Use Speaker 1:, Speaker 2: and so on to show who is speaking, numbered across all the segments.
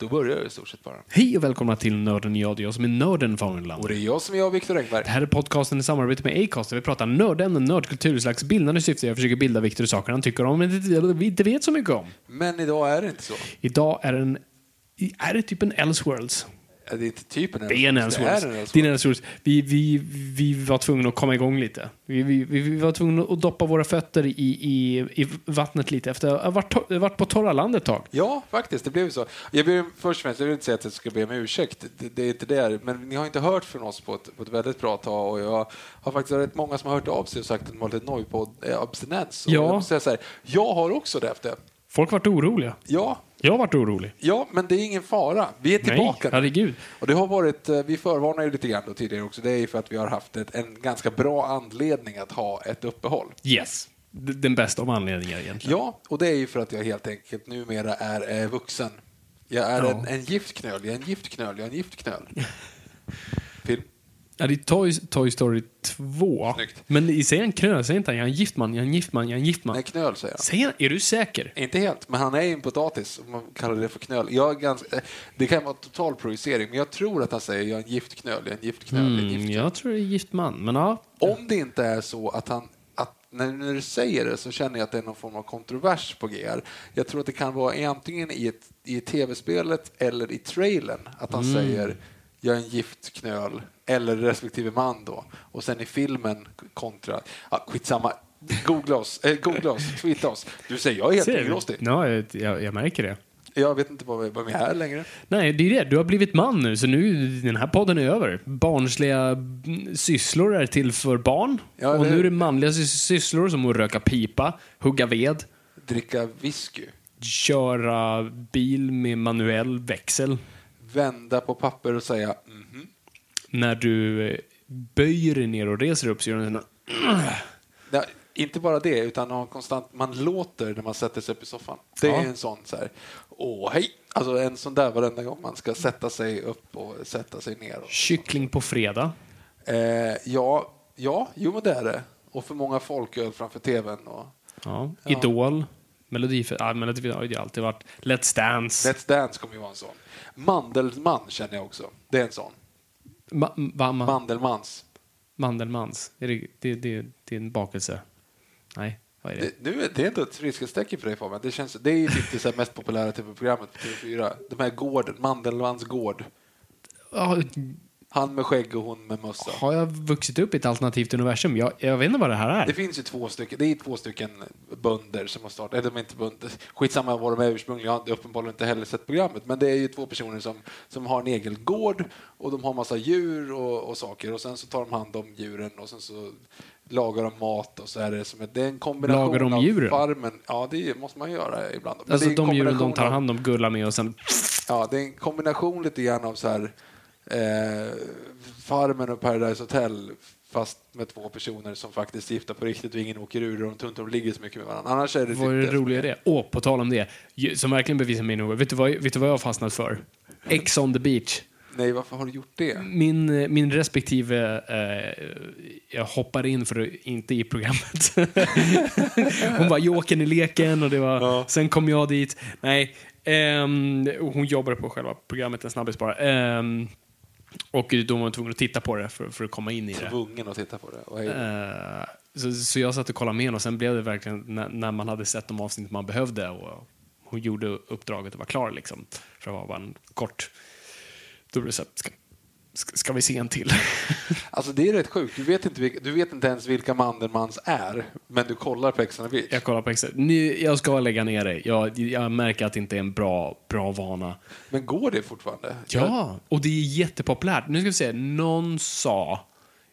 Speaker 1: Då börjar jag i stort sett bara.
Speaker 2: Hej och välkomna till Nörden jag, det är jag som är nörden Fagerland.
Speaker 1: Och det är jag som är jag, Viktor Engberg.
Speaker 2: Det här är podcasten i samarbete med Acast där vi pratar nördämnen, nördkultur, slags bildande syfte. Jag försöker bilda Viktor i saker han tycker om, men det- vi inte vet så mycket om.
Speaker 1: Men idag är det inte så.
Speaker 2: Idag är en... Är det typ en Elseworlds?
Speaker 1: Ja, Det är inte typen
Speaker 2: Det är en
Speaker 1: Elseworlds.
Speaker 2: Elseworlds.
Speaker 1: Det är en
Speaker 2: Det är
Speaker 1: Elseworlds.
Speaker 2: en Elseworlds. Vi, vi, vi var tvungna att komma igång lite. Vi, vi, vi- vi var tvungna att doppa våra fötter i, i, i vattnet lite efter att ha varit, to- varit på torra land ett tag.
Speaker 1: Ja, faktiskt. Det blev så. Jag ber, först och främst, jag vill inte säga att jag ska be om ursäkt. Det, det är inte det. Men ni har inte hört från oss på ett, på ett väldigt bra tag. Och jag har faktiskt rätt många som har hört av sig och sagt att de har lite noj på eh, abstinens. Och
Speaker 2: Ja.
Speaker 1: jag, måste säga så här, jag har också det efter.
Speaker 2: Folk vart oroliga.
Speaker 1: Ja,
Speaker 2: Jag vart orolig.
Speaker 1: Ja, men det är ingen fara. Vi är tillbaka.
Speaker 2: Nej, herregud.
Speaker 1: Och det har varit, eh, vi förvarnar ju lite grann då tidigare också. Det är ju för att vi har haft ett, en ganska bra anledning att ha ett uppehåll.
Speaker 2: Yes. D- Den bästa av anledningar egentligen.
Speaker 1: Ja, och det är ju för att jag helt enkelt numera är eh, vuxen. Jag är
Speaker 2: Ja.
Speaker 1: en, en gift knöl, jag är en gift knöl, jag är en gift knöl. Film.
Speaker 2: Ja, det är Toy, Toy Story 2.
Speaker 1: Snyggt.
Speaker 2: Men i- säger han knöl, säger inte han jag är en gift man, jag är en gift man, jag är en gift man.
Speaker 1: Nej, knöl säger jag.
Speaker 2: Säger han, är du säker?
Speaker 1: Inte helt, men han är ju en potatis. Om man kallar det för knöl. Jag är ganska, eh, det kan vara total projicering, men jag tror att han säger jag är en gift knöl, jag är en gift knöl, jag är en gift
Speaker 2: Mm, jag tror det är gift man, men ja.
Speaker 1: Om det inte är så att han att när, när du säger det så känner jag att det är någon form av kontrovers på G här. Jag tror att det kan vara i- antingen i, ett, i tv-spelet eller i trailern att
Speaker 2: Mm.
Speaker 1: han säger jag är en gift knöl eller respektive man då och sen i filmen kontra, ja, skitsamma, googla oss, äh, googla oss, tweeta oss. Du säger jag är helt
Speaker 2: Ser du?
Speaker 1: engrostig.
Speaker 2: Ja, jag, jag, jag märker det.
Speaker 1: Jag vet inte vad vi vad vi är här längre.
Speaker 2: Nej, det är det. Du har blivit man nu, så nu den här podden är över. Barnsliga mm, sysslor är till för barn.
Speaker 1: Ja,
Speaker 2: och
Speaker 1: det-
Speaker 2: nu är det manliga sys- sysslor som att röka pipa, hugga ved,
Speaker 1: Dricka whisky,
Speaker 2: köra bil med manuell växel.
Speaker 1: vända på papper och säga mhm.
Speaker 2: När du eh, böjer dig ner och reser upp så gör du en sån här...
Speaker 1: Nej, inte bara det, utan man, konstant, man låter när man sätter sig upp i soffan. Det
Speaker 2: Ja.
Speaker 1: är en sån så här, åh hej! Alltså en sån där varenda gång man ska sätta sig upp och sätta sig ner.
Speaker 2: Kyckling på fredag.
Speaker 1: Eh, ja, ja, jo men det är det. Och för många folköl framför tvn. Och
Speaker 2: Ja. Idol. Melodif- ja, Melodifestival har ju alltid varit. Let's Dance.
Speaker 1: Let's Dance kommer ju vara en sån. Mandelman känner jag också. Det är en sån.
Speaker 2: Ma- va- ma-
Speaker 1: Mandelmans.
Speaker 2: Mandelmans. Är det, det, det, det är en bakelse. Nej, vad är det?
Speaker 1: Det, nu, är- det är inte ett friskhetstecken för dig Fabian. Det, känns, det är ju typ det så här mest populära tv-programmet på TV4. De här gården, Mandelmans gård.
Speaker 2: Ja,
Speaker 1: Han med skägg och hon med mössa.
Speaker 2: har jag vuxit upp i ett alternativt universum? Jag, jag vet inte vad det här
Speaker 1: Det
Speaker 2: är.
Speaker 1: finns ju två stycken, det är två stycken bönder som har startat, eller de är inte bönder, skitsamma vad de är ursprungligen, jag har uppenbarligen inte heller sett programmet, men det är ju två personer som, som har en egen gård och de har massa djur och, och saker och sen så tar de hand om djuren och sen så lagar de mat och så är det som ett, det är en kombination
Speaker 2: Lagar de
Speaker 1: av
Speaker 2: djuren?
Speaker 1: farmen, ja det måste man göra ibland. Men
Speaker 2: Alltså
Speaker 1: det är en
Speaker 2: de djuren de
Speaker 1: kombination
Speaker 2: tar
Speaker 1: av-
Speaker 2: hand om, gullar med och sen...
Speaker 1: Ja, det är en kombination lite grann av så här, eh, Farmen och Paradise Hotel fast med två personer som faktiskt är gifta på riktigt och ingen åker ur och de tror inte de ligger så mycket med varandra. Annars är det
Speaker 2: Vad är
Speaker 1: typ
Speaker 2: det roliga i det? Åh, på tal om det. ju- Som verkligen bevisar min oro. Vet du vad, vet du vad jag har fastnat för? Ex on the beach.
Speaker 1: Nej, varför har du gjort det?
Speaker 2: Min, eh, min respektive, eh, jag hoppar in för att- inte i programmet. hon var Jokern i leken och det var,
Speaker 1: Ja.
Speaker 2: sen kom jag dit. Nej, ehm, hon jobbade på själva programmet En snabbis bara. Ehm, och då var man tvungen att titta på det för, för att komma in i det.
Speaker 1: Tvungen att titta på det. Vad är-
Speaker 2: Eh, så, så jag satt och kollade med henne och sen blev det verkligen när, när man hade sett de avsnitt man behövde och hon gjorde uppdraget och var klar liksom. För det var bara en kort... Då blev det så här, ska, ska, ska vi se en till?
Speaker 1: Alltså det är rätt sjukt. Du vet inte, vilka, du vet inte ens vilka Mandelmans är, men du kollar på Ex on the Beach.
Speaker 2: jag kollar på Excel. Nu, jag ska lägga ner det. Jag, jag märker att det inte är en bra, bra vana.
Speaker 1: Men går det fortfarande?
Speaker 2: Ja, och det är jättepopulärt. Nu ska vi se, någon sa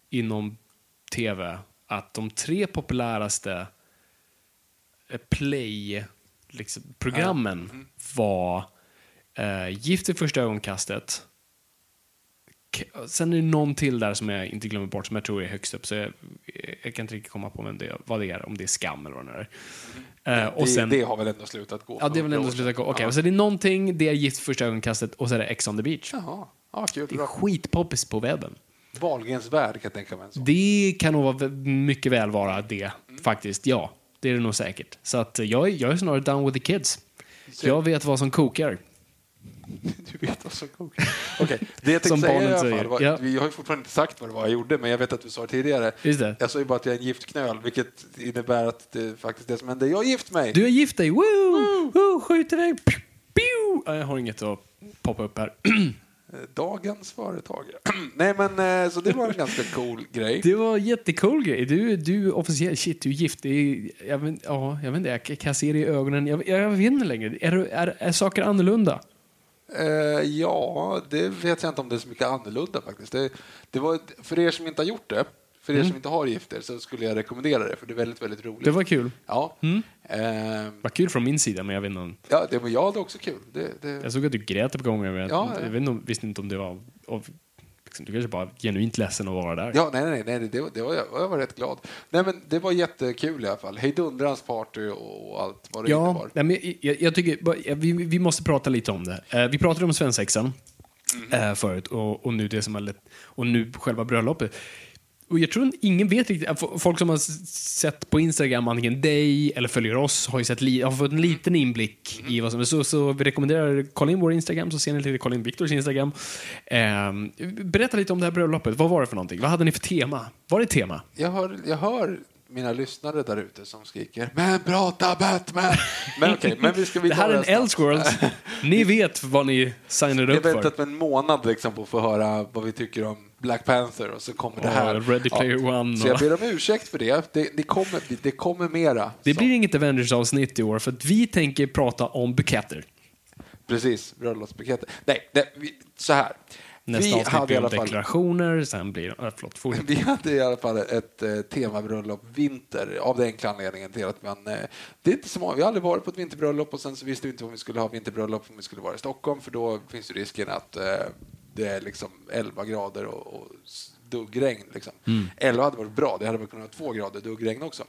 Speaker 2: inom tv att de tre populäraste eh, play-programmen liksom, programmen
Speaker 1: Mm.
Speaker 2: var eh, Gift i första ögonkastet, K- sen är det någon till där som jag inte glömmer bort, som jag tror är högst upp, så jag, jag kan inte riktigt komma på vem det, vad det är, om det är Skam eller vad det nu är. Eh,
Speaker 1: Mm. det, det har väl ändå slutat gå?
Speaker 2: Ja, det är väl
Speaker 1: för några
Speaker 2: ändå
Speaker 1: år sedan.
Speaker 2: slutat gå. Okej,
Speaker 1: Ja.
Speaker 2: så det är någonting, det är Gift första ögonkastet och så är det Ex on the beach.
Speaker 1: Jaha, ja, kul.
Speaker 2: Det är
Speaker 1: Bra.
Speaker 2: skitpoppis på webben.
Speaker 1: Wahlgrens värld kan jag tänka mig. En sån.
Speaker 2: Det kan nog vara vä- mycket väl vara det, faktiskt. Ja, det är det nog säkert. Så att eh, jag, är- jag är snarare down with the kids. Jag vet vad som kokar.
Speaker 1: Du vet vad som kokar. Okej, det jag
Speaker 2: Som
Speaker 1: tänkte säga i alla
Speaker 2: barnen säger.
Speaker 1: fall, var,
Speaker 2: Ja.
Speaker 1: vi har ju fortfarande inte sagt vad det var jag gjorde, men jag vet att du sa det tidigare.
Speaker 2: Just det.
Speaker 1: Jag sa ju bara att jag är en gift knöl, vilket innebär att det är faktiskt det som hände. Jag har gift mig!
Speaker 2: Du har gift dig! Woo! Woo! Skjut iväg! Pew! Pew! Ja, Jag har inget att poppa upp här.
Speaker 1: Eh, Dagens företag. Nej, men eh, så det var en ganska cool grej.
Speaker 2: Det var en jättecool grej. Du, du officiellt, shit du är gift. Det är, jag, vet, ja, jag vet inte, jag kan- kan se det i ögonen. Jag, jag vet inte längre. Är, är, är saker annorlunda?
Speaker 1: Eh, ja, det vet jag inte om det är så mycket annorlunda faktiskt. Det, det var, för er som inte har gjort det, för er som inte har gift er, så skulle jag rekommendera det, för det är väldigt, väldigt roligt.
Speaker 2: Mm. Det var kul. Mm.
Speaker 1: Ja. Ehm,
Speaker 2: Vad kul från min sida, men jag vet inte. om-
Speaker 1: ja, det var jag hade också kul. Det, det,
Speaker 2: Jag såg att du grät ett par gånger. Men jag,
Speaker 1: Ja, ja.
Speaker 2: jag vet inte, om- visste inte om det var... Av, liksom, du kanske bara var genuint ledsen att vara där.
Speaker 1: ja, nej, nej, nej, det, det, var- det var, jag, jag var rätt glad. Nej, men det var jättekul i alla fall. Hejdundrans party och, och allt vad det
Speaker 2: Ja,
Speaker 1: innebar.
Speaker 2: nej, men jag- jag, jag tycker, bara- ja, vi, vi måste prata lite om det. Eh, vi pratade om svensexan
Speaker 1: Mhm.
Speaker 2: eh, förut och, och nu det som har lett, och nu själva bröllopet. Och jag tror ingen vet riktigt, eh, fo- folk som har s- sett på Instagram antingen dig eller följer oss har ju sett li, har fått
Speaker 1: Mhm.
Speaker 2: en liten inblick i vad som är så, så vi rekommenderar kolla in vår Instagram så ser ni lite kolla in Viktors Instagram. Eh, berätta lite om det här bröllopet, vad var det för någonting? Vad hade ni för tema? Var det ett tema?
Speaker 1: Jag hör, jag hör mina lyssnare där ute som skriker “Men prata Batman!” Men okej, men vi ska vi
Speaker 2: Det här
Speaker 1: ta
Speaker 2: är en
Speaker 1: snabbt.
Speaker 2: Elseworlds. Ni vet vad ni signade
Speaker 1: Jag
Speaker 2: upp
Speaker 1: har
Speaker 2: för.
Speaker 1: väntat med en månad liksom på att få höra vad vi tycker om Black Panther och så kommer det
Speaker 2: Ja,
Speaker 1: här.
Speaker 2: Ready Player One
Speaker 1: Så jag
Speaker 2: och-
Speaker 1: ber om ursäkt för det. Det, det, kommer, det kommer mera.
Speaker 2: Det
Speaker 1: Så.
Speaker 2: blir inget Avengers-avsnitt i år för att vi tänker prata om buketter.
Speaker 1: Precis, bröllopsbuketter. Nej, nej vi, så här.
Speaker 2: Nästa
Speaker 1: vi
Speaker 2: avsnitt
Speaker 1: hade i
Speaker 2: blir om
Speaker 1: alla fall
Speaker 2: deklarationer, sen blir det... Äh, förlåt, fortsätt.
Speaker 1: vi hade i alla fall ett eh, temabröllop vinter av den enkla anledningen till att man, eh, det är inte så många, vi har aldrig varit på ett vinterbröllop och sen så visste vi inte om vi skulle ha vinterbröllop om vi skulle vara i Stockholm för då finns ju risken att eh, det är liksom 11 grader och, och s- duggregn. Liksom. 11 hade varit bra, det hade väl kunnat vara 2 grader duggregn också.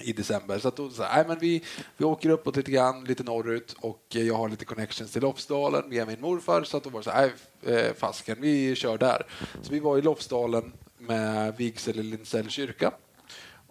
Speaker 1: i december. Så att då så här, nej, men vi, vi åker uppåt lite grann, lite norrut och eh, jag har lite connections till Lofsdalen via min morfar så att då var det så här, nej, eh, fasken, vi kör där. Så vi var i Lofsdalen med vigsel i Lindsell kyrka.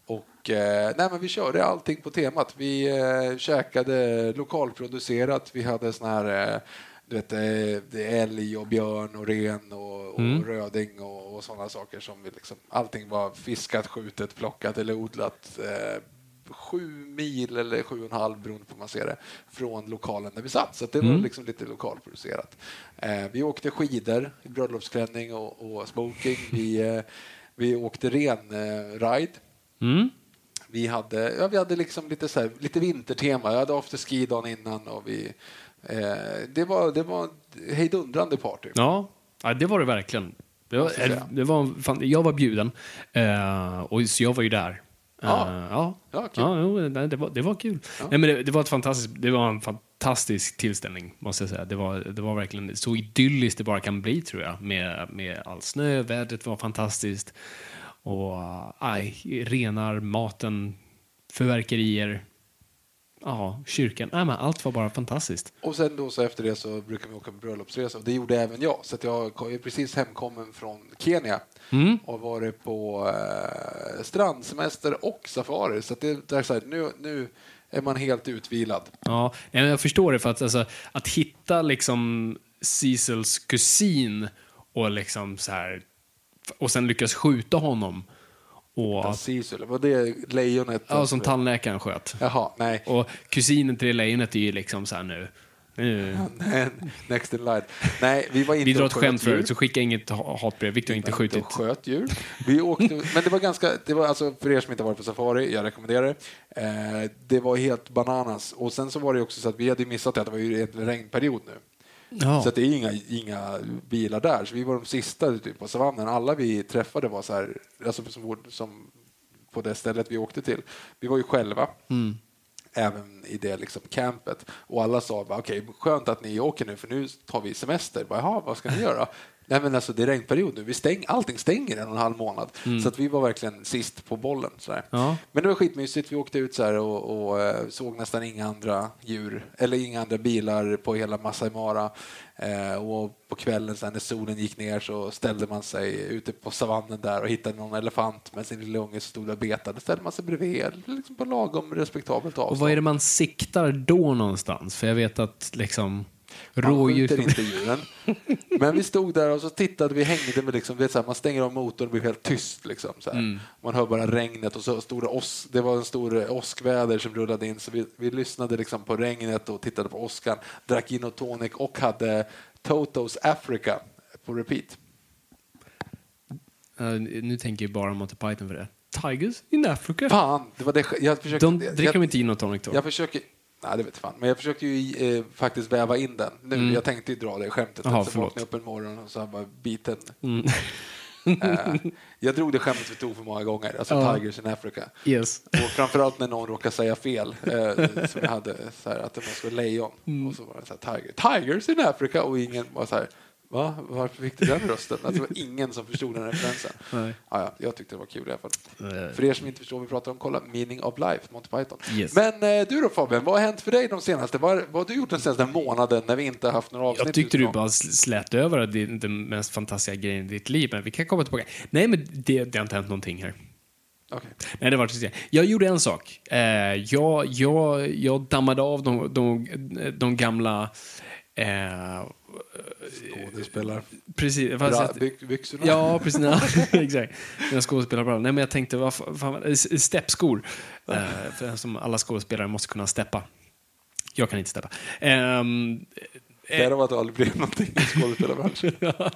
Speaker 1: Och, eh, nej, men vi körde allting på temat. Vi eh, käkade lokalproducerat, vi hade sån här eh, du vet, eh, det är älg och björn och ren och, och röding och, och sådana saker. som vi liksom, Allting var fiskat, skjutet, plockat eller odlat eh, sju mil eller sju och en halv beroende på hur man ser det, från lokalen där vi satt. Så att det var liksom lite lokalproducerat. Eh, vi åkte skidor i bröllopsklänning och, och smoking. Vi, eh, vi åkte renride. Eh, ride.
Speaker 2: Mm?
Speaker 1: Vi hade, ja, vi hade liksom lite, så här, lite vintertema. Jag hade afterski dagen innan. Och vi, eh, det, var, det var ett hejdundrande party.
Speaker 2: Ja. ja, det var det verkligen. Det var,
Speaker 1: Måste jag säga.
Speaker 2: det var, fan, jag var bjuden, eh, och så jag var ju där.
Speaker 1: Ja.
Speaker 2: Eh, ja.
Speaker 1: Ja, kul.
Speaker 2: ja jo, nej, det, var, det var kul. Nej, men det, det, var ett fantastiskt, det var en fantastisk tillställning, måste jag säga. Det var, det var verkligen så idylliskt det bara kan bli, tror jag, med, med all snö. Vädret var fantastiskt. Och aj, renar, maten, förverkerier. ja, kyrkan. Nej, men allt var bara fantastiskt.
Speaker 1: Och sen då så efter det så brukar vi åka på bröllopsresa och det gjorde även jag. Så att jag kom- jag är precis hemkommen från Kenya
Speaker 2: Mm.
Speaker 1: och varit på eh, strandsemester och safari. Så att det, det är så här, nu, nu är man helt utvilad.
Speaker 2: Ja, nej, men jag förstår det. för Att, alltså, att hitta liksom Cecils kusin och liksom så här och sen lyckas skjuta honom. Och,
Speaker 1: Ja. Sisul, var det lejonet?
Speaker 2: ja, som tandläkaren sköt.
Speaker 1: Jaha, nej.
Speaker 2: Och kusinen till det lejonet är ju liksom så här nu. nu
Speaker 1: Next in line. Nej, vi var inte
Speaker 2: vi drar
Speaker 1: och
Speaker 2: ett
Speaker 1: sköt
Speaker 2: skämt
Speaker 1: djur.
Speaker 2: förut, så skicka inget ha- hatbrev. Viktor har inte skjutit.
Speaker 1: och sköt djur. Vi åkte, men det var ganska, det var alltså för er som inte har varit på safari, jag rekommenderar det. Eh, det var helt bananas. Och sen så var det också så att vi hade ju missat det, att det var ju en regnperiod nu.
Speaker 2: Ja.
Speaker 1: Så att det är inga, inga bilar där, så vi var de sista typ, på savannen. Alla vi träffade var så här, alltså som, som på det stället vi åkte till. Vi var ju själva.
Speaker 2: Mm.
Speaker 1: Även i det liksom campet. Och alla sa bara, okej, skönt att ni åker nu för nu tar vi semester. Bara, Jaha, vad ska ni göra? Nej men alltså det är regnperiod nu, vi stäng, allting stänger en och en halv månad. Så att vi var verkligen sist på bollen. Så här.
Speaker 2: Ja.
Speaker 1: Men det var skitmysigt, vi åkte ut så här och, och eh, såg nästan inga andra djur, eller inga andra bilar på hela Masai Mara. Eh, och på kvällen sen när solen gick ner så ställde man sig ute på savannen där och hittade någon elefant med sin lilla unge som stod och betade. Ställde man sig bredvid, liksom på lagom respektabelt avstånd.
Speaker 2: Och vad är det man siktar då någonstans? För jag vet att liksom
Speaker 1: Man
Speaker 2: rådjur...
Speaker 1: skjuter inte djuren. Men vi stod där och så tittade vi, hängde med liksom, vet, så här, man stänger av motorn och blir helt tyst. Liksom, så här.
Speaker 2: Mm.
Speaker 1: Man hör bara regnet och så stod det, ås, det var en stor eh, åskväder som rullade in så vi, vi lyssnade liksom på regnet och tittade på åskan, drack gin och tonic och hade Totos Africa på repeat.
Speaker 2: Eh, nu tänker jag bara Monty Python för det. Tigers in Africa.
Speaker 1: Fan, det var det jag försökte...
Speaker 2: De dricker
Speaker 1: jag,
Speaker 2: de inte gin och tonic då?
Speaker 1: Jag försöker... Nej, det vet fan. Men jag försökte ju eh, faktiskt väva in den. Nu, Jag tänkte ju dra det skämtet.
Speaker 2: Jaha,
Speaker 1: men så
Speaker 2: Mm. förlåt.
Speaker 1: vaknade
Speaker 2: Mm.
Speaker 1: jag upp en morgon och så här bara biten. Eh, jag drog det skämtet vi tog för många gånger, alltså
Speaker 2: Ja.
Speaker 1: Tigers in Africa.
Speaker 2: Yes.
Speaker 1: Och framförallt när någon råkar säga fel, eh, som jag hade, så här, att det måste vara lejon.
Speaker 2: Mm.
Speaker 1: Och så var det så här, tiger, Tigers in Africa och ingen var så här, va? Varför fick du den rösten? Alltså, det var ingen som förstod den referensen.
Speaker 2: Nej. Eh.
Speaker 1: Ja, ja, jag tyckte det var kul i alla fall.
Speaker 2: Nej.
Speaker 1: För er som inte förstår vad vi pratar om, kolla Meaning of Life, Monty Python.
Speaker 2: Yes.
Speaker 1: Men eh, du då Fabian, vad har hänt för dig de senaste, vad, vad har du gjort den senaste månaden när vi inte har haft några avsnitt?
Speaker 2: Jag tyckte du
Speaker 1: utifrån?
Speaker 2: bara sl- slät över att det är den mest fantastiska grejen i ditt liv, men vi kan komma tillbaka. Nej, men det, det har inte hänt någonting här.
Speaker 1: Okej.
Speaker 2: Nej, det var det. Jag gjorde en sak. Eh, jag, jag, jag dammade av de, de, de gamla... Eh,
Speaker 1: Skådespelar.
Speaker 2: precis, vad
Speaker 1: Bra,
Speaker 2: jag sett-
Speaker 1: by, byxorna.
Speaker 2: Ja, precis. Ja, exakt. Mina skådespelarbrallor. Nej, men jag tänkte, vad fa- fan, eh, s- steppskor. Eh, för som alla skådespelare måste kunna steppa. Jag kan inte steppa. Ehm,
Speaker 1: Därav att det aldrig blev någonting i skådespelarbranschen.
Speaker 2: Ja. Nej,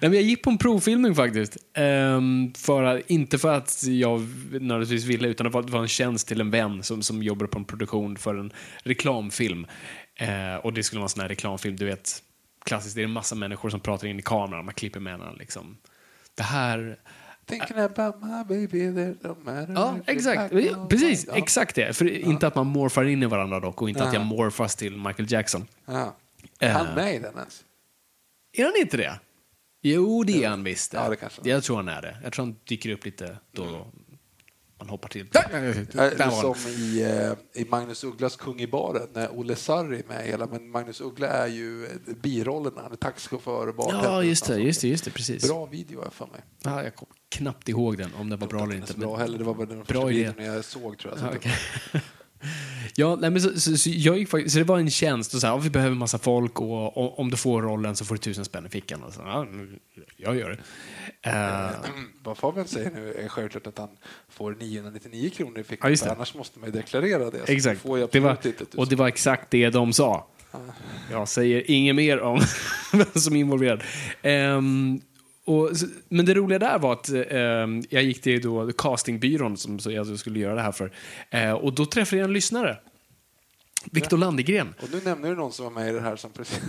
Speaker 2: men jag gick på en provfilmning faktiskt. Ehm, för att, inte för att jag nödvändigtvis ville, utan det var, det var en tjänst till en vän som, som jobbar på en produktion för en reklamfilm. Eh, och det skulle vara en sån här reklamfilm, du vet, klassiskt, det är en massa människor som pratar in i kameran, man klipper med varandra liksom. Det här...
Speaker 1: Mm, Thinking about my baby, they don't matter.
Speaker 2: Ja,
Speaker 1: If you
Speaker 2: exakt.
Speaker 1: back on
Speaker 2: Precis,
Speaker 1: my- Ja.
Speaker 2: exakt det. För inte att man morfar in i varandra dock, och inte att jag morfas till Michael Jackson.
Speaker 1: Ja.
Speaker 2: Eh.
Speaker 1: Han med i den alltså. ens?
Speaker 2: Är han inte det? Jo, det är han visst.
Speaker 1: Ja, det kanske han är.
Speaker 2: Jag tror han är det. Jag tror han dyker upp lite då och då. Man hoppar till.
Speaker 1: Eller
Speaker 2: Där var
Speaker 1: Äh, som
Speaker 2: han.
Speaker 1: i, eh, i Magnus Ugglas Kung i baren, när Olle Sarri är med i hela, men Magnus Uggla är ju eh, birollen, han är taxichaufför och bartender.
Speaker 2: Ja,
Speaker 1: och
Speaker 2: just det,
Speaker 1: sånt.
Speaker 2: just det, just det, precis.
Speaker 1: Bra video har jag för mig.
Speaker 2: Ja, jag kommer knappt ihåg den, om den var bra eller
Speaker 1: Den är
Speaker 2: inte.
Speaker 1: så bra
Speaker 2: men-
Speaker 1: heller, det var bara den
Speaker 2: Bra
Speaker 1: första
Speaker 2: idé.
Speaker 1: videon jag såg tror jag. Så
Speaker 2: Ja,
Speaker 1: att-
Speaker 2: okej. Ja, nej, men så, så, så, jag gick, faktiskt- så det var en tjänst och så här, ja, vi behöver massa folk och, och om du får rollen så får du tusen spänn i fickan. Och så, ja, jag gör det. Eh,
Speaker 1: Mm. Vad Fabian säger nu är självklart att han får 999 kronor i
Speaker 2: Ja,
Speaker 1: fickan,
Speaker 2: just
Speaker 1: för
Speaker 2: det.
Speaker 1: annars måste man ju deklarera det. så
Speaker 2: Exakt.
Speaker 1: Får jag
Speaker 2: det var,
Speaker 1: absolut inte tusen.
Speaker 2: och det var exakt det de sa.
Speaker 1: Ah.
Speaker 2: Jag säger inget mer om vem som är involverad. Ehm, och, s- men det roliga där var att ehm, jag gick till då castingbyrån som så jag skulle göra det här för. Eh, och då träffade jag en lyssnare. Viktor Landegren.
Speaker 1: Och nu nämner du någon som var med i det här som precis...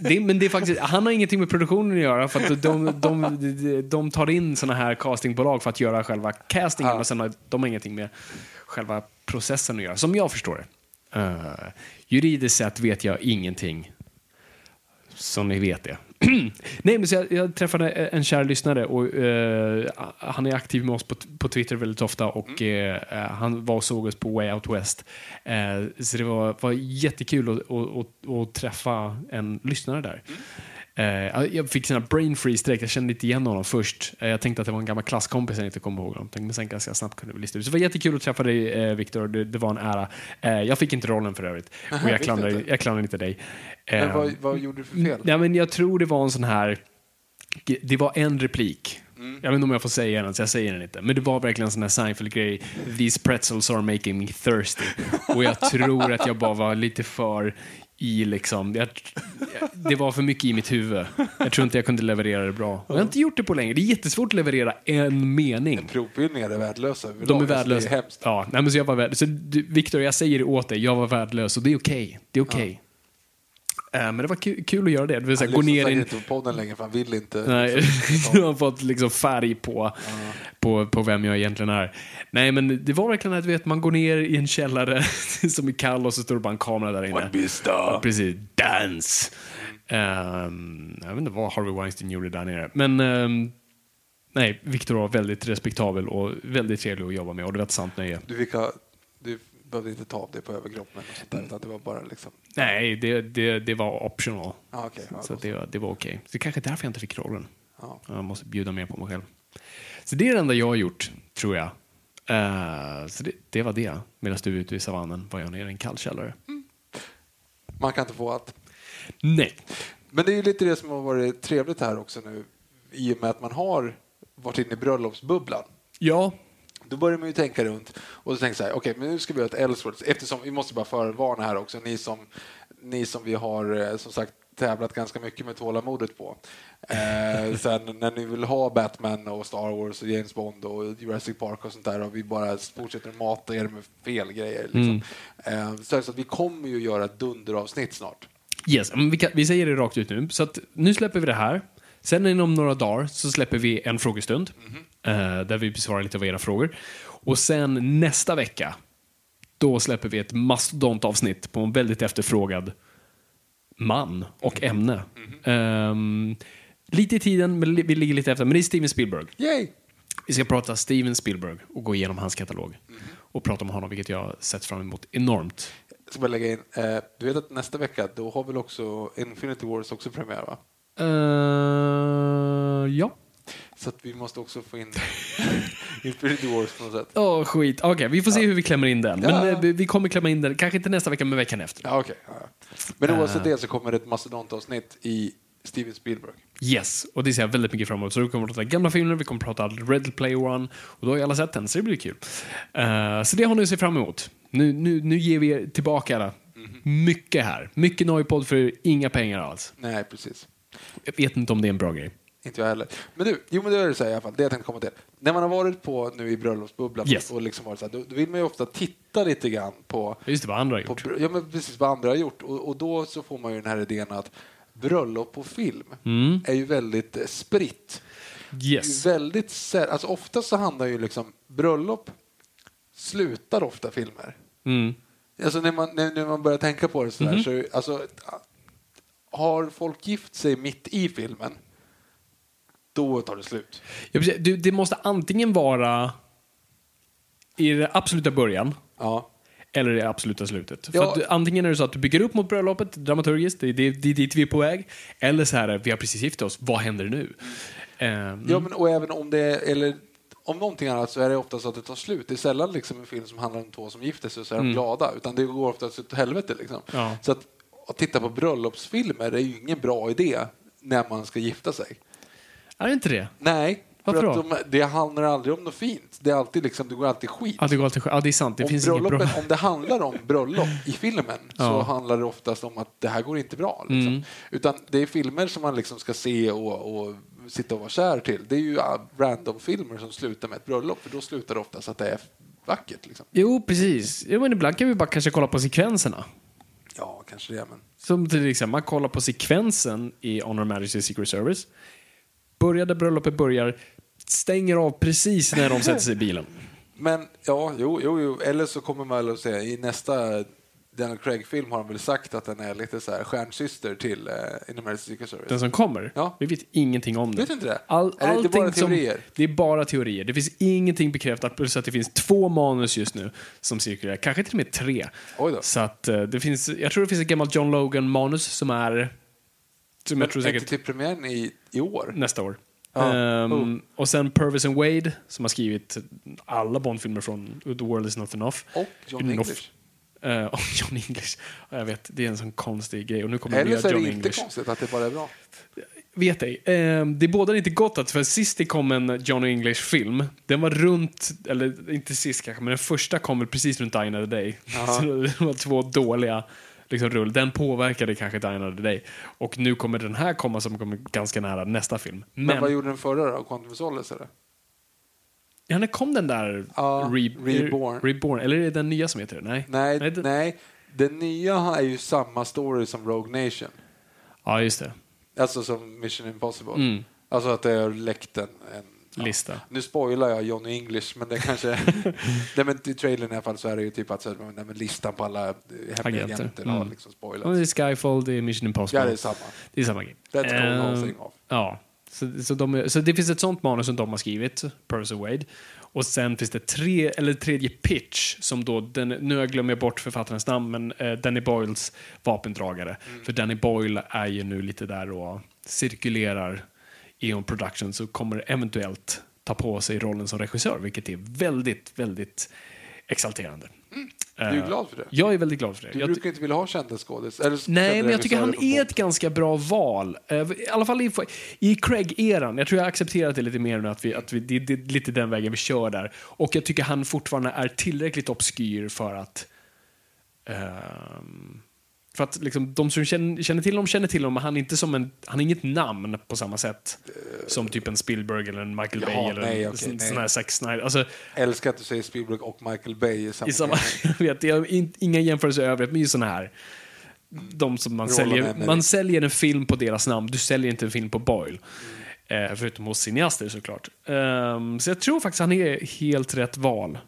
Speaker 2: Det, men det är faktiskt, han har ingenting med produktionen att göra för att de, de, de, de tar in såna här castingbolag för att göra själva castingen och sen har de har ingenting med själva processen att göra, som jag förstår det. Eh, juridiskt sett vet jag ingenting. Så ni vet det. Nej, men så jag, jag träffade en kär lyssnare och eh, han är aktiv med oss på, på Twitter väldigt ofta och
Speaker 1: Mm.
Speaker 2: eh, han var och såg oss på Way Out West. Eh, så det var, var jättekul att, att, att, att träffa en lyssnare där.
Speaker 1: Mm.
Speaker 2: Eh, jag fick sina brain freeze direkt, jag kände inte igen honom först. Eh, jag tänkte att det var en gammal klasskompis jag inte kom ihåg honom. Men sen ganska snabbt kunde vi lista ut. Så det var jättekul att träffa dig eh, Viktor, det, det var en ära. Eh, jag fick inte rollen för övrigt och jag
Speaker 1: fick du
Speaker 2: klandrar,
Speaker 1: inte?
Speaker 2: jag klandrar inte dig.
Speaker 1: Men
Speaker 2: Eh,
Speaker 1: vad, vad gjorde du för fel?
Speaker 2: Ja, men jag tror det var en sån här... Det var en replik. Jag vet inte om jag får säga den, så jag säger den inte. Men det var verkligen en sån här Seinfeld-grej. These pretzels are making me thirsty. Och jag tror att jag bara var lite för i liksom... Jag, det var för mycket i mitt huvud. Jag tror inte jag kunde leverera det bra. Och jag har inte gjort det på länge. Det är jättesvårt att leverera en mening.
Speaker 1: Provbildningar är värdelösa.
Speaker 2: De
Speaker 1: överlag,
Speaker 2: är
Speaker 1: alltså,
Speaker 2: värdelösa.
Speaker 1: Det är hemskt.
Speaker 2: ja, nej, men så jag var värd... så du, Victor, jag säger det åt dig. Jag var värdelös och det är okej. Det är okej. Eh, Men det var kul, kul att göra det. det vill säga,
Speaker 1: Han
Speaker 2: gå
Speaker 1: lyssnar
Speaker 2: ner
Speaker 1: säkert
Speaker 2: i en-
Speaker 1: inte på podden längre för han vill inte.
Speaker 2: Nej,
Speaker 1: Liksom,
Speaker 2: du har fått liksom färg på, på, på vem jag egentligen är. Nej, men det var verkligen att du vet, man går ner i en källare som är kall och så står det bara en kamera där inne.
Speaker 1: One beast star.
Speaker 2: Ja, precis. Dance! Ehm, jag vet inte vad Harvey Weinstein gjorde där nere. Men ehm, nej, Victor var väldigt respektabel och väldigt trevlig att jobba med och det var ett sant nöje.
Speaker 1: Du, fick ha, du behövde inte ta av dig på överkroppen och sånt där, utan det var bara liksom...
Speaker 2: Nej, det, det, det var optional.
Speaker 1: Ja, Ah, okej. Ja,
Speaker 2: Så
Speaker 1: då
Speaker 2: det, var- det var okej. Så det är kanske är därför jag inte fick rollen.
Speaker 1: Ja.
Speaker 2: Jag måste bjuda mer på mig själv. Så det är det enda jag har gjort, tror jag. Eh, så det, det var det. Medan du var ute i savannen var jag nere i en kall källare.
Speaker 1: så. Man kan inte få allt.
Speaker 2: Nej.
Speaker 1: Men det är ju lite det som har varit trevligt här också nu i och med att man har varit inne i bröllopsbubblan.
Speaker 2: Ja.
Speaker 1: Då börjar man ju tänka runt och så tänker så här, okej, men nu ska vi göra ett Ellsworth eftersom vi måste bara förvarna här också, ni som, ni som vi har eh, som sagt tävlat ganska mycket med tålamodet på. Eh, sen när ni vill ha Batman och Star Wars och James Bond och Jurassic Park och sånt där och vi bara fortsätter mata er med fel grejer. Liksom. Eh, så alltså, vi kommer ju göra ett dunderavsnitt snart.
Speaker 2: Yes. Men vi, kan, vi säger det rakt ut nu. Så att, nu släpper vi det här. Sen inom några dagar så släpper vi en frågestund eh, där vi besvarar lite av era frågor. Och sen nästa vecka, då släpper vi ett mastodontavsnitt på en väldigt efterfrågad man och ämne. Ehm, lite i tiden, men li- vi ligger lite efter. Men det är Steven Spielberg.
Speaker 1: Yay!
Speaker 2: Vi ska prata Steven Spielberg och gå igenom hans katalog. Och prata om honom, vilket jag har sett fram emot enormt.
Speaker 1: Jag ska bara lägga in, eh, du vet att nästa vecka då har väl också Infinity Wars också premiär va?
Speaker 2: Eh, ja.
Speaker 1: Så att vi måste också få in Infinity Wars på något sätt.
Speaker 2: Åh, skit. Okej, vi får se hur vi klämmer in den. Men
Speaker 1: Ja.
Speaker 2: eh, vi- vi kommer klämma in den, kanske inte nästa vecka, men veckan efter.
Speaker 1: Ja, okay. ja. ja. Men oavsett det så kommer det ett mastodontavsnitt i Steven Spielberg.
Speaker 2: Yes, och det ser jag väldigt mycket fram emot. Så vi kommer prata gamla filmer, vi kommer prata Red Player One och då har ju alla sett den, så det blir kul. Eh, så det har ni att se fram emot. Nu, nu, nu ger vi er tillbaka alla. mycket här. Mycket Noipod för inga pengar alls.
Speaker 1: Nej, precis.
Speaker 2: Jag vet inte om det är en bra grej.
Speaker 1: Inte jag heller. Men du, jo men det är det så här i alla fall, det jag tänkte komma till. När man har varit på nu i bröllopsbubblan
Speaker 2: Yes.
Speaker 1: och liksom varit så här, då, då vill man ju ofta titta lite grann på
Speaker 2: Just det, vad andra har gjort.
Speaker 1: På, br- ja, men precis vad andra har gjort. Och, och då så får man ju den här idén att bröllop på film är ju väldigt eh, spritt.
Speaker 2: Yes.
Speaker 1: Det är ju väldigt sä- alltså ofta så handlar ju liksom bröllop slutar ofta filmer.
Speaker 2: Mm.
Speaker 1: Alltså när man, när, när man börjar tänka på det sådär
Speaker 2: Mhm.
Speaker 1: så är ju- alltså, har folk gift sig mitt i filmen då tar det slut.
Speaker 2: Ja, precis. Du, det måste antingen vara i den absoluta början
Speaker 1: Ja.
Speaker 2: eller i det absoluta slutet. För
Speaker 1: Ja.
Speaker 2: att, du- antingen är det så att du bygger upp mot bröllopet dramaturgiskt, det, det, det är dit vi är på väg. Eller så här, vi har precis gift oss, vad händer nu? Eh,
Speaker 1: Ja, men, och även om det är, eller om någonting annat så är det ofta så att det tar slut. Det är sällan liksom en film som handlar om två som gifter sig och så är de glada. Utan det går ofta åt helvete. Liksom.
Speaker 2: Mm. Ja.
Speaker 1: Så att, att titta på bröllopsfilmer är ju ingen bra idé när man ska gifta sig.
Speaker 2: Är det inte det?
Speaker 1: Nej,
Speaker 2: Varför
Speaker 1: för att
Speaker 2: då?
Speaker 1: de, det handlar aldrig om något fint. Det, är alltid liksom, det går alltid skit.
Speaker 2: Ja, det, går alltid, sk- ja, det är sant, det
Speaker 1: om,
Speaker 2: finns inget bra.
Speaker 1: bröllopet- om det handlar om bröllop i filmen så
Speaker 2: Ja. Mm.
Speaker 1: handlar det oftast om att det här går inte bra. Liksom. Utan det är filmer som man liksom ska se och, och sitta och vara kär till. Det är ju ah, random-filmer som slutar med ett bröllop för då slutar det oftast att det är vackert. Liksom.
Speaker 2: Jo, precis. Jo, men ibland kan vi bara kanske kolla på sekvenserna.
Speaker 1: Ja, kanske det. Men...
Speaker 2: Som till exempel, man kollar på sekvensen i Honor Majesty Secret Service. Börjar där bröllopet börjar, stänger av precis när de sätter sig i bilen.
Speaker 1: Men ja, jo, jo, jo. eller så kommer man väl att säga i nästa Daniel Craig-film har de väl sagt att den är lite så här stjärnsyster till eh, In American Secret Service.
Speaker 2: Den som kommer?
Speaker 1: Ja.
Speaker 2: Vi vet ingenting om den.
Speaker 1: Vet du inte det?
Speaker 2: All,
Speaker 1: Är det inte
Speaker 2: allting
Speaker 1: bara
Speaker 2: som-
Speaker 1: teorier?
Speaker 2: det är bara teorier. Det finns ingenting bekräftat. Plus att det finns två manus just nu som cirkulerar. Kanske till och med tre.
Speaker 1: Oj då.
Speaker 2: Så att eh, det finns, jag tror det finns ett gammalt John Logan-manus som är... Som
Speaker 1: Men
Speaker 2: jag tror
Speaker 1: är inte
Speaker 2: säkert
Speaker 1: till premiären i, i år?
Speaker 2: nästa år.
Speaker 1: Ja.
Speaker 2: Ehm,
Speaker 1: Oh.
Speaker 2: Och sen Purvis and Wade som har skrivit alla Bond-filmer från The World Is Not Enough.
Speaker 1: Och John
Speaker 2: Enough.
Speaker 1: English.
Speaker 2: Eh, och John English. Ja, Jag vet, det är en sån konstig grej. Och nu kommer
Speaker 1: Eller
Speaker 2: nya
Speaker 1: så är det
Speaker 2: John
Speaker 1: inte
Speaker 2: English.
Speaker 1: konstigt att det bara är bra.
Speaker 2: vet ej. Eh, det bådar inte gott att för sist det kom en John English-film, den var runt, eller inte sist kanske, men den första kom väl precis runt Die Another Day. Så det var två dåliga liksom, rull. Den påverkade kanske Die Another Day. Och nu kommer den här komma som kommer ganska nära nästa film.
Speaker 1: Men, vad gjorde den förra då? Quantum of Solace eller?
Speaker 2: Ja, när kom den där?
Speaker 1: Ja,
Speaker 2: re-
Speaker 1: Reborn.
Speaker 2: Reborn. Eller är det den nya som heter det? Nej.
Speaker 1: Nej, nej,
Speaker 2: det-
Speaker 1: Den nya är ju samma story som Rogue Nation.
Speaker 2: Ja, just det.
Speaker 1: Alltså som Mission Impossible.
Speaker 2: Mm.
Speaker 1: Alltså att det har läckt en... en ja.
Speaker 2: Lista.
Speaker 1: Nu spoilar jag Johnny English, men det kanske... nej, men I trailern i alla fall så är det ju typ att så, här, nej, men listan på alla eh, hemliga
Speaker 2: Agenter.
Speaker 1: agenter har
Speaker 2: Mm.
Speaker 1: liksom
Speaker 2: Ja,
Speaker 1: spoilats.
Speaker 2: det är Skyfall, det är Mission Impossible.
Speaker 1: Ja, det är samma.
Speaker 2: Det är samma grej.
Speaker 1: That's going all
Speaker 2: Ehm,
Speaker 1: thing off.
Speaker 2: Ja. Så, så, de, är- så det finns ett sånt manus som de har skrivit, Purvis and Wade. Och sen finns det tre, eller tredje pitch som då, den, nu har jag glömmer jag bort författarens namn, men eh, Danny Boyles vapendragare.
Speaker 1: Mm.
Speaker 2: För Danny Boyle är ju nu lite där och cirkulerar Eon Productions och kommer eventuellt ta på sig rollen som regissör, vilket är väldigt, väldigt exalterande.
Speaker 1: är ju
Speaker 2: Eh,
Speaker 1: glad för det.
Speaker 2: Jag är väldigt glad för det.
Speaker 1: Du
Speaker 2: Jag-
Speaker 1: brukar inte vilja ha kända skådis. eller
Speaker 2: Nej,
Speaker 1: kända
Speaker 2: men jag tycker han
Speaker 1: regissörer på
Speaker 2: är ett ganska bra val. Eh, I alla fall i, i Craig-eran. Jag tror jag accepterat det lite mer nu, att, vi, att vi, det, det är lite den vägen vi kör där. Och jag tycker han fortfarande är tillräckligt obskyr för att... ehm, för att liksom, de som känner, känner till honom känner till honom, men han är, inte som en, han är inget namn på samma sätt som typ en Spielberg eller en Michael
Speaker 1: Jaha,
Speaker 2: Bay eller
Speaker 1: nej,
Speaker 2: en
Speaker 1: okej,
Speaker 2: sån-
Speaker 1: nej.
Speaker 2: sån här Zack Snyder. Alltså,
Speaker 1: Jag älskar att du säger Spielberg och Michael Bay i samma,
Speaker 2: i samma,
Speaker 1: mening.
Speaker 2: jag vet, jag har in, inga jämförelser i övrigt, men just sådana här. De som man
Speaker 1: Roland
Speaker 2: säljer,
Speaker 1: Emmerich.
Speaker 2: man säljer en film på deras namn, du säljer inte en film på Boyle. Eh, förutom hos cineaster såklart. Ehm, så jag tror faktiskt han är helt rätt val.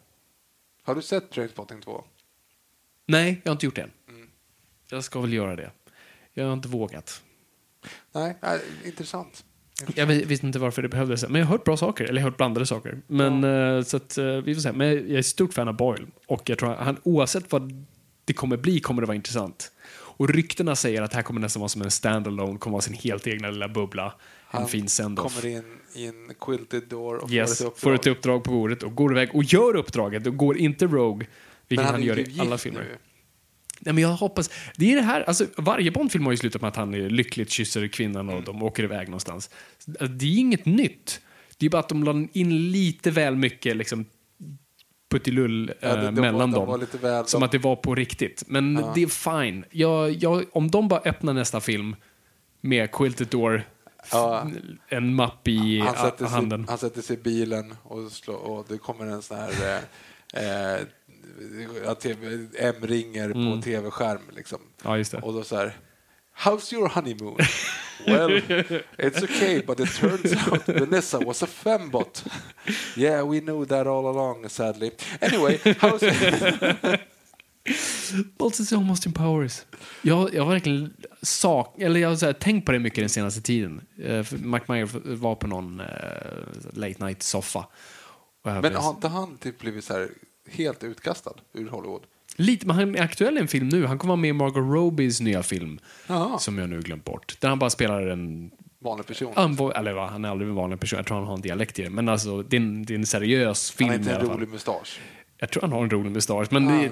Speaker 1: Har du sett Trainspotting 2?
Speaker 2: Nej, jag har inte gjort det än. Jag ska väl göra det. Jag har inte vågat.
Speaker 1: Nej, nej intressant.
Speaker 2: Jag vi- visste inte varför det behövdes, men jag har hört bra saker, eller jag har hört blandade saker. Men, eh, så att, eh, vi får se. Men jag är stort fan av Boyle och jag tror att han, oavsett vad det kommer bli kommer det vara intressant. Och ryktena säger att det här kommer nästan vara som en standalone, kommer vara sin helt egna lilla bubbla. en fin send-off.
Speaker 1: kommer in i en quilted door och
Speaker 2: Yes,
Speaker 1: får ett
Speaker 2: får
Speaker 1: uppdrag.
Speaker 2: ett uppdrag på bordet och går iväg och gör uppdraget och går inte Rogue, vilket han,
Speaker 1: är ju
Speaker 2: gör i
Speaker 1: gift
Speaker 2: alla filmer.
Speaker 1: nu.
Speaker 2: Nej, men jag hoppas... Det är det här, alltså, varje Bondfilm har ju slutat med att han är lyckligt kysser kvinnan och
Speaker 1: Mm.
Speaker 2: de åker iväg någonstans. Det är inget nytt. Det är bara att de la in lite väl mycket liksom, puttilull
Speaker 1: Ja, det-
Speaker 2: eh,
Speaker 1: de var-
Speaker 2: mellan
Speaker 1: de
Speaker 2: dem.
Speaker 1: var lite väl-
Speaker 2: som
Speaker 1: de-
Speaker 2: att det var på riktigt. Men det är fine. Jag, jag, om de bara öppnar nästa film med Quilted Door,
Speaker 1: Ja.
Speaker 2: en mapp i
Speaker 1: Han sätter,
Speaker 2: a- handen.
Speaker 1: sig, han sätter sig i bilen och, slår, och det kommer en sån här... Eh, eh, att TV, M ringer på tv-skärm. Liksom.
Speaker 2: Mm. Ja, just det.
Speaker 1: Och då så här... How's your honeymoon? well, it's okay, but it turns out Vanessa was a fembot. Yeah, we knew that all along, sadly. Anyway, how's...
Speaker 2: Bolts is almost in powers. Jag, jag har verkligen sak, eller jag har så här, tänkt på det mycket den senaste tiden. Uh, McMyer var på någon eh, late night-soffa. Och jag
Speaker 1: Men
Speaker 2: blev-
Speaker 1: har inte han typ blivit så här helt utkastad ur Hollywood?
Speaker 2: Lite, men han är aktuell i en film nu. Han kommer vara med i Margot Robies nya film,
Speaker 1: Jaha.
Speaker 2: som jag nu glömt bort. Där han bara spelar en...
Speaker 1: Vanlig person.
Speaker 2: Han, var- eller va, han är aldrig en vanlig person, jag tror han har en dialekt i det. Men alltså, det är en, det är en seriös film
Speaker 1: han har inte
Speaker 2: i alla
Speaker 1: en
Speaker 2: fall.
Speaker 1: rolig mustasch.
Speaker 2: Jag tror han har en rolig mustasch, men det,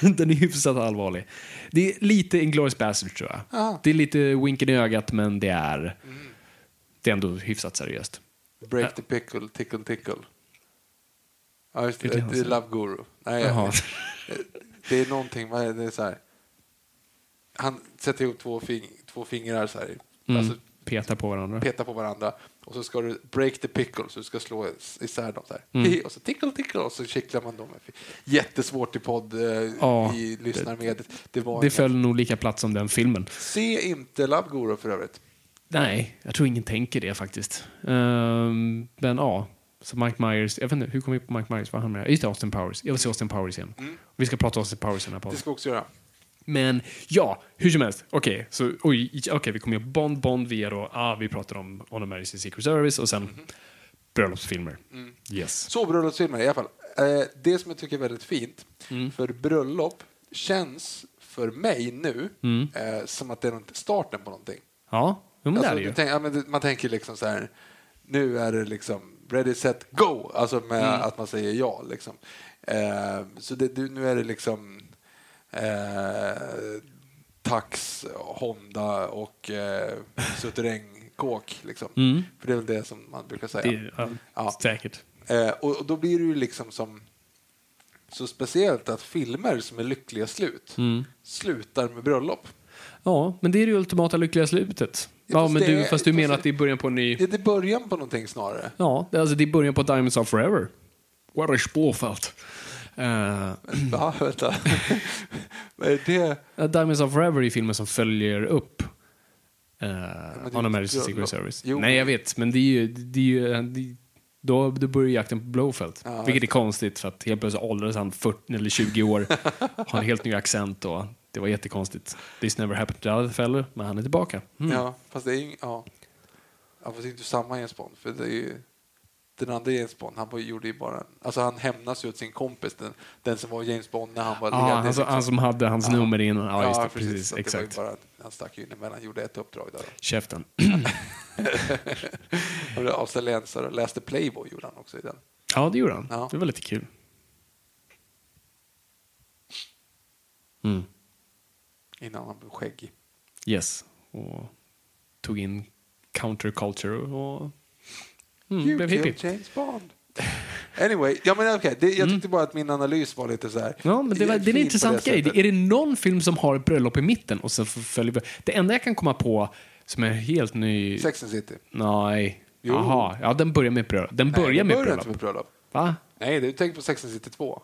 Speaker 2: det, den är hyfsat allvarlig. Det är lite Inglourious Basterds tror jag.
Speaker 1: Ah.
Speaker 2: Det är lite winken i ögat, men det är, det är ändå hyfsat seriöst.
Speaker 1: Break the pickle, tickle tickle. Ja, just det.
Speaker 2: Det är det han
Speaker 1: Det är
Speaker 2: säger.
Speaker 1: Love Guru. Nej,
Speaker 2: Jaha.
Speaker 1: jag, det är någonting, vad är det, det är så här. Han sätter ihop två, fing, två fingrar så här.
Speaker 2: Mm.
Speaker 1: Alltså,
Speaker 2: Petar på varandra.
Speaker 1: peta på varandra och så ska du break the pickle så du ska slå isär dem så här.
Speaker 2: Mm.
Speaker 1: Och så tickle tickle och så kittlar man dem. Jättesvårt i podd, eh,
Speaker 2: Ja,
Speaker 1: i lyssnarmediet. Det, var
Speaker 2: det
Speaker 1: inga-
Speaker 2: föll nog lika platt som den filmen.
Speaker 1: Se inte Love Guru för övrigt.
Speaker 2: Nej, jag tror ingen tänker det faktiskt. Ehm, men ja, så Mike Myers, jag vet inte, hur kom vi på Mike Myers? Vad han med? Just Mm. det, Austin Powers. Jag vill se Austin Powers igen. Vi ska prata Austin Powers i den här
Speaker 1: Det
Speaker 2: podden.
Speaker 1: ska vi också göra.
Speaker 2: Men ja, hur som helst. Okej, så oj, okej, vi kommer ihåg Bond, Bond, vi är då, ah, vi pratar om On Emergency Secret Service och sen bröllopsfilmer.
Speaker 1: Mm.
Speaker 2: Yes.
Speaker 1: Så bröllopsfilmer i alla fall. Eh, det som jag tycker är väldigt fint,
Speaker 2: Mm.
Speaker 1: för bröllop känns för mig nu eh, som att det är något- starten på någonting.
Speaker 2: Mm. Ja, jo, men
Speaker 1: Alltså,
Speaker 2: det är det ju.
Speaker 1: du tänk, ja, men det- man tänker liksom så här, nu är det liksom ready, set, go, alltså med
Speaker 2: Mm.
Speaker 1: att man säger ja. Liksom. Eh, så det, du, nu är det liksom eh, tax, Honda och eh, suterrängkåk. Liksom. För det är väl det som man brukar säga.
Speaker 2: Mm. Det är, ja,
Speaker 1: Ja.
Speaker 2: Säkert.
Speaker 1: Eh, och, och då blir det ju liksom som så speciellt att filmer som är lyckliga slut
Speaker 2: Mm.
Speaker 1: slutar med bröllop.
Speaker 2: Ja, men det är det ultimata lyckliga slutet.
Speaker 1: Ja,
Speaker 2: Ja,
Speaker 1: fast
Speaker 2: men
Speaker 1: det
Speaker 2: du,
Speaker 1: är-
Speaker 2: fast du
Speaker 1: fast
Speaker 2: menar
Speaker 1: det-
Speaker 2: att det är början på en ny...
Speaker 1: Det är början på någonting snarare.
Speaker 2: Ja, det- alltså det är början på Diamonds Are Forever. What a spårfält. Eh,
Speaker 1: Ja, vänta. Vad är det?
Speaker 2: Eh, Diamonds Are Forever är filmen som följer upp
Speaker 1: det
Speaker 2: eh,
Speaker 1: är
Speaker 2: On
Speaker 1: ju
Speaker 2: American
Speaker 1: ett bröllop.
Speaker 2: Secret Service.
Speaker 1: Jo.
Speaker 2: Nej, jag vet, men det är ju... Det är ju eh, det är, då, då börjar jakten på Blowfeld.
Speaker 1: Ja,
Speaker 2: vilket är konstigt för att helt plötsligt åldras han 40 eller 20 år. har en helt ny accent och det var jättekonstigt. This never happened to Rockefeller, men han är tillbaka. Mm.
Speaker 1: Ja, fast det är ju... Ja. ja, fast det är inte samma James Bond. För det är ju, den andra James Bond, han var- gjorde ju bara... Alltså han hämnas ju åt sin kompis, den, den som var James Bond när han var liksom.
Speaker 2: Ah, han, som- han som hade hans nummer innan. Ja, just det, precis.
Speaker 1: Så att det var ju
Speaker 2: exakt.
Speaker 1: bara, att han stack ju in emellan, gjorde ett uppdrag där.
Speaker 2: Käften.
Speaker 1: Han blev australiensare, läste Playboy gjorde han också i den.
Speaker 2: Ja, det gjorde han.
Speaker 1: Ja.
Speaker 2: Det var lite kul. Mm.
Speaker 1: Innan han blev skäggig.
Speaker 2: Yes. Och tog in counterculture och
Speaker 1: You
Speaker 2: mm, blev
Speaker 1: killed
Speaker 2: hippie. Mm.
Speaker 1: James Bond. Anyway, ja, men okay, det, jag tyckte bara att min analys var lite så här.
Speaker 2: Ja, men det, var, det är
Speaker 1: fin
Speaker 2: en
Speaker 1: på
Speaker 2: intressant grej.
Speaker 1: sättet.
Speaker 2: Är det någon film som har ett bröllop i mitten och sen följer... Det enda jag kan komma på som är helt ny...
Speaker 1: Sex and City.
Speaker 2: Nej.
Speaker 1: Jo.
Speaker 2: Jaha. Ja, den börjar med bröllop. Den
Speaker 1: Nej,
Speaker 2: börjar med
Speaker 1: det börjar
Speaker 2: bröllop.
Speaker 1: inte med bröllop.
Speaker 2: Va?
Speaker 1: Nej, du tänker på Sex and City 2.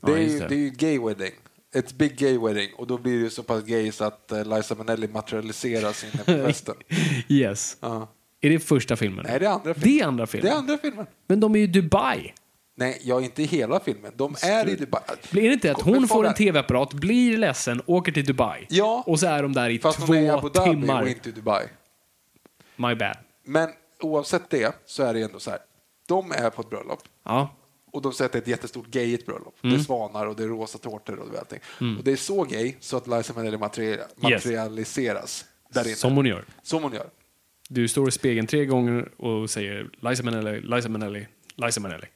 Speaker 2: Ja,
Speaker 1: Det är, ju,
Speaker 2: just
Speaker 1: det
Speaker 2: det.
Speaker 1: är ju gay wedding. Ett big gay wedding. Och då blir det ju så pass gay så att eh, Liza Minnelli materialiseras inne på festen.
Speaker 2: Yes.
Speaker 1: Ja.
Speaker 2: Är det första filmen?
Speaker 1: Nej, det är andra filmen.
Speaker 2: Det är andra filmen.
Speaker 1: Det är andra filmen.
Speaker 2: Men de är ju i Dubai.
Speaker 1: Nej, jag är inte i hela filmen. De är i Dubai.
Speaker 2: Blir det inte att
Speaker 1: Men
Speaker 2: hon får
Speaker 1: fara-
Speaker 2: en tv-apparat, blir ledsen, åker till Dubai
Speaker 1: Ja.
Speaker 2: och så är de där i
Speaker 1: Fast
Speaker 2: två
Speaker 1: hon är i Abu Dhabi
Speaker 2: timmar.
Speaker 1: och inte i Dubai.
Speaker 2: My bad.
Speaker 1: Men oavsett det så är det ändå så här. De är på ett bröllop
Speaker 2: Ja.
Speaker 1: och de säger att det är ett jättestort gayigt bröllop. Det är svanar och det är rosa tårtor och allting. Och det är så gay så att Liza Minnelli materi- materialiseras där inne.
Speaker 2: Som hon gör.
Speaker 1: Som hon gör.
Speaker 2: Du står i spegeln tre gånger och säger Liza Minnelli, Liza Minnelli, Liza Minnelli.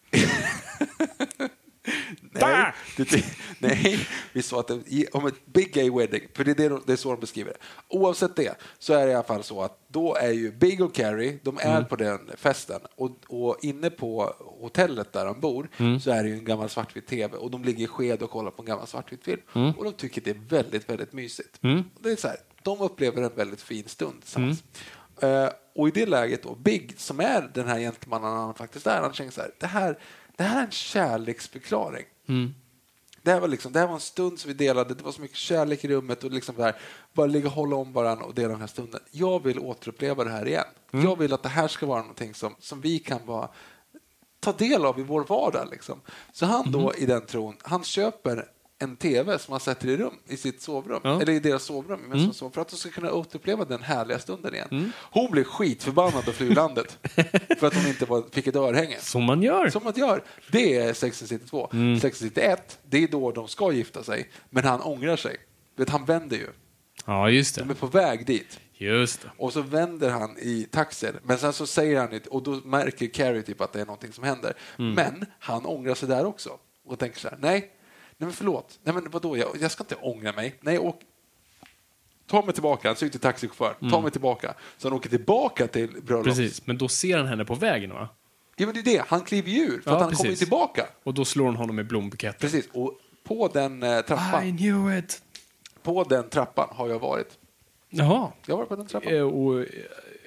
Speaker 1: Nej, det, det, nej, vi sa att det, i- om ett big gay wedding, för det är, det, de- det är så de beskriver det. Oavsett det så är det i alla fall så att då är ju Big och Carrie, de är på den festen och, och inne på hotellet där de bor så är det ju en gammal svartvit tv och de ligger i sked och kollar på en gammal svartvit film och de tycker det är väldigt, väldigt mysigt. Och det är så här, de upplever en väldigt fin stund tillsammans. Eh, och i det läget då, Big, som är den här gentlemannen han faktiskt är, han känner så här, det här, det här är en kärleksförklaring. Det här, var liksom, det här var en stund som vi delade, det var så mycket kärlek i rummet och liksom det här, bara ligga och hålla om varandra och dela den här stunden. Jag vill återuppleva det här igen. Jag vill att det här ska vara någonting som, som vi kan bara ta del av i vår vardag. Liksom. Så han då i den tron, han köper en tv som han sätter i rum i sitt sovrum,
Speaker 2: Ja.
Speaker 1: eller i deras sovrum, men som sov, för att de ska kunna återuppleva den härliga stunden igen. Hon blev skitförbannad och flyr landet för att hon inte var, fick ett örhänge.
Speaker 2: Som man gör. Mm.
Speaker 1: Som man gör. Det är Sex and City 2. Sex and City 1, det är då de ska gifta sig, men han ångrar sig. Vet, han vänder ju.
Speaker 2: Ja, just
Speaker 1: De
Speaker 2: det.
Speaker 1: är på väg dit.
Speaker 2: Just det.
Speaker 1: Och så vänder han i taxin, men sen så säger han inte, och då märker Carrie typ att det är någonting som händer.
Speaker 2: Mm.
Speaker 1: Men han ångrar sig där också och tänker så här, nej, nej men förlåt, nej men vadå, jag, jag ska inte ångra mig. Nej, åk, ta mig tillbaka, han säger till taxichauffören, ta mig tillbaka. Så han åker tillbaka till bröllops...
Speaker 2: Mm. Precis. Men då ser han henne på vägen, va?
Speaker 1: Ja men det är det, han kliver ju ur för
Speaker 2: Ja,
Speaker 1: att han
Speaker 2: precis.
Speaker 1: kommer ju tillbaka.
Speaker 2: Och då slår hon honom med blombuketten.
Speaker 1: Precis, och på den, eh,
Speaker 2: I
Speaker 1: trappan,
Speaker 2: knew it!
Speaker 1: på den trappan har jag varit.
Speaker 2: Jaha.
Speaker 1: Jag har varit på den trappan.
Speaker 2: Eh, Och eh,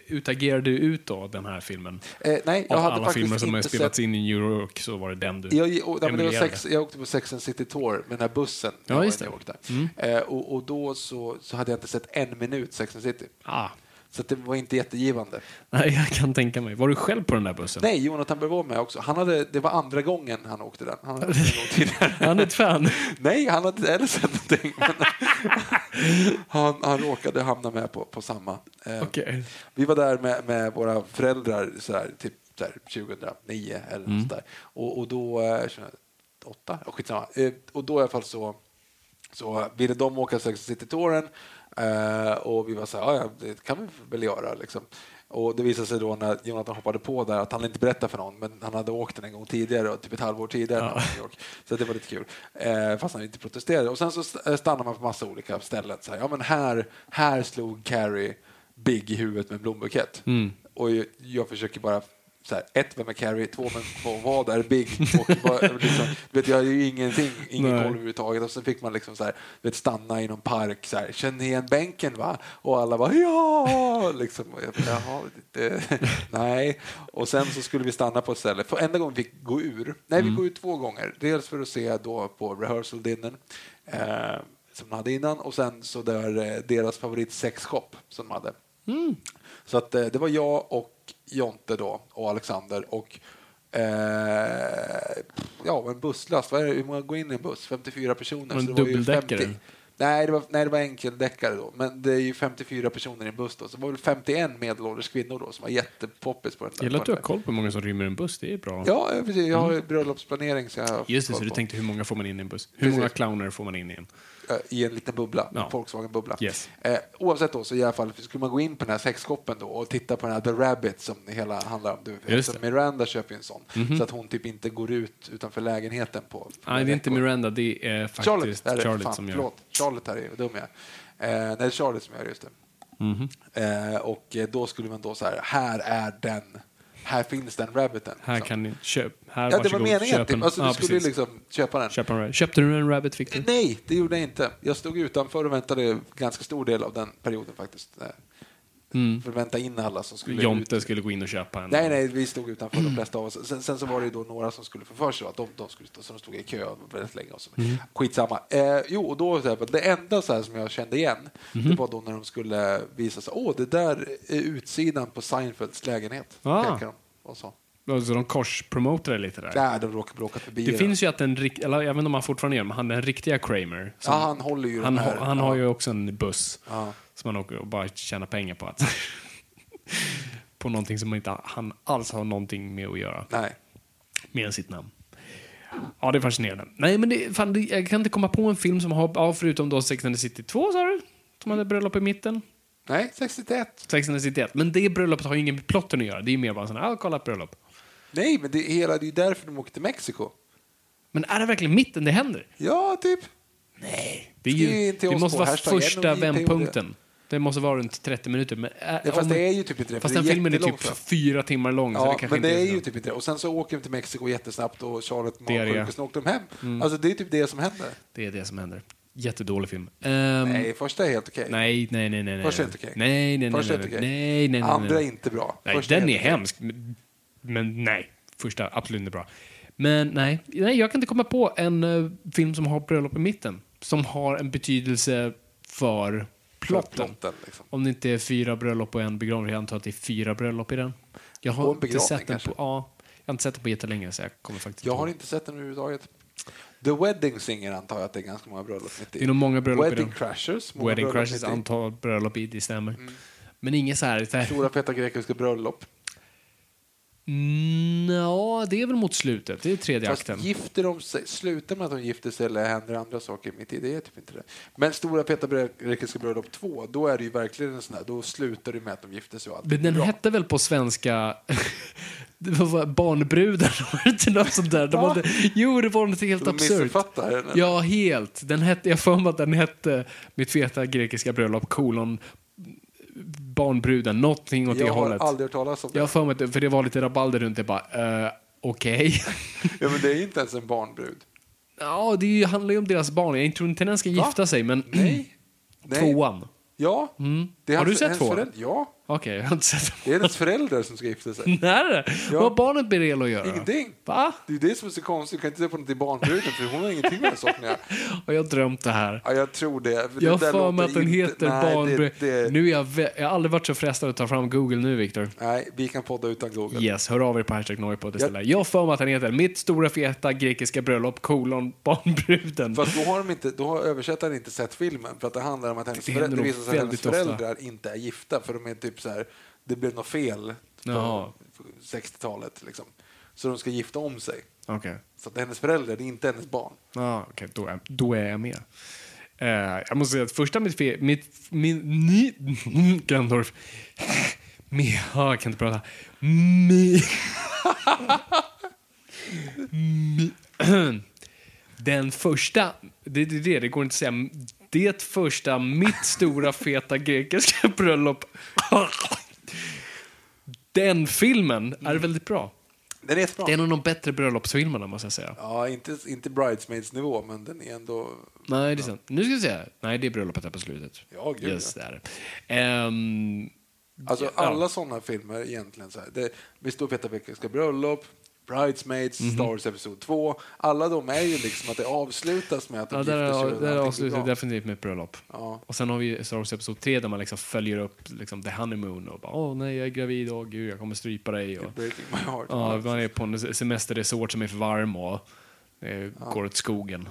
Speaker 2: utagerade du ut då den här filmen?
Speaker 1: Eh, nej, jag
Speaker 2: Av
Speaker 1: hade
Speaker 2: alla
Speaker 1: faktiskt
Speaker 2: filmer som har
Speaker 1: inte
Speaker 2: spelats
Speaker 1: sett-
Speaker 2: in i New York så var det den du
Speaker 1: Jag, och, nej, men det var
Speaker 2: emulerade.
Speaker 1: sex, jag åkte på Sex and City Tour med den här bussen. när
Speaker 2: Ja,
Speaker 1: jag
Speaker 2: just
Speaker 1: var i
Speaker 2: det. Mm.
Speaker 1: New York där. Eh, och, och då så, så hade jag inte sett en minut Sex and City.
Speaker 2: Ah.
Speaker 1: Så att det var inte jättegivande.
Speaker 2: Nej, jag kan tänka mig. Var du själv på den där bussen?
Speaker 1: Nej, Jonathan Berg var med också. Han hade, det var andra gången han åkte den. Han hade åkt en gång tidigare.
Speaker 2: Han är ett fan.
Speaker 1: Nej, han hade inte heller sett någonting. Men han, han råkade hamna med på, på samma. Eh,
Speaker 2: Okej.
Speaker 1: Vi var där med, med våra föräldrar så här, typ så här, 2009 eller något sånt där. Och, och då, eh, 2008, oh, skitsamma. Eh, och då i alla fall så, så ville de åka Sex and City-touren eh, och vi var så här, "Ja, ja, det kan vi väl göra liksom. Och det visade sig då när Jonathan hoppade på där att han inte berättade för någon, men han hade åkt den en gång tidigare, och typ ett halvår tidigare. när han var i New York. Så det var lite kul, eh, fast han inte protesterade. Och sen så st- eh, stannade man på massa olika ställen. Så här, ja, men här, här slog Carrie Big i huvudet med en blombukett. Och jag, jag försöker bara så här, ett, vem är Carrie? Två, men vad- vad är Big? Och vad, liksom, du vet, jag har ju ingenting, ingen
Speaker 2: Nej.
Speaker 1: koll överhuvudtaget. Och sen fick man liksom så här, du vet, stanna i någon park, så här, känn igen bänken va? Och alla bara ja! Liksom, och jag, bara, Jaha, det, nej. Och sen så skulle vi stanna på ett ställe, för enda gången vi fick gå ur, nej vi går ut två gånger, dels för att se då på rehearsal dinnen eh, som de hade innan och sen så där eh, deras favorit sexshop som de hade.
Speaker 2: Mm.
Speaker 1: Så att, eh, det var jag och Jonte då och Alexander och eh, ja, en busslast. Vad är det? Hur många går in i en buss? 54 personer.
Speaker 2: Och en
Speaker 1: så det var ju
Speaker 2: dubbeldäckare.
Speaker 1: 50 Nej det, var, nej, det var enkeldäckare då, men det är ju 54 personer i en buss då, så det var väl 51 medelålders kvinnor då som var jättepoppis på den
Speaker 2: Jag gillar att du har
Speaker 1: parken.
Speaker 2: koll på hur många som rymmer i en buss. Det är bra.
Speaker 1: Ja, precis. Jag har ju bröllopsplanering så jag har
Speaker 2: Mm. Just det,
Speaker 1: koll
Speaker 2: så du
Speaker 1: på-
Speaker 2: tänkte hur många får man in i en buss? Hur
Speaker 1: Precis.
Speaker 2: många clowner får man in i en?
Speaker 1: eh, i en liten bubbla,
Speaker 2: Ja.
Speaker 1: Volkswagen-bubbla.
Speaker 2: Yes.
Speaker 1: Eh, oavsett då, så i alla fall skulle man gå in på den här sexkoppen då och titta på den här The Rabbit som det hela handlar om. Du,
Speaker 2: Just
Speaker 1: eftersom
Speaker 2: det. Mhm.
Speaker 1: Miranda köper ju en sån, så att hon typ inte går ut utanför lägenheten på... på
Speaker 2: Nej, det är inte
Speaker 1: veckor.
Speaker 2: Miranda, det är
Speaker 1: Charlotte,
Speaker 2: faktiskt
Speaker 1: där är det,
Speaker 2: Charlotte
Speaker 1: fan,
Speaker 2: som gör
Speaker 1: förlåt. Charlotte här är vad dum jag är. Eh, nej, det är Charlotte som gör det, just det.
Speaker 2: Mhm.
Speaker 1: Eh, och eh, då skulle man då så här, här är den, här finns den rabbiten.
Speaker 2: Här
Speaker 1: liksom.
Speaker 2: kan ni köpa. Här,
Speaker 1: ja, det var
Speaker 2: varsågod,
Speaker 1: meningen,
Speaker 2: köp en.
Speaker 1: typ. alltså, du
Speaker 2: Ja,
Speaker 1: skulle ju
Speaker 2: precis.
Speaker 1: liksom köpa den.
Speaker 2: Köp en rabbit. Köpte du en rabbit, Victor?
Speaker 1: Eh, Nej, det gjorde jag inte. Jag stod utanför och väntade ganska stor del av den perioden faktiskt. Eh, För att vänta in alla som skulle
Speaker 2: Mm. Jonte
Speaker 1: ut.
Speaker 2: skulle gå in och köpa en.
Speaker 1: Nej, nej, vi stod utanför de flesta av oss. Sen, sen så var det ju då några som skulle få för sig att de, de skulle stå, så de stod i kö väldigt länge. Och så.
Speaker 2: Mm.
Speaker 1: Skitsamma. Eh, jo, och då, så här, det enda så här, som jag kände igen,
Speaker 2: Mm-hmm.
Speaker 1: det var då när de skulle visa sig, åh, det där är utsidan på Seinfelds lägenhet.
Speaker 2: Ah.
Speaker 1: pekade de och så.
Speaker 2: Alltså, de korspromotar lite där.
Speaker 1: Nej, de råkade bråka förbi.
Speaker 2: det
Speaker 1: den.
Speaker 2: finns ju att den rikt- eller jag vet inte om han fortfarande gör men han den riktiga Kramer.
Speaker 1: ja, han håller ju
Speaker 2: han,
Speaker 1: den här.
Speaker 2: har- han har ju också en buss
Speaker 1: Ja.
Speaker 2: som han åker och bara tjänar pengar på. Att på någonting som inte, han alls har någonting med att göra.
Speaker 1: Nej.
Speaker 2: Mer än sitt namn. Ja, det är fascinerande. Nej, men det, fan, det, jag kan inte komma på en film som har, ja, förutom då Sex and the City 2, sa du? Som hade bröllop i mitten.
Speaker 1: Nej, 61.
Speaker 2: Sex and the City 1. Men det bröllopet har ju ingen med plotten att göra. Det är ju mer bara sån här, ja, kolla ett bröllop.
Speaker 1: Nej, men det, är hela, det är ju därför de åker till Mexiko.
Speaker 2: Men är det verkligen mitten det händer?
Speaker 1: Ja, typ.
Speaker 2: Det, är
Speaker 1: Skriv
Speaker 2: ju,
Speaker 1: in till
Speaker 2: det
Speaker 1: oss
Speaker 2: måste
Speaker 1: på
Speaker 2: vara
Speaker 1: hashtag
Speaker 2: första
Speaker 1: NOJPOD.
Speaker 2: vändpunkten. Det måste vara runt 30 minuter. Men, äh,
Speaker 1: Ja, fast
Speaker 2: om-
Speaker 1: det är ju typ inte det, för
Speaker 2: Fast
Speaker 1: det är
Speaker 2: den filmen är typ
Speaker 1: jättelångt, va?
Speaker 2: fyra timmar lång. så
Speaker 1: Ja,
Speaker 2: det kanske
Speaker 1: men det
Speaker 2: inte
Speaker 1: är
Speaker 2: så-
Speaker 1: ju typ inte det. Och sen så åker de till Mexiko jättesnabbt och Charlotte
Speaker 2: Det Mm. är det.
Speaker 1: magsjuka, sen åkte de hem. Alltså, det är typ det som händer.
Speaker 2: det är det som händer. Jättedålig film. Ehm,
Speaker 1: Nej, första är helt okej.
Speaker 2: nej, nej, nej, nej.
Speaker 1: Första är
Speaker 2: nej.
Speaker 1: helt okej.
Speaker 2: Nej, nej, nej.
Speaker 1: Första är
Speaker 2: nej,
Speaker 1: helt okej.
Speaker 2: nej, nej, nej.
Speaker 1: Andra är
Speaker 2: nej.
Speaker 1: inte bra.
Speaker 2: Nej,
Speaker 1: Första
Speaker 2: den är
Speaker 1: helt okej.
Speaker 2: hemsk. Men- Men nej, första absolut inte bra. Men nej, nej jag kan inte komma på en eh, film som har bröllop i mitten. Som har en betydelse för plotten.
Speaker 1: plotten, liksom.
Speaker 2: Om det inte är fyra bröllop och en begravning. Jag antar att det är fyra bröllop i den. Jag har
Speaker 1: Och en
Speaker 2: inte
Speaker 1: begravning,
Speaker 2: sett den
Speaker 1: kanske.
Speaker 2: på, ja, jag har inte sett den på jättelänge så jag kommer faktiskt
Speaker 1: Jag har
Speaker 2: ihåg.
Speaker 1: inte sett den överhuvudtaget. The Wedding Singer antar jag att det är ganska många bröllop mitt i.
Speaker 2: Det är nog många bröllop i
Speaker 1: Wedding
Speaker 2: den.
Speaker 1: Crashers. många
Speaker 2: Wedding
Speaker 1: bröllop
Speaker 2: Crashes,
Speaker 1: mitt i.
Speaker 2: antal bröllop i, det stämmer. Men inget så här... Så här
Speaker 1: Stora feta grekiska bröllop.
Speaker 2: mm, ja, det är väl mot slutet. Det är tredje
Speaker 1: Fast
Speaker 2: akten.
Speaker 1: gifter de sig, slutar med att de gifter sig eller händer andra saker mitt i, det är typ inte det. Men Stora feta grekiska bröllop 2, då är det ju verkligen en sån här, då slutar det med att de gifter sig och allt.
Speaker 2: Men den hette väl på svenska det var Barnbrudar? var det inte något sånt där? De
Speaker 1: Va?
Speaker 2: hade, jo, det var något helt
Speaker 1: De
Speaker 2: absurt.
Speaker 1: missuppfattar den, eller?
Speaker 2: Ja, helt. Den hette, jag har för mig att den hette Mitt feta grekiska bröllop kolon Barnbruden, någonting åt det
Speaker 1: jag har
Speaker 2: hållet.
Speaker 1: aldrig hört talas om det.
Speaker 2: Jag har för mig att det- för det var lite rabalder runt det bara, eh, okej.
Speaker 1: Ja, men det är inte ens en barnbrud.
Speaker 2: ja, det är ju- handlar ju om deras barn. Jag tror inte den ska
Speaker 1: Va?
Speaker 2: gifta sig, men
Speaker 1: Nej. Nej.
Speaker 2: tvåan. Mm.
Speaker 1: Ja. Det är
Speaker 2: Har
Speaker 1: hans-
Speaker 2: du sett
Speaker 1: hans
Speaker 2: tvåan?
Speaker 1: förälder- Ja.
Speaker 2: Okej, jag har inte sett
Speaker 1: Det är hennes föräldrar som ska gifta sig.
Speaker 2: När?
Speaker 1: Ja.
Speaker 2: Vad har barnet med Relo att göra?
Speaker 1: Ingenting.
Speaker 2: Va?
Speaker 1: Det är det som är så konstigt. Du kan inte se på något i barnbruden för hon har ingenting med den saken att göra.
Speaker 2: Har jag drömt det här?
Speaker 1: Ja, jag tror det. för det
Speaker 2: Jag har
Speaker 1: där
Speaker 2: för mig
Speaker 1: låter
Speaker 2: att den
Speaker 1: inte-
Speaker 2: heter
Speaker 1: nej,
Speaker 2: Barnbrud.
Speaker 1: det- det-
Speaker 2: Nu är jag, vä- jag har aldrig varit så frestad att ta fram Google nu, Viktor.
Speaker 1: Nej, vi kan podda utan Google.
Speaker 2: Yes, hör av er på hashtag Noipod
Speaker 1: Ja.
Speaker 2: istället. Jag har för mig att den heter Mitt stora feta grekiska bröllop kolon barnbruden.
Speaker 1: För att då har, de inte, då har översättaren inte sett filmen för att det handlar om att hennes,
Speaker 2: Det händer
Speaker 1: föräldrar, det
Speaker 2: nog
Speaker 1: visar sig att hennes
Speaker 2: väldigt ofta.
Speaker 1: föräldrar inte är gifta för de är typ så här, det blev något fel
Speaker 2: Jaha.
Speaker 1: på 60-talet liksom. Så de ska gifta om sig.
Speaker 2: Okej,
Speaker 1: Så att hennes föräldrar, det är inte hennes barn.
Speaker 2: ah, okej, då, är, då är jag med. Eh, jag måste säga att första mitt... Fe, mitt min, ni, Gandorf. Med, ah, jag kan inte prata. Mi, mi, den första, det, det, det, det går inte att säga. Det första, mitt stora feta grekiska bröllop. Den filmen är väldigt bra.
Speaker 1: Den är jättebra.
Speaker 2: Det är en av de bättre bröllopsfilmerna måste jag säga.
Speaker 1: Ja, inte, inte Bridesmaids-nivå, men den är ändå...
Speaker 2: Nej, det är sant. Nu ska vi se. Nej, det är bröllopet här på slutet.
Speaker 1: Ja, gud,
Speaker 2: yes, det är det. Ehm,
Speaker 1: Alltså
Speaker 2: Ja.
Speaker 1: alla sådana filmer egentligen. Så här, det, vi står och petar veckoska bröllop, Bridesmaids,
Speaker 2: Mhm.
Speaker 1: Star Wars Episod 2. Alla de är ju liksom att det avslutas med att de
Speaker 2: ja, där
Speaker 1: gifter sig. och
Speaker 2: är- där
Speaker 1: allting blir
Speaker 2: avslutar
Speaker 1: bra.
Speaker 2: vi definitivt med ett bröllop.
Speaker 1: Ja.
Speaker 2: Och sen har vi ju Star Wars Episod 3 där man liksom följer upp liksom, The Honeymoon och bara åh nej, jag är gravid, åh gud, jag kommer strypa dig. Och,
Speaker 1: Breaking my heart.
Speaker 2: ja, man är på en semesterresort som är för varm och eh, går åt skogen.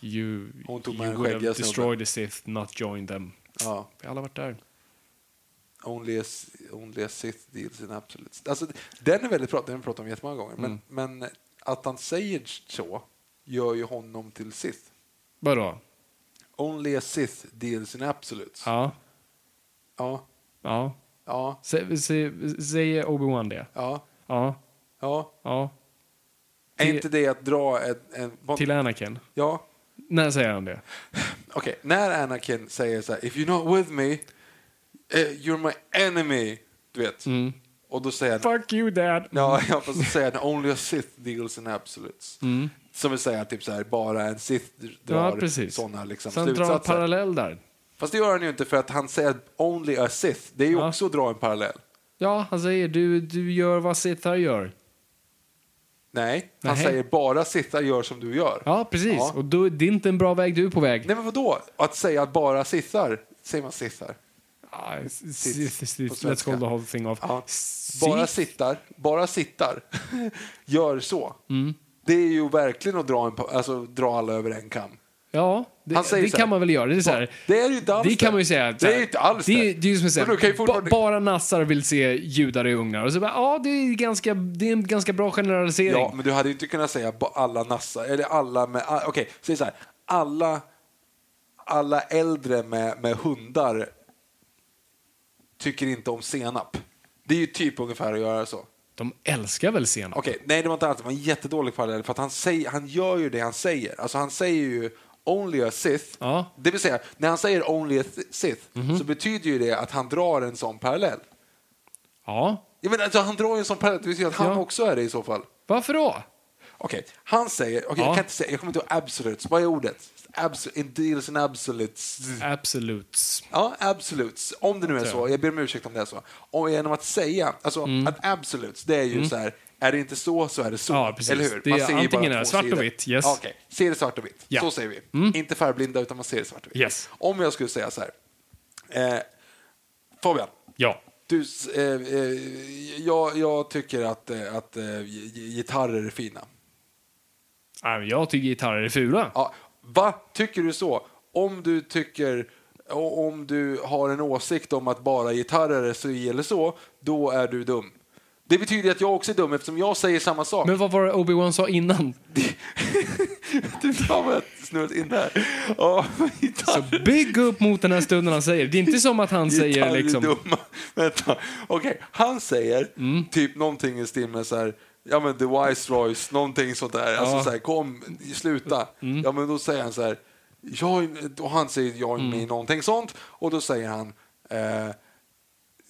Speaker 2: You,
Speaker 1: Mm. Hon tog med
Speaker 2: you
Speaker 1: en
Speaker 2: would
Speaker 1: skäggiga
Speaker 2: have
Speaker 1: snubbe.
Speaker 2: destroyed the Sith, not joined them.
Speaker 1: Ja.
Speaker 2: Vi har alla varit där.
Speaker 1: Only a, only a Sith deals in absolute... Alltså, den är väldigt bra, den har vi pratat om jättemånga gånger. Men,
Speaker 2: Mm.
Speaker 1: men att han säger så gör ju honom till Sith.
Speaker 2: Vadå?
Speaker 1: Only a Sith deals in absolutes.
Speaker 2: Ja.
Speaker 1: Ja,
Speaker 2: Ja.
Speaker 1: ja,
Speaker 2: Sä- sä- Säger Obi-Wan det?
Speaker 1: ja.
Speaker 2: Ja.
Speaker 1: ja.
Speaker 2: Ja.
Speaker 1: Är
Speaker 2: Till-
Speaker 1: inte det att dra en... en
Speaker 2: Till Anakin?
Speaker 1: ja,
Speaker 2: När säger han det?
Speaker 1: Okej, när Anakin säger så här, if you're not with me, eh, you're my enemy, du vet.
Speaker 2: Mm.
Speaker 1: Och då säger han,
Speaker 2: Fuck you dad! Mm.
Speaker 1: ja, ja, fast då säger han, only a Sith deals in absolutes. Som vill säga typ så här, bara en Sith
Speaker 2: Ja,
Speaker 1: drar
Speaker 2: precis.
Speaker 1: sådana liksom,
Speaker 2: Så han drar en
Speaker 1: slutsatser.
Speaker 2: parallell där.
Speaker 1: fast det gör han ju inte för att han säger only a Sith, det är ju
Speaker 2: Ja.
Speaker 1: också att dra en parallell.
Speaker 2: Ja, han säger du, du gör vad sittar gör.
Speaker 1: Nej, han
Speaker 2: Nej.
Speaker 1: säger bara Sithar gör som du gör.
Speaker 2: Ja, precis.
Speaker 1: Ja.
Speaker 2: Och då, det är inte en bra väg du är på väg.
Speaker 1: Nej men vadå, att säga att bara Sithar, säger man Sithar?
Speaker 2: Ah, s-
Speaker 1: Sits
Speaker 2: s- s-
Speaker 1: på
Speaker 2: Let's
Speaker 1: svenska.
Speaker 2: call the whole thing off.
Speaker 1: Ja.
Speaker 2: Sits?
Speaker 1: Bara sittar, bara sittar, gör så.
Speaker 2: Mm.
Speaker 1: Det är ju verkligen att dra, en, pa- alltså, dra alla över en kam.
Speaker 2: Ja,
Speaker 1: Han
Speaker 2: det,
Speaker 1: säger
Speaker 2: det
Speaker 1: så
Speaker 2: kan
Speaker 1: här.
Speaker 2: man väl göra. Det är så här.
Speaker 1: Ba- det är ju inte alls
Speaker 2: det kan
Speaker 1: det.
Speaker 2: man ju säga.
Speaker 1: Det är ju inte alls
Speaker 2: det. är-
Speaker 1: det.
Speaker 2: Det är ju som att
Speaker 1: Men du kan
Speaker 2: säga,
Speaker 1: ju fortfarande-
Speaker 2: ba, bara nassar vill se judar i ugnar. Och så bara, ja, det är, ganska, det är en ganska bra generalisering.
Speaker 1: Ja, men du hade ju inte kunnat säga ba- alla nassar, eller alla med, ah, okej, säg så här, alla, alla äldre med, med hundar tycker inte om senap. Det är ju typ ungefär att göra så.
Speaker 2: De älskar väl senap?
Speaker 1: Okej, nej det var inte alls, det var en jättedålig parallell för att han, säger, han gör ju det han säger. Alltså han säger ju Only a Sith.
Speaker 2: Ja. Mhm.
Speaker 1: Det vill säga, när han säger Only a Th- Sith så betyder ju det att han drar en sån parallell.
Speaker 2: Ja.
Speaker 1: Jag menar, alltså, han drar ju en sån parallell, det betyder att han
Speaker 2: Ja.
Speaker 1: också är det i så fall.
Speaker 2: Varför då?
Speaker 1: Okej, han säger, okej,
Speaker 2: Ja.
Speaker 1: jag kan inte säga, jag kommer inte ihåg absolutes, vad är ordet? Abs- in deals in absolutes.
Speaker 2: Absolutes.
Speaker 1: Ja, absolutes. Om det nu är så. Jag ber om ursäkt om det är så. Och genom att säga, alltså
Speaker 2: Mm.
Speaker 1: att absolutes, det är ju så här, är det inte så så är det så.
Speaker 2: Ja, precis.
Speaker 1: Eller hur?
Speaker 2: Det är
Speaker 1: ser ju
Speaker 2: antingen
Speaker 1: bara
Speaker 2: är det
Speaker 1: två
Speaker 2: svart och
Speaker 1: sidor.
Speaker 2: vitt, yes.
Speaker 1: Ja, Okej, ser det svart och vitt.
Speaker 2: Ja. Mm.
Speaker 1: Så säger vi. Inte färgblinda utan man ser det svart och vitt.
Speaker 2: Yes.
Speaker 1: Om jag skulle säga så här. Eh, Fabian,
Speaker 2: Ja.
Speaker 1: du, s- eh, eh, jag, jag tycker att, eh, att eh, gi- gi- gitarrer är fina.
Speaker 2: Nej, men Äh, Jag tycker gitarrer är fula.
Speaker 1: Ja, va? Tycker du så? Om du tycker och om du har en åsikt om att bara gitarrer är så eller så, då är du dum. Det betyder att jag också är dum eftersom jag säger samma sak.
Speaker 2: Men vad var det Obi-Wan sa innan?
Speaker 1: du fan vad jag snurrat in där. Ja,
Speaker 2: Så
Speaker 1: gitarrer.
Speaker 2: bygg upp mot den här stunden han säger. Det är inte som att han säger
Speaker 1: gitarrer är
Speaker 2: liksom... Mm.
Speaker 1: dumma. Vänta. Okej, han säger typ någonting i stil med så här Ja men the wise Royce, någonting sånt där. Alltså
Speaker 2: Ja. Mm.
Speaker 1: så här, kom, sluta. Ja men då säger han så här, jag, och han säger jag är med i
Speaker 2: Mm.
Speaker 1: någonting sånt och då säger han eh,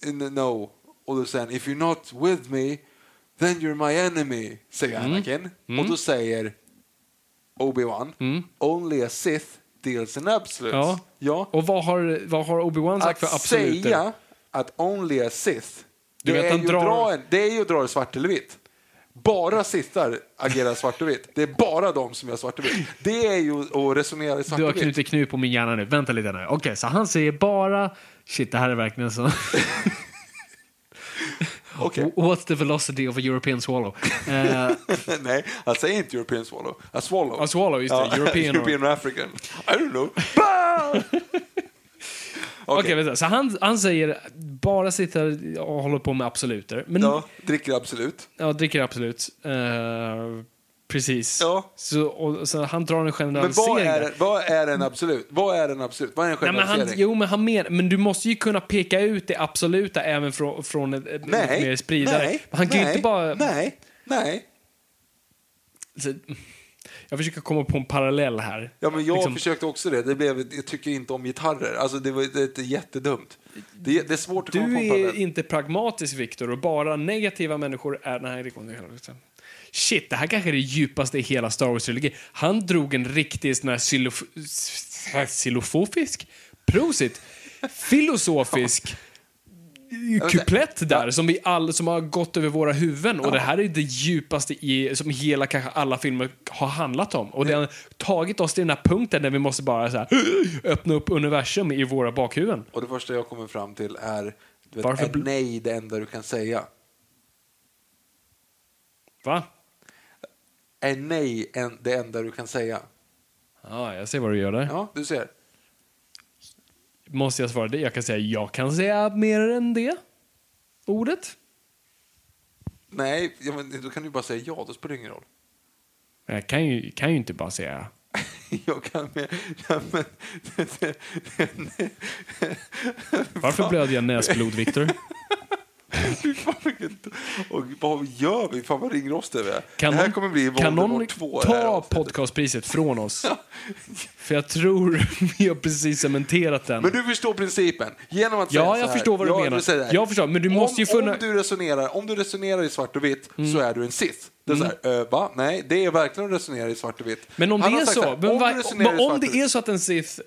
Speaker 1: n- no. Och då säger han if you're not with me then you're my enemy, säger
Speaker 2: Mm.
Speaker 1: Anakin. Och då säger Obi-Wan, only a Sith deals in absolutes.
Speaker 2: Mm. Ja.
Speaker 1: ja
Speaker 2: Och vad har, vad har Obi-Wan sagt för
Speaker 1: att
Speaker 2: absoluter?
Speaker 1: säga att only a Sith,
Speaker 2: Du
Speaker 1: det,
Speaker 2: vet,
Speaker 1: är
Speaker 2: han
Speaker 1: ju
Speaker 2: drar-
Speaker 1: dra en, det är ju att dra det svart eller vitt. Bara sittar agerar svart och vitt. Det är bara de som gör svart och vitt. Det är ju att resonera i svart
Speaker 2: Du har
Speaker 1: och vitt.
Speaker 2: knutit knut på min hjärna nu. Vänta lite nu. Okej, så han säger bara... Shit, det här är verkligen så...
Speaker 1: Okej.
Speaker 2: What's the velocity of a European swallow? Eh,
Speaker 1: Nej, han säger inte European Swallow. A swallow.
Speaker 2: A swallow, just det. European or-
Speaker 1: European or African. I don't know. Bah!
Speaker 2: Okej,
Speaker 1: Okej.
Speaker 2: vänta. Så han, han säger bara sitter och håller på med absoluter. Men, ja.
Speaker 1: ja, dricker absolut.
Speaker 2: dricker absolut. Eh, precis.
Speaker 1: Ja.
Speaker 2: Så, och, så han drar en
Speaker 1: Men
Speaker 2: generalisering.
Speaker 1: vad är,
Speaker 2: där.
Speaker 1: vad är en absolut? Vad är en absolut? Vad är en
Speaker 2: Nej, men,
Speaker 1: generalisering?
Speaker 2: han, jo, men, han men, men du måste ju kunna peka ut det absoluta även från, från ett, ett lite mer spridare.
Speaker 1: nej,
Speaker 2: han kan
Speaker 1: nej,
Speaker 2: ju inte bara...
Speaker 1: Nej, nej.
Speaker 2: Så- Jag försöker komma på en parallell här.
Speaker 1: Ja, men jag
Speaker 2: Liksom-
Speaker 1: försökte också det. det blev, jag tycker inte om gitarrer. Alltså, det var det är jättedumt. Det, det är svårt att komma på
Speaker 2: Du
Speaker 1: en
Speaker 2: är
Speaker 1: parallell.
Speaker 2: inte pragmatisk, Viktor, och bara negativa människor är... Nej, det går inte heller. Shit, det här kanske är det djupaste i hela Star Wars-trilogin. Han drog en riktig sån här silof... silofofisk? Prosit! Filosofisk kuplett där som, vi all, som har gått över våra huvuden och det här är det djupaste i, som hela, kanske alla filmer har handlat om. Och det har tagit oss till den här punkten där vi måste bara så här, öppna upp universum i våra bakhuvuden.
Speaker 1: Och det första jag kommer fram till är, du vet,
Speaker 2: Varför
Speaker 1: är
Speaker 2: bl-
Speaker 1: nej det enda du kan säga?
Speaker 2: Va?
Speaker 1: Är nej en, det enda du kan säga?
Speaker 2: Ja, jag ser vad du gör där.
Speaker 1: Ja, du ser.
Speaker 2: Måste jag svara det? Jag kan säga jag kan säga mer än det ordet.
Speaker 1: Nej, ja, men då kan du bara säga ja, då spelar det ingen roll.
Speaker 2: Men Jag kan ju, kan ju inte bara säga...
Speaker 1: Jag kan med, ja, men,
Speaker 2: Varför blöder jag näsblod, Viktor?
Speaker 1: Fy fan, vilket- och vad gör vi? Fan vad ringrostig vi är.
Speaker 2: Kan
Speaker 1: det här
Speaker 2: någon-
Speaker 1: kommer bli
Speaker 2: Kan någon
Speaker 1: Voldemort 2. det här
Speaker 2: ta
Speaker 1: avsnittet.
Speaker 2: podcastpriset från oss? För jag tror vi har precis cementerat den.
Speaker 1: Men du förstår principen? Genom att
Speaker 2: Ja,
Speaker 1: säga så
Speaker 2: jag
Speaker 1: här,
Speaker 2: förstår vad du
Speaker 1: ja,
Speaker 2: menar.
Speaker 1: säger det här.
Speaker 2: Jag förstår, men du måste ju
Speaker 1: om,
Speaker 2: Mm. kunna-
Speaker 1: om, du resonerar, om du resonerar i svart och vitt så är du en cis. Det är så här, eh, va? Nej, det är verkligen att resonera i svart och vitt.
Speaker 2: Mm. Men om
Speaker 1: Han
Speaker 2: det
Speaker 1: har
Speaker 2: är
Speaker 1: sagt
Speaker 2: så,
Speaker 1: här,
Speaker 2: men
Speaker 1: om,
Speaker 2: va,
Speaker 1: du resonerar
Speaker 2: men
Speaker 1: i
Speaker 2: om
Speaker 1: svart
Speaker 2: det
Speaker 1: och vitt-
Speaker 2: är så att en Sith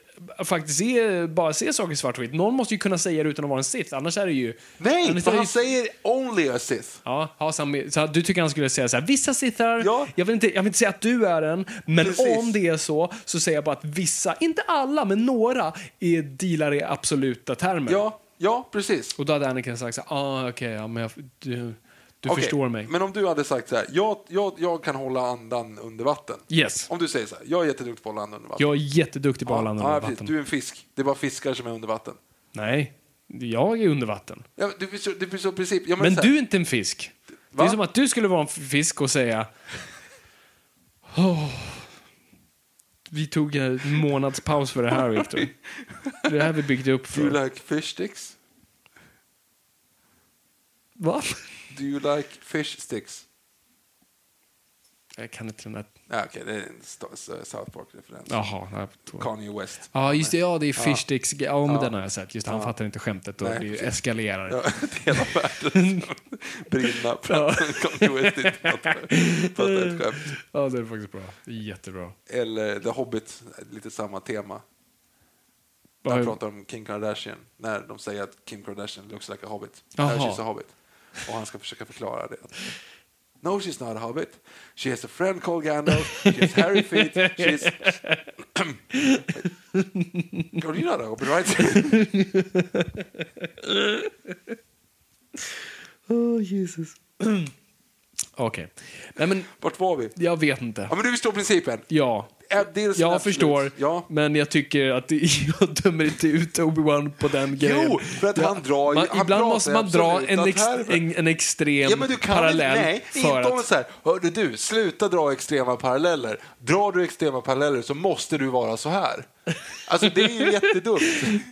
Speaker 2: faktiskt är, bara ser saker i svartvitt, någon måste ju kunna säga det utan att vara en Sith, annars är det ju...
Speaker 1: Nej,
Speaker 2: annars
Speaker 1: för
Speaker 2: är det
Speaker 1: han
Speaker 2: ju
Speaker 1: säger only a cis.
Speaker 2: Ja, ha samma, så du tycker han skulle säga så här, vissa sitter,
Speaker 1: Ja.
Speaker 2: jag, vill inte, jag vill inte säga att du är en, men
Speaker 1: Precis.
Speaker 2: om det är så, så säger jag bara att vissa, inte alla, men några, är dealar i absoluta termer.
Speaker 1: Ja, ja, precis.
Speaker 2: Och då hade Anakin sagt så här, ah, okej, ja, men jag, du, du
Speaker 1: Okej,
Speaker 2: förstår mig.
Speaker 1: Men om du hade sagt så här, jag, jag, jag kan hålla andan under vatten.
Speaker 2: Yes.
Speaker 1: Om du säger så här, jag är jätteduktig på att hålla andan under vatten.
Speaker 2: Jag är jätteduktig på att hålla andan
Speaker 1: ja,
Speaker 2: under
Speaker 1: precis.
Speaker 2: vatten.
Speaker 1: Du är en fisk. Det är bara fiskar som är under vatten.
Speaker 2: Nej, jag är under vatten.
Speaker 1: Ja, men du förstår, du förstår princip. Ja, men
Speaker 2: Men
Speaker 1: så här-
Speaker 2: du är inte en fisk. Det är
Speaker 1: Va?
Speaker 2: som att du skulle vara en f- fisk och säga... "Åh, vi tog en månadspaus för det här, Viktor. Det här vi byggde upp
Speaker 1: Do you
Speaker 2: för.
Speaker 1: like fish sticks?
Speaker 2: Va?
Speaker 1: Do you like fish sticks?
Speaker 2: Jag kan inte den där...
Speaker 1: Ja, Okej, det är en st- s- South Park-referens.
Speaker 2: Jaha. jag tror-
Speaker 1: Kanye West.
Speaker 2: Ja, just det. Ja, det är fish sticks. Ja, men den har jag sett. Just det, han
Speaker 1: Ja.
Speaker 2: fattar inte skämtet och
Speaker 1: Nej,
Speaker 2: det
Speaker 1: precis.
Speaker 2: eskalerar.
Speaker 1: Ja, hela världen som brinna för att Kanye West inte fattar fattar ett skämt.
Speaker 2: Ja, det är faktiskt bra. Det är jättebra.
Speaker 1: Eller The Hobbit, lite samma tema.
Speaker 2: Vad-
Speaker 1: Jag pratar om Kim Kardashian, när de säger att Kim Kardashian looks like a hobbit.
Speaker 2: Jaha.
Speaker 1: Där she's a hobbit. Och han ska försöka förklara det. No, she's not a hobbit. She has a friend called Gandalf. She has hairy feet. She's... God, you're not a hobbit, right?
Speaker 2: Åh, Jesus. Okej. Nej, men
Speaker 1: Vart var vi?
Speaker 2: jag vet inte.
Speaker 1: Ja, men du förstår principen.
Speaker 2: Ja.
Speaker 1: Ja, dels en
Speaker 2: Jag
Speaker 1: absolut.
Speaker 2: förstår,
Speaker 1: Ja.
Speaker 2: men jag tycker att det, jag dömer inte ut Obi-Wan på den grejen.
Speaker 1: för att
Speaker 2: Ja,
Speaker 1: han drar ju-
Speaker 2: man,
Speaker 1: han
Speaker 2: Ibland
Speaker 1: pratar
Speaker 2: måste man dra
Speaker 1: absolut
Speaker 2: en,
Speaker 1: att
Speaker 2: ex,
Speaker 1: här-
Speaker 2: en, en extrem
Speaker 1: Ja, men du kan
Speaker 2: parallell.
Speaker 1: inte, nej,
Speaker 2: för
Speaker 1: inte om
Speaker 2: att,
Speaker 1: så här, hörde du, sluta dra extrema paralleller. Drar du extrema paralleller så måste du vara så här. Alltså det är ju jättedumt.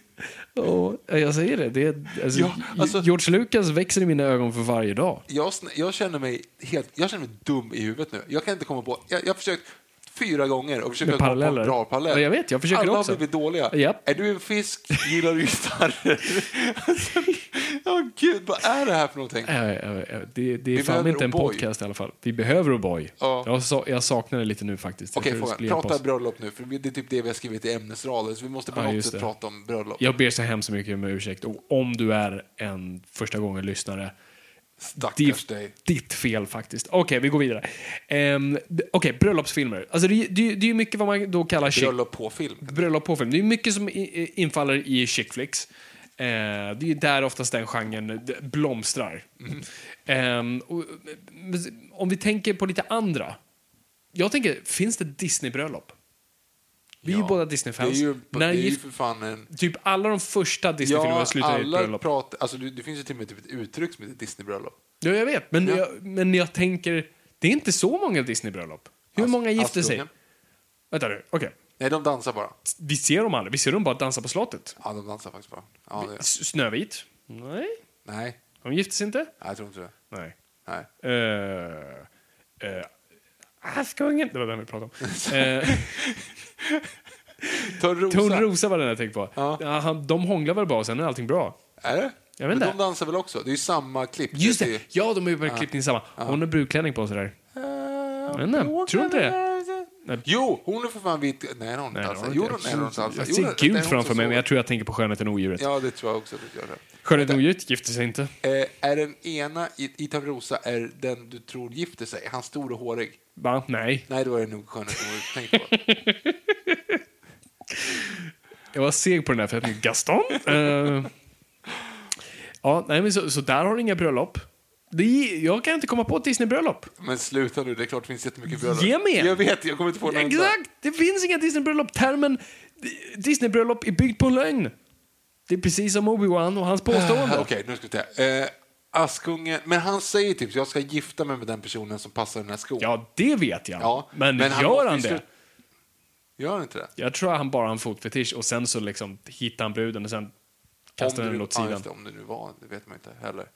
Speaker 2: Åh, jag säger det, det är, alltså,
Speaker 1: Ja, alltså-
Speaker 2: George Lucas växer i mina ögon för varje dag.
Speaker 1: Jag, sn- jag, känner mig helt, jag känner mig dum i huvudet nu. Jag kan inte komma på, jag jag har försökt fyra gånger och försökt
Speaker 2: Med
Speaker 1: komma på en
Speaker 2: paralleller.
Speaker 1: bra parallell.
Speaker 2: Ja, jag vet, jag försöker
Speaker 1: Alla
Speaker 2: också.
Speaker 1: har blivit dåliga.
Speaker 2: Japp.
Speaker 1: Är du en fisk, gillar du gitarrer. Alltså, Ja, gud, vad är det här för någonting?
Speaker 2: Äh, äh, äh, Det, det är
Speaker 1: Vi
Speaker 2: fan
Speaker 1: behöver
Speaker 2: inte en
Speaker 1: O'boy.
Speaker 2: podcast i alla fall. Vi behöver O'boy.
Speaker 1: Ja.
Speaker 2: Jag, sa, jag saknar det lite nu faktiskt. Jag
Speaker 1: Okej,
Speaker 2: tror det
Speaker 1: frågan.
Speaker 2: skulle hjälpa
Speaker 1: Prata
Speaker 2: oss.
Speaker 1: bröllop nu, för det är typ det vi har skrivit i ämnesraden, så vi måste på
Speaker 2: Ja,
Speaker 1: något
Speaker 2: just
Speaker 1: sätt
Speaker 2: det.
Speaker 1: prata om bröllop.
Speaker 2: Jag ber så hemskt mycket om ursäkt. Och om du är en första gången lyssnare
Speaker 1: Stackars
Speaker 2: det
Speaker 1: dig.
Speaker 2: är ditt fel faktiskt. Okej, vi går vidare. Um, Okej, bröllopsfilmer. Alltså det, är ju- det, är ju- det är ju mycket vad man då kallar chick,
Speaker 1: Bröllop på film.
Speaker 2: bröllop på film. Det är mycket som i- i- infaller i chick flicks. Eh, det är ju där oftast den genren d- blomstrar.
Speaker 1: Mm.
Speaker 2: Ehm, och, men om vi tänker på lite andra. Jag tänker, finns det Disney-bröllop? Vi är ju
Speaker 1: Ja.
Speaker 2: båda
Speaker 1: Det är
Speaker 2: Disney-fans.
Speaker 1: ju, det
Speaker 2: När
Speaker 1: är ju
Speaker 2: gift,
Speaker 1: för fan en...
Speaker 2: typ alla de första Disney-filmerna slutar i ett
Speaker 1: alla
Speaker 2: bröllop.
Speaker 1: pratar... Alltså, det, det finns ju till och med typ ett uttryck som heter Disney-bröllop.
Speaker 2: Ja, jag vet. Men,
Speaker 1: Ja.
Speaker 2: jag, men jag tänker, det är inte så många Disney-bröllop. Hur
Speaker 1: Ast-
Speaker 2: många gifter sig?
Speaker 1: Askungen.
Speaker 2: Vänta nu, okej.
Speaker 1: Nej, de dansar bara.
Speaker 2: Vi ser dem aldrig. Vi ser dem bara dansa på slottet.
Speaker 1: Ja, de dansar faktiskt bara. Ja, det,
Speaker 2: S- Snövit? Nej.
Speaker 1: nej,
Speaker 2: De gifte sig inte?
Speaker 1: nej, jag tror inte det.
Speaker 2: Nej.
Speaker 1: Nej.
Speaker 2: Uh, uh, Askungen! Det var den vi pratade om. Eh,
Speaker 1: Törnrosa.
Speaker 2: Törnrosa var den jag tänkte på.
Speaker 1: Ja.
Speaker 2: Ja, han, de hånglar väl bara och sen är allting bra.
Speaker 1: Är det?
Speaker 2: Jag vet
Speaker 1: Men
Speaker 2: inte.
Speaker 1: de dansar väl också? Det är ju samma klipp.
Speaker 2: Just
Speaker 1: är ju-
Speaker 2: det! Ja, de har ju börjat klippa in samma. Hon har brudklänning på sig där.
Speaker 1: Eh,
Speaker 2: vet inte,
Speaker 1: bråkar
Speaker 2: tror inte det.
Speaker 1: där.
Speaker 2: Nej.
Speaker 1: Jo, hon är för fan vit. Nej, hon
Speaker 2: Nej,
Speaker 1: har
Speaker 2: det
Speaker 1: inte alls.
Speaker 2: har de
Speaker 1: Jo,
Speaker 2: inte.
Speaker 1: Alltså, hon- nej, hon har inte alls.
Speaker 2: Jag
Speaker 1: Jo, det-
Speaker 2: ser
Speaker 1: det är
Speaker 2: gult
Speaker 1: hon
Speaker 2: framför
Speaker 1: som
Speaker 2: mig, men
Speaker 1: sover.
Speaker 2: jag tror jag tänker på Skönheten och odjuret.
Speaker 1: Ja, det tror jag också att du gör. Det.
Speaker 2: Skönheten och odjuret gifte sig inte.
Speaker 1: Eh, är den ena i, i Törnrosa är den du tror gifter sig? Han stor och hårig?
Speaker 2: Va? Nej.
Speaker 1: Nej, det var det nog skönheten du tänkte på.
Speaker 2: Jag var seg på den där för jag tänkte Gaston. Eh, ja, nej, men så, så där har du inga bröllop. Det, är- jag kan inte komma på ett Disney-bröllop.
Speaker 1: Men sluta nu, det är klart det finns jättemycket bröllop.
Speaker 2: Ge mig en.
Speaker 1: Jag vet, jag kommer inte på någon enda.
Speaker 2: Exakt! Det finns inga Disney-bröllop. Termen di- Disney-bröllop är byggd på en lögn. Det är precis som Obi-Wan och hans påstående.
Speaker 1: Ah, Okej, nu ska vi se. Eh, Askungen, men han säger typ jag ska gifta mig med den personen som passar den här skon.
Speaker 2: Ja, det vet jag.
Speaker 1: Ja,
Speaker 2: men,
Speaker 1: men han
Speaker 2: gör
Speaker 1: måste
Speaker 2: han
Speaker 1: ju
Speaker 2: det?
Speaker 1: slut- Gör han inte det?
Speaker 2: Jag tror han bara har en fotfetisch och sen så liksom hittar han bruden och sen kastar
Speaker 1: Om
Speaker 2: han
Speaker 1: det
Speaker 2: den
Speaker 1: nu-
Speaker 2: åt
Speaker 1: ja,
Speaker 2: sidan.
Speaker 1: just det, om det nu var, det vet man inte heller.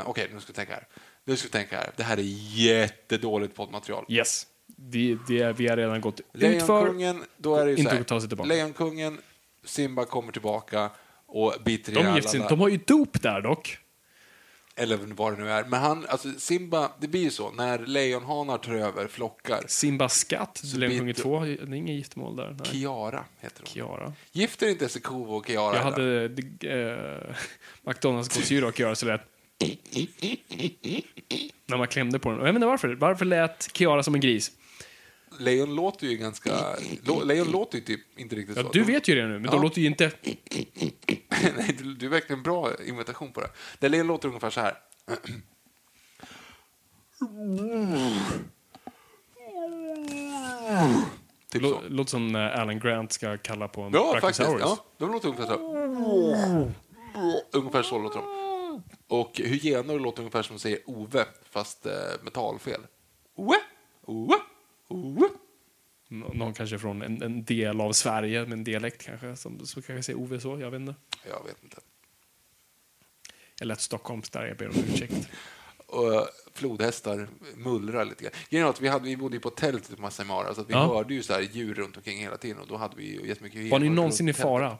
Speaker 1: Eh, Okej, nu ska vi tänka här. Nu ska vi tänka här. Det här är jättedåligt poddmaterial.
Speaker 2: Yes. Det, det vi har redan gått ut för.
Speaker 1: Lejonkungen, då är det ju
Speaker 2: Inte
Speaker 1: så här.
Speaker 2: att ta sig tillbaka.
Speaker 1: Lejonkungen, Simba kommer tillbaka och biter i
Speaker 2: De gifts
Speaker 1: hälarna.
Speaker 2: inte. De har ju dop där dock.
Speaker 1: Eller vad det nu är. Men han, alltså Simba, det blir ju så. När lejonhanar tar över flockar.
Speaker 2: Simba skatt, Lejonkungen
Speaker 1: bit-
Speaker 2: 2, det är inget giftermål där. Nej.
Speaker 1: Kiara heter hon.
Speaker 2: Kiara.
Speaker 1: Gifter inte sig Kovo och Kiara?
Speaker 2: Jag
Speaker 1: eller?
Speaker 2: hade äh, McDonalds gåshyra och Kiara så lät... När man klämde på den. Och Jag vet inte varför. Varför lät Kiara som en gris?
Speaker 1: Lejon låter ju ganska... Lo, lejon låter ju typ inte riktigt
Speaker 2: Ja,
Speaker 1: så.
Speaker 2: du
Speaker 1: De-
Speaker 2: vet ju det nu, men
Speaker 1: Ja.
Speaker 2: de låter ju inte...
Speaker 1: Nej, du, du är verkligen bra imitation på det. Det lejon låter ungefär så här. typ så.
Speaker 2: Lå, låter som när Alan Grant ska kalla på en
Speaker 1: Ja, faktiskt.
Speaker 2: brachiosaurus.
Speaker 1: Ja, de låter ungefär så. här. Ungefär så låter de. Och hyenor låter ungefär som de säger Ove, fast eh, med talfel. Ove, Ove, Ove.
Speaker 2: Nå- Någon kanske från en, en del av Sverige med en dialekt kanske, som så kanske säger Ove så, jag vet inte.
Speaker 1: Jag vet inte.
Speaker 2: Jag lät Stockholms där, jag ber om ursäkt.
Speaker 1: Och eh, flodhästar mullrar lite grann. Grejen var att vi, hade, vi bodde ju på tält ute på Masai Mara, så att vi
Speaker 2: Ja.
Speaker 1: hörde ju så här djur runt omkring hela tiden och då hade vi ju jättemycket hyenor.
Speaker 2: Var ni någonsin i
Speaker 1: runt tältet.
Speaker 2: fara?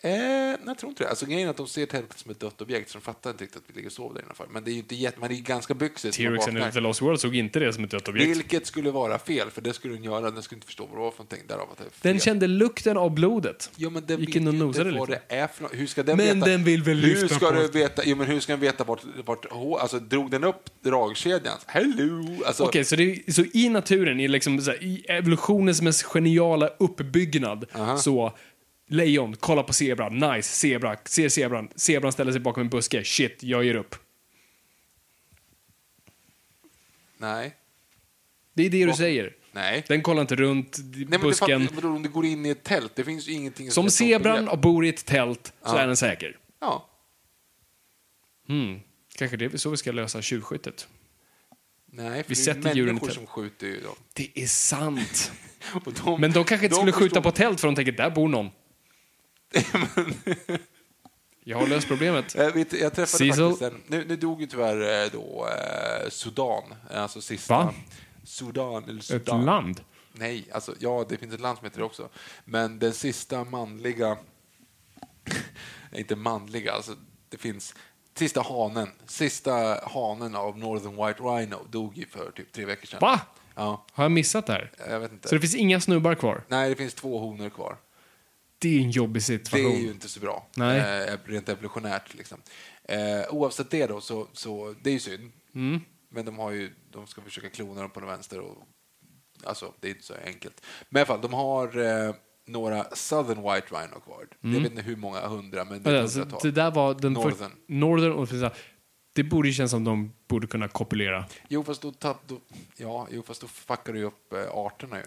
Speaker 1: Eh, nej, jag tror inte det. Alltså, grejen är att de ser tältet som ett dött objekt, så de fattar inte riktigt att vi ligger och sover där innanför. Men det är ju inte jätte... Man är ju ganska byxig. så man
Speaker 2: T-Rexen
Speaker 1: vaknar.
Speaker 2: i The Lost World såg inte det som ett dött objekt.
Speaker 1: Vilket skulle vara fel, för det skulle den göra. Den skulle inte förstå vad det var för någonting. Därav att det är fel.
Speaker 2: Den kände lukten av blodet.
Speaker 1: Jo, men den
Speaker 2: Gick
Speaker 1: vet
Speaker 2: in och
Speaker 1: ju
Speaker 2: nosade
Speaker 1: inte vad
Speaker 2: lite.
Speaker 1: det är för något. Hur ska den
Speaker 2: Men
Speaker 1: veta?
Speaker 2: den vill väl
Speaker 1: hur
Speaker 2: lyfta
Speaker 1: ska
Speaker 2: på-
Speaker 1: du veta? Jo, men hur ska den veta vart... vart hå- alltså, drog den upp dragkedjan? Hello! Alltså,
Speaker 2: Okej, så, det, så i naturen, i, liksom, så här, i evolutionens mest geniala uppbyggnad, så lejon, kolla på zebran, nice, zebra, ser zebran, zebran ställer sig bakom en buske, shit, jag ger upp.
Speaker 1: Nej.
Speaker 2: Det är det du
Speaker 1: Bakom-
Speaker 2: säger.
Speaker 1: Nej.
Speaker 2: Den kollar inte runt
Speaker 1: Nej, men det
Speaker 2: busken.
Speaker 1: fattar- vadå, om du går in i ett tält, det finns ju ingenting...
Speaker 2: Som
Speaker 1: är ett sånt
Speaker 2: zebran
Speaker 1: begrepp.
Speaker 2: och bor i ett tält så
Speaker 1: Ja.
Speaker 2: är den säker.
Speaker 1: Ja.
Speaker 2: Mm. Kanske det är så vi ska lösa tjuvskyttet.
Speaker 1: Nej, för
Speaker 2: Vi
Speaker 1: det är
Speaker 2: sätter
Speaker 1: människor
Speaker 2: djuren i tält.
Speaker 1: som skjuter ju dem.
Speaker 2: Det är sant.
Speaker 1: Och de-
Speaker 2: Men de kanske
Speaker 1: de
Speaker 2: inte skulle skjuta
Speaker 1: förstår-
Speaker 2: på tält för de tänker där bor någon. Jag har löst problemet.
Speaker 1: Jag, Eh, vet, jag träffade
Speaker 2: Cecil.
Speaker 1: faktiskt en, nu, nu dog ju tyvärr eh, då eh, Sudan, eh, alltså sista.
Speaker 2: Va?
Speaker 1: Sudan, eller
Speaker 2: Ett
Speaker 1: Sudan.
Speaker 2: land.
Speaker 1: Nej, alltså ja, det finns ett land som heter det också. Men den sista manliga, nej, inte manliga, alltså det finns Sista hanen, sista hanen av Northern White Rhino dog ju för typ tre veckor sedan.
Speaker 2: Va?
Speaker 1: Ja,
Speaker 2: Har jag missat det här?
Speaker 1: jag vet inte.
Speaker 2: Så det finns inga snubbar kvar?
Speaker 1: Nej, det finns två honor kvar.
Speaker 2: Det är en jobbig
Speaker 1: Det
Speaker 2: situation.
Speaker 1: är ju inte så bra,
Speaker 2: Nej.
Speaker 1: Eh, rent evolutionärt. Liksom. Eh, oavsett det då, så, så det är ju synd.
Speaker 2: Mm.
Speaker 1: Men de, har ju, de ska försöka klona dem på den vänster. Och, alltså, det är inte så enkelt. Men i alla fall, de har eh, några Southern White Rhino kvar. Jag vet inte hur många hundra, men det är
Speaker 2: Vänta,
Speaker 1: ett
Speaker 2: Mm. så
Speaker 1: hundratal.
Speaker 2: det där var den för-
Speaker 1: Northern.
Speaker 2: Northern och det finns där- det borde ju kännas som de borde kunna kopulera.
Speaker 1: Jo, fast då, tapp, då, ja, jo, fast då fuckar du ju upp eh, arterna ju.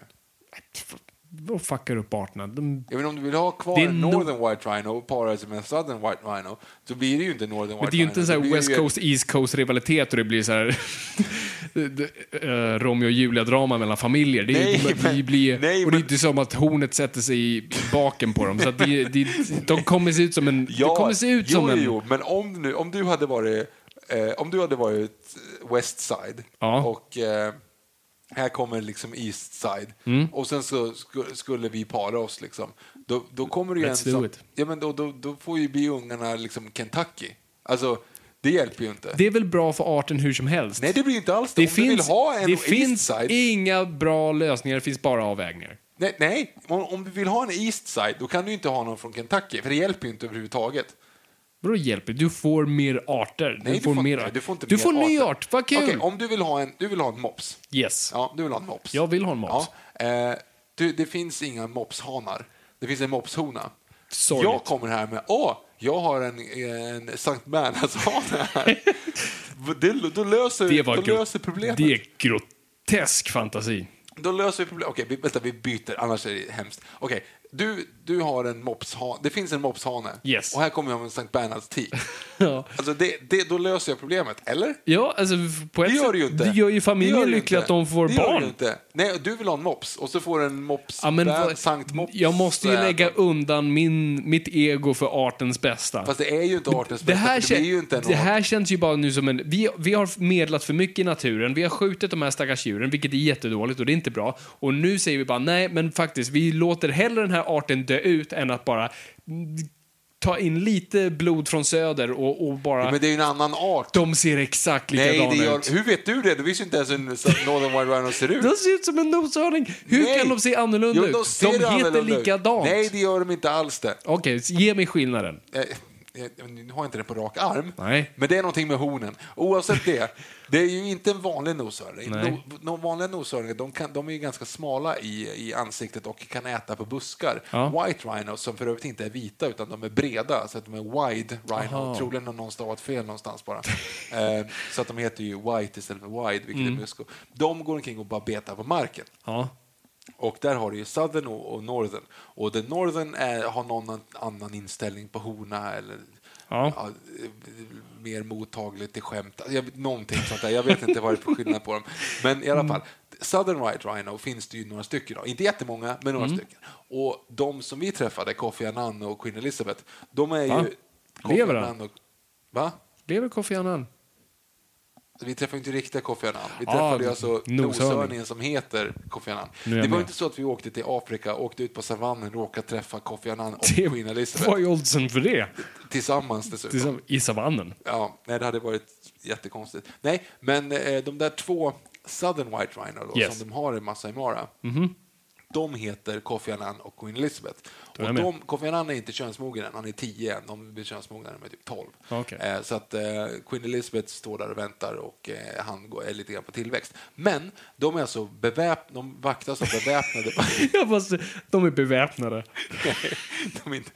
Speaker 2: De fuckar upp arterna. De,
Speaker 1: Jag menar, om du vill ha kvar
Speaker 2: Det är
Speaker 1: en
Speaker 2: no-
Speaker 1: Northern White Rhino och para sig med en Southern White Rhino, så blir det ju inte Northern White
Speaker 2: men det är ju
Speaker 1: Rhino.
Speaker 2: inte en sån
Speaker 1: då
Speaker 2: här
Speaker 1: blir
Speaker 2: West
Speaker 1: det ju ett-
Speaker 2: Coast East Coast rivalitet och det blir så här eh, Romeo och Julia drama mellan familjer. Det, är-
Speaker 1: Nej,
Speaker 2: det blir-
Speaker 1: men-
Speaker 2: blir,
Speaker 1: nej,
Speaker 2: och det är
Speaker 1: men-
Speaker 2: inte som att hornet sätter sig i i baken på dem. Så att det, det, de kommer se ut som en... de kommer se ut
Speaker 1: jo,
Speaker 2: som
Speaker 1: jo,
Speaker 2: en...
Speaker 1: jo, men om, nu, om du hade varit eh, om du hade varit West Side
Speaker 2: Ja.
Speaker 1: och eh, här kommer liksom East Side
Speaker 2: Mm.
Speaker 1: och sen så sku, skulle vi para oss liksom. Då, då kommer det ju
Speaker 2: Let's
Speaker 1: en
Speaker 2: do
Speaker 1: som-
Speaker 2: it.
Speaker 1: Ja, men då, då, då får ju biungarna liksom Kentucky. Alltså, det hjälper ju inte.
Speaker 2: Det är väl bra för arten hur som helst?
Speaker 1: Nej, det blir ju inte alls det.
Speaker 2: Det
Speaker 1: om du vill
Speaker 2: finns,
Speaker 1: ha en
Speaker 2: det
Speaker 1: East
Speaker 2: finns
Speaker 1: Side,
Speaker 2: inga bra lösningar, det finns bara avvägningar.
Speaker 1: Nej, nej. Om, om du vill ha en East Side, då kan du ju inte ha någon från Kentucky, för det hjälper ju inte överhuvudtaget.
Speaker 2: Vadå hjälper? Du får mer arter.
Speaker 1: Nej,
Speaker 2: du får, mer,
Speaker 1: inte- du får inte
Speaker 2: Du
Speaker 1: mer
Speaker 2: får ny
Speaker 1: arter.
Speaker 2: art, vad kul!
Speaker 1: Okej, om du vill ha en, du vill ha en mops.
Speaker 2: Yes.
Speaker 1: Ja, du vill ha en mops.
Speaker 2: Jag vill ha en mops.
Speaker 1: Ja, eh, du, det finns inga mopshanar. Det finns en mopshona.
Speaker 2: Sorgligt.
Speaker 1: Jag kommer här med, åh, jag har en, en Sankt Bernhardshane här. det, då löser,
Speaker 2: Det var
Speaker 1: då
Speaker 2: gro-
Speaker 1: löser problemet.
Speaker 2: Det är grotesk fantasi.
Speaker 1: Då löser vi problemet. Okej, vi- vänta, vi byter, annars är det hemskt. Okej, du, du har en mopshane. Det finns en mopshane.
Speaker 2: Yes.
Speaker 1: Och här kommer jag med en Sankt Bernhards tik.
Speaker 2: Ja.
Speaker 1: Alltså, det, det, då löser jag problemet, eller?
Speaker 2: Ja, alltså på ett
Speaker 1: Det gör
Speaker 2: sätt,
Speaker 1: du ju inte.
Speaker 2: det gör ju
Speaker 1: Det
Speaker 2: familjen
Speaker 1: gör du
Speaker 2: lycklig
Speaker 1: inte.
Speaker 2: att de får
Speaker 1: det gör
Speaker 2: barn.
Speaker 1: Du inte. Nej, du vill ha en mops och så får du en mops,
Speaker 2: Ja, men
Speaker 1: där,
Speaker 2: vad-
Speaker 1: Sankt Mops.
Speaker 2: jag måste ju
Speaker 1: där.
Speaker 2: lägga undan min, mitt ego för artens bästa.
Speaker 1: Fast det är ju inte artens
Speaker 2: Det
Speaker 1: bästa,
Speaker 2: här,
Speaker 1: för det
Speaker 2: kän-
Speaker 1: är ju inte en
Speaker 2: det
Speaker 1: art.
Speaker 2: här känns ju bara nu som en... Vi, vi har medlat för mycket i naturen, vi har skjutit de här stackars djuren, vilket är jättedåligt och det är inte bra. Och nu säger vi bara nej, men faktiskt, vi låter hellre den här arten dö ut än att bara mm, ta in lite blod från söder och, och bara...
Speaker 1: Ja, Men det är ju en annan art.
Speaker 2: De ser exakt likadana
Speaker 1: Nej, det gör...
Speaker 2: ut.
Speaker 1: Hur vet du det? Du visste ju inte ens hur en Sankt Northern White Rhino ser ut.
Speaker 2: De ser ut som en noshörning. Hur
Speaker 1: Nej.
Speaker 2: kan de se annorlunda
Speaker 1: Jo,
Speaker 2: ut?
Speaker 1: De, ser
Speaker 2: heter
Speaker 1: annorlunda ut.
Speaker 2: likadant.
Speaker 1: Nej, det gör de inte alls det.
Speaker 2: Okej, så ge mig skillnaden.
Speaker 1: Eh, eh, nu har jag inte det på rak arm,
Speaker 2: Nej.
Speaker 1: men det är någonting med hornen. Oavsett det, det är ju inte en vanlig noshörning.
Speaker 2: Nej.
Speaker 1: No, no, vanliga noshörningar de, kan, de är ju ganska smala i, i ansiktet och kan äta på buskar.
Speaker 2: Ja.
Speaker 1: White rhinos, som för övrigt inte är vita, utan de är breda, så att de är wide rhino. Troligen har någon stavat fel någonstans bara. eh, så att de heter ju white istället för wide, vilket
Speaker 2: Mm.
Speaker 1: är busko. De går omkring och bara betar på marken.
Speaker 2: Ja.
Speaker 1: Och där har du ju Southern och, och Northern. Och den Northern är, har någon an- annan inställning på horna eller
Speaker 2: Ja.
Speaker 1: eh, mer mottagligt till skämt. Alltså, Jag, vet- någonting sånt där. Jag vet inte vad det är för skillnad på dem. Men i
Speaker 2: Mm.
Speaker 1: alla fall, Southern White Rhino finns det ju några stycken av. Inte jättemånga, men några
Speaker 2: Mm.
Speaker 1: stycken. Och de som vi träffade, Kofi Annan och Queen Elizabeth, de är
Speaker 2: Va?
Speaker 1: ju... Kofi
Speaker 2: Lever han?
Speaker 1: Annan och- Va?
Speaker 2: Lever Kofi Annan?
Speaker 1: Vi träffade inte riktiga Kofi Annan. Vi
Speaker 2: Ah,
Speaker 1: träffade ju alltså
Speaker 2: noshörning.
Speaker 1: noshörningen som heter Kofi Annan.
Speaker 2: Nu är
Speaker 1: Det
Speaker 2: jag
Speaker 1: var
Speaker 2: med.
Speaker 1: inte så att vi åkte till Afrika, åkte ut på savannen, råkade träffa Kofi Annan och
Speaker 2: Det
Speaker 1: Queen Elizabeth
Speaker 2: Vad är oddsen för det?
Speaker 1: tillsammans dessutom.
Speaker 2: det är som I savannen.
Speaker 1: Ja, nej, det hade varit jättekonstigt. Nej, men eh, de där två Southern White Rhino då,
Speaker 2: Yes. Mhm.
Speaker 1: som de har i Masai Mara, de heter Kofi Annan och Queen Elizabeth.
Speaker 2: är jag
Speaker 1: Och
Speaker 2: med.
Speaker 1: de, Kofi Annan är inte könsmogen än, han är 10 än, de blir könsmogna när de är typ 12.
Speaker 2: Okej.
Speaker 1: Eh, så att eh, Queen Elizabeth står där och väntar och eh, han går, är lite grann på tillväxt. Men de är alltså beväpnade, de vaktas av beväpnade
Speaker 2: Jag måste, de är beväpnade.
Speaker 1: de är inte,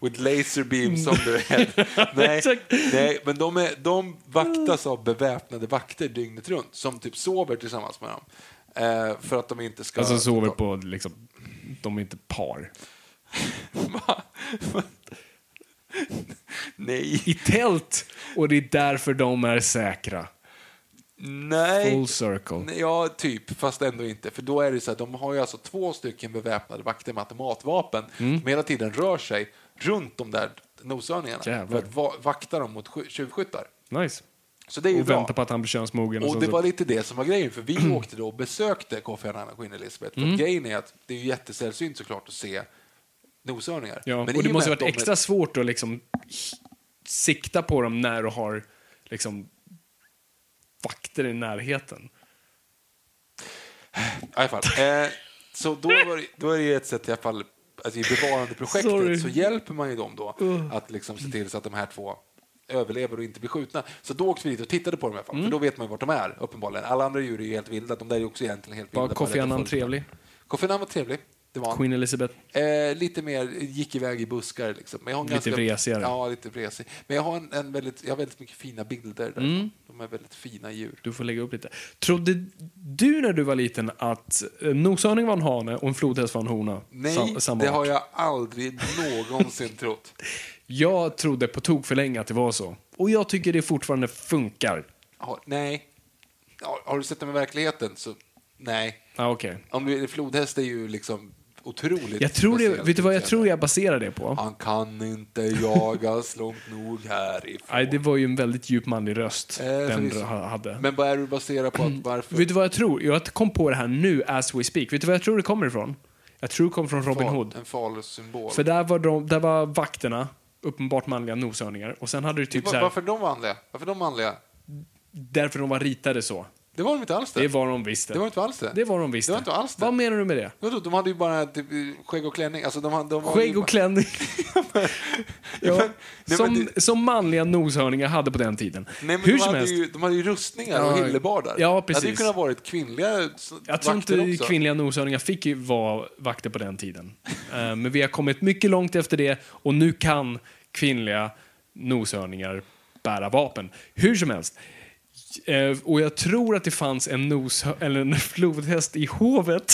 Speaker 1: with laser beams on their head. Nej,
Speaker 2: Exakt.
Speaker 1: nej men de, är, de vaktas av beväpnade vakter dygnet runt som typ sover tillsammans med dem. Eh, för att de inte ska...
Speaker 2: Alltså sover på liksom... De är inte par.
Speaker 1: Va? nej.
Speaker 2: I tält! Och det är därför de är säkra.
Speaker 1: nej.
Speaker 2: Full circle.
Speaker 1: Nej, Ja, typ, fast ändå inte. För då är det så här, de har ju alltså två stycken beväpnade vakter med automatvapen
Speaker 2: Mm.
Speaker 1: som hela tiden rör sig runt de där noshörningarna
Speaker 2: Jävlar.
Speaker 1: för att va- vakta dem mot sky- tjuvskyttar.
Speaker 2: Nice.
Speaker 1: Så det är ju
Speaker 2: Och
Speaker 1: bra.
Speaker 2: vänta på att han blir könsmogen.
Speaker 1: Och
Speaker 2: sen
Speaker 1: det
Speaker 2: så- Mm.
Speaker 1: var lite det som var grejen, för vi åkte då och besökte Kofi Annan och Queen Elizabeth. För att Grejen är att det är ju jättesällsynt såklart att se noshörningar.
Speaker 2: Ja,
Speaker 1: Men i
Speaker 2: och det
Speaker 1: med
Speaker 2: måste
Speaker 1: att
Speaker 2: varit
Speaker 1: de är-
Speaker 2: extra svårt att liksom sikta på dem när du har liksom vakter i närheten.
Speaker 1: I alla fall. Eh, så då, var, det- då är det ju ett sätt i alla fall, alltså i bevarandeprojektet
Speaker 2: Sorry.
Speaker 1: så hjälper man ju dem då att liksom se till så att de här två överlever och inte blir skjutna. Så då åkte vi dit och tittade på dem i alla fall,
Speaker 2: Mm.
Speaker 1: för då vet man ju vart de är uppenbarligen. Alla andra djur är ju helt vilda, de där är ju också egentligen helt
Speaker 2: Var
Speaker 1: vilda.
Speaker 2: Kofi Annan trevlig?
Speaker 1: Kofi Annan var trevlig. Det var han.
Speaker 2: Queen Elizabeth?
Speaker 1: Eh, lite mer gick iväg i buskar. Liksom. Men jag har en
Speaker 2: Lite
Speaker 1: ganska,
Speaker 2: vresigare.
Speaker 1: Ja, lite vresig. Men jag har, en, en väldigt, jag har väldigt mycket fina bilder. Där.
Speaker 2: Mm.
Speaker 1: De är väldigt fina djur.
Speaker 2: Du får lägga upp lite. Trodde du när du var liten att eh, noshörning var en hane och en flodhäst var en hona?
Speaker 1: Nej,
Speaker 2: Sam- samma
Speaker 1: det
Speaker 2: art.
Speaker 1: har jag aldrig någonsin trott.
Speaker 2: Jag trodde på tok för länge att det var så. Och jag tycker det fortfarande funkar.
Speaker 1: Ja, nej. Ja, har du sett dem i verkligheten så nej.
Speaker 2: Ah, okay.
Speaker 1: Om du, flodhäst är ju liksom otroligt
Speaker 2: Jag tror det,
Speaker 1: speciellt
Speaker 2: vet du vad jag
Speaker 1: utseende.
Speaker 2: tror jag baserar det på?
Speaker 1: Han kan inte jagas långt nog härifrån.
Speaker 2: Nej, det var ju en väldigt djup manlig röst
Speaker 1: Eh,
Speaker 2: den
Speaker 1: förvisso.
Speaker 2: ha- hade. Mm.
Speaker 1: Men vad är du baserat på att varför?
Speaker 2: Vet du vad jag tror? Jag kom på det här nu as we speak. Vet du vad jag tror det kommer ifrån? Jag tror det kommer från Robin Hood.
Speaker 1: En falusymbol.
Speaker 2: För där var, de, där var vakterna uppenbart manliga noshörningar. Och sen hade du typ
Speaker 1: Va-
Speaker 2: så här,
Speaker 1: Varför de manliga? Varför de manliga?
Speaker 2: därför de var ritade så.
Speaker 1: Det var de inte alls det.
Speaker 2: Det var de visst
Speaker 1: Det var inte alls det.
Speaker 2: Det var de visst
Speaker 1: Det var inte alls det.
Speaker 2: Vad menar du med det?
Speaker 1: Vadå, de hade ju bara typ, skägg och klänning. Alltså, de, hade- de var ju
Speaker 2: Skägg
Speaker 1: bara-
Speaker 2: och klänning. ja.
Speaker 1: men- nej,
Speaker 2: som,
Speaker 1: men det-
Speaker 2: som manliga noshörningar hade på den tiden.
Speaker 1: Nej, men
Speaker 2: Hur
Speaker 1: de,
Speaker 2: som
Speaker 1: hade
Speaker 2: helst.
Speaker 1: ju, de hade ju rustningar
Speaker 2: Ja.
Speaker 1: och hillebardar.
Speaker 2: Ja,
Speaker 1: Det hade ju
Speaker 2: precis.
Speaker 1: kunnat varit kvinnliga s-
Speaker 2: Jag tror
Speaker 1: vakter
Speaker 2: inte
Speaker 1: också.
Speaker 2: kvinnliga noshörningar fick ju vara vakter på den tiden. Eh, Men vi har kommit mycket långt efter det och nu kan kvinnliga noshörningar bära vapen. Hur som helst. Eh, Och jag tror att det fanns en, nos, eller en flodhäst i hovet.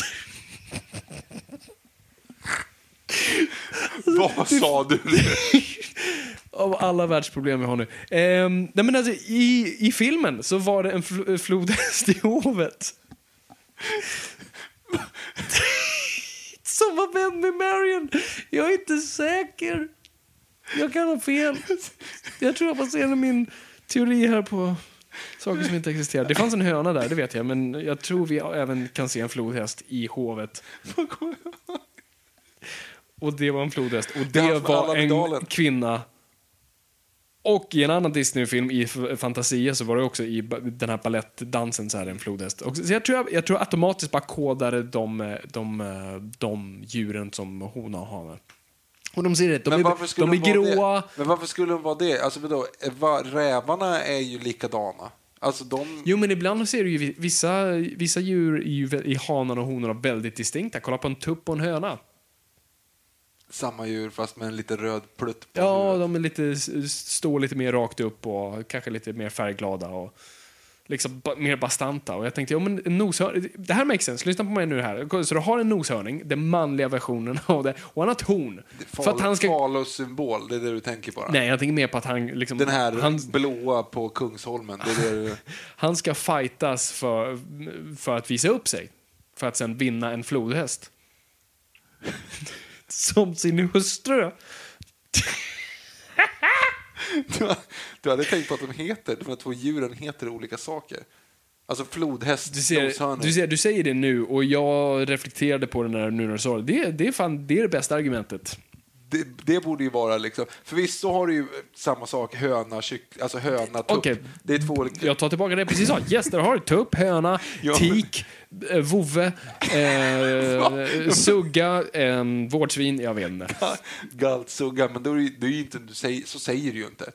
Speaker 1: Vad sa du nu?
Speaker 2: Av alla världsproblem vi har nu. Eh, nej men alltså, i, I filmen så var det en fl- flodhäst i hovet. Som var vän med Marion. Jag är inte säker. Jag kan ha fel. Jag tror jag baserar min teori här på saker som inte existerar. Det fanns en höna där, det vet jag. Men jag tror vi även kan se en flodhäst i hovet. Och det var en flodhäst. Och
Speaker 1: Det är
Speaker 2: det
Speaker 1: han som
Speaker 2: var
Speaker 1: Allan i
Speaker 2: en
Speaker 1: Dalen.
Speaker 2: kvinna. Och i en annan Disney-film, i F- Fantasia, så var det också i ba- den här balettdansen så här en flodhäst. Och Så jag tror, jag, jag tror automatiskt bara kodade de, eh, de, eh, de djuren som hona och hane. Och de ser rätt, de
Speaker 1: Men varför
Speaker 2: är,
Speaker 1: skulle
Speaker 2: de är
Speaker 1: vara
Speaker 2: gråa.
Speaker 1: Det? Men varför skulle de vara det? Alltså vadå, eh, va- rävarna är ju likadana. Alltså de...
Speaker 2: Jo men ibland ser du ju vi- vissa, vissa djur är ju vä- i hanar och honorna väldigt distinkta. Kolla på en tupp och en höna.
Speaker 1: Samma djur fast med en liten röd plutt på
Speaker 2: Ja,
Speaker 1: huvudet.
Speaker 2: de är lite, s- s- står lite mer rakt upp och kanske lite mer färgglada och liksom ba, mer bastanta. Och jag tänkte, ja men en noshörning, det här makes sense, lyssna på mig nu här. Så du har en noshörning, den manliga versionen av det, och han har ett horn.
Speaker 1: Fal,
Speaker 2: För att han ska...
Speaker 1: Falussymbol, det är det du tänker bara.
Speaker 2: Nej, jag tänker mer på att han liksom...
Speaker 1: Den här
Speaker 2: han,
Speaker 1: blåa på Kungsholmen, det är det du...
Speaker 2: han ska fightas för, för att visa upp sig. För att sen vinna en flodhäst. Som sin hustru.
Speaker 1: Du, du hade tänkt på att de heter, de här två djuren heter olika saker. Alltså flodhäst,
Speaker 2: Du ser,
Speaker 1: noshörning.
Speaker 2: du, ser, du säger det nu och jag reflekterade på det när, nu när du sa det. Det, det, är fan, det är det bästa argumentet.
Speaker 1: Det, det borde ju vara liksom... Förvisso har du ju samma sak, höna, kyck, alltså höna, tupp.
Speaker 2: Okej.
Speaker 1: Det är två olika...
Speaker 2: Jag tar tillbaka det jag precis sa. Yes, där har du tupp, höna,
Speaker 1: Ja, men-
Speaker 2: tik, eh, vovve, eh, sugga, eh, vårdsvin, jag vet inte.
Speaker 1: Galtsugga, men då är det, ju- det är ju inte, du säger, så säger du ju inte.